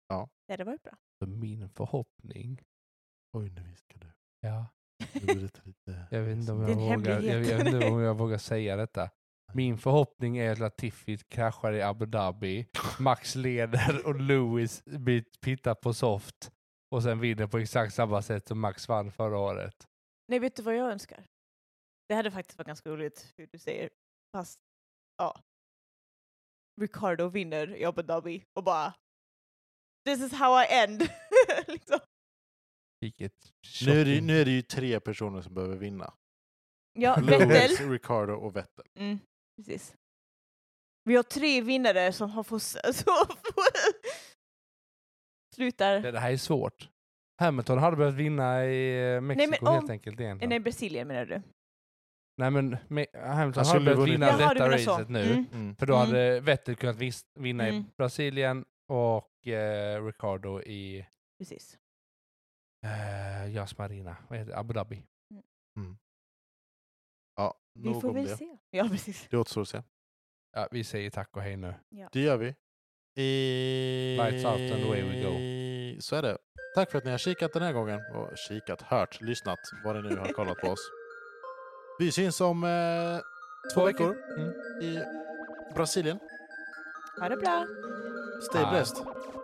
[SPEAKER 1] Ja.
[SPEAKER 3] Det hade varit bra.
[SPEAKER 2] Så min förhoppning.
[SPEAKER 1] Oj, nu viskar du.
[SPEAKER 2] Ja.
[SPEAKER 1] Nu blir det lite...
[SPEAKER 2] Jag vet inte om
[SPEAKER 3] Det är
[SPEAKER 2] jag,
[SPEAKER 3] en
[SPEAKER 2] vågar, jag,
[SPEAKER 3] hemlighet.
[SPEAKER 2] vet inte om jag vågar säga detta. Min förhoppning är att Latifi kraschar i Abu Dhabi, Max leder och Lewis blir pittad på soft och sen vinner på exakt samma sätt som Max vann förra året.
[SPEAKER 3] Nej, vet du vad jag önskar? Det hade faktiskt varit ganska roligt hur du säger. Fast, ja. Ricardo vinner i Abu Dhabi och bara This is how I end. liksom.
[SPEAKER 2] Vilket
[SPEAKER 1] Nu är, det, ju-
[SPEAKER 2] shocking-
[SPEAKER 1] nu är det ju tre personer som behöver vinna.
[SPEAKER 3] Ja,
[SPEAKER 2] Lewis.
[SPEAKER 3] Vettel.
[SPEAKER 1] Lewis, Ricardo och Vettel.
[SPEAKER 3] Mm, precis. Vi har tre vinnare som har fått... Som får- slutar...
[SPEAKER 2] Det här är svårt. Hamilton hade behövt vinna i eh, Mexiko
[SPEAKER 3] men
[SPEAKER 2] helt
[SPEAKER 3] om-
[SPEAKER 2] enkelt egentligen.
[SPEAKER 3] Eh, Nej, Brasilien menar du?
[SPEAKER 2] Nej men Me- Hamilton
[SPEAKER 1] Han
[SPEAKER 2] hade
[SPEAKER 1] skulle
[SPEAKER 2] behövt
[SPEAKER 1] vunnit.
[SPEAKER 2] vinna
[SPEAKER 1] Jaha,
[SPEAKER 3] Jaha, du
[SPEAKER 2] detta
[SPEAKER 3] menar så?
[SPEAKER 2] racet nu.
[SPEAKER 3] Mm.
[SPEAKER 1] Mm.
[SPEAKER 2] För då
[SPEAKER 3] Mm.
[SPEAKER 2] hade Vettel kunnat vis- vinna i
[SPEAKER 3] Mm.
[SPEAKER 2] Brasilien och eh, Ricardo i
[SPEAKER 3] Precis.
[SPEAKER 2] Eh, Yas Marina, vad heter det? Abu Dhabi.
[SPEAKER 1] Ja,
[SPEAKER 3] Vi
[SPEAKER 1] nog
[SPEAKER 3] får
[SPEAKER 1] om
[SPEAKER 3] väl
[SPEAKER 1] det.
[SPEAKER 3] se. Ja, precis.
[SPEAKER 1] Det återstår att se.
[SPEAKER 2] Ja, vi säger tack och hej nu.
[SPEAKER 1] Det gör vi. I...
[SPEAKER 2] Lights out and away we
[SPEAKER 1] Så är det. Tack för att ni har kikat den här gången. Och kikat, hört, lyssnat, vad ni nu har kollat på oss. Vi syns om eh, två veckor
[SPEAKER 2] Mm.
[SPEAKER 1] i Brasilien.
[SPEAKER 3] Ha det bra.
[SPEAKER 1] Stay
[SPEAKER 2] Ah.
[SPEAKER 1] blessed.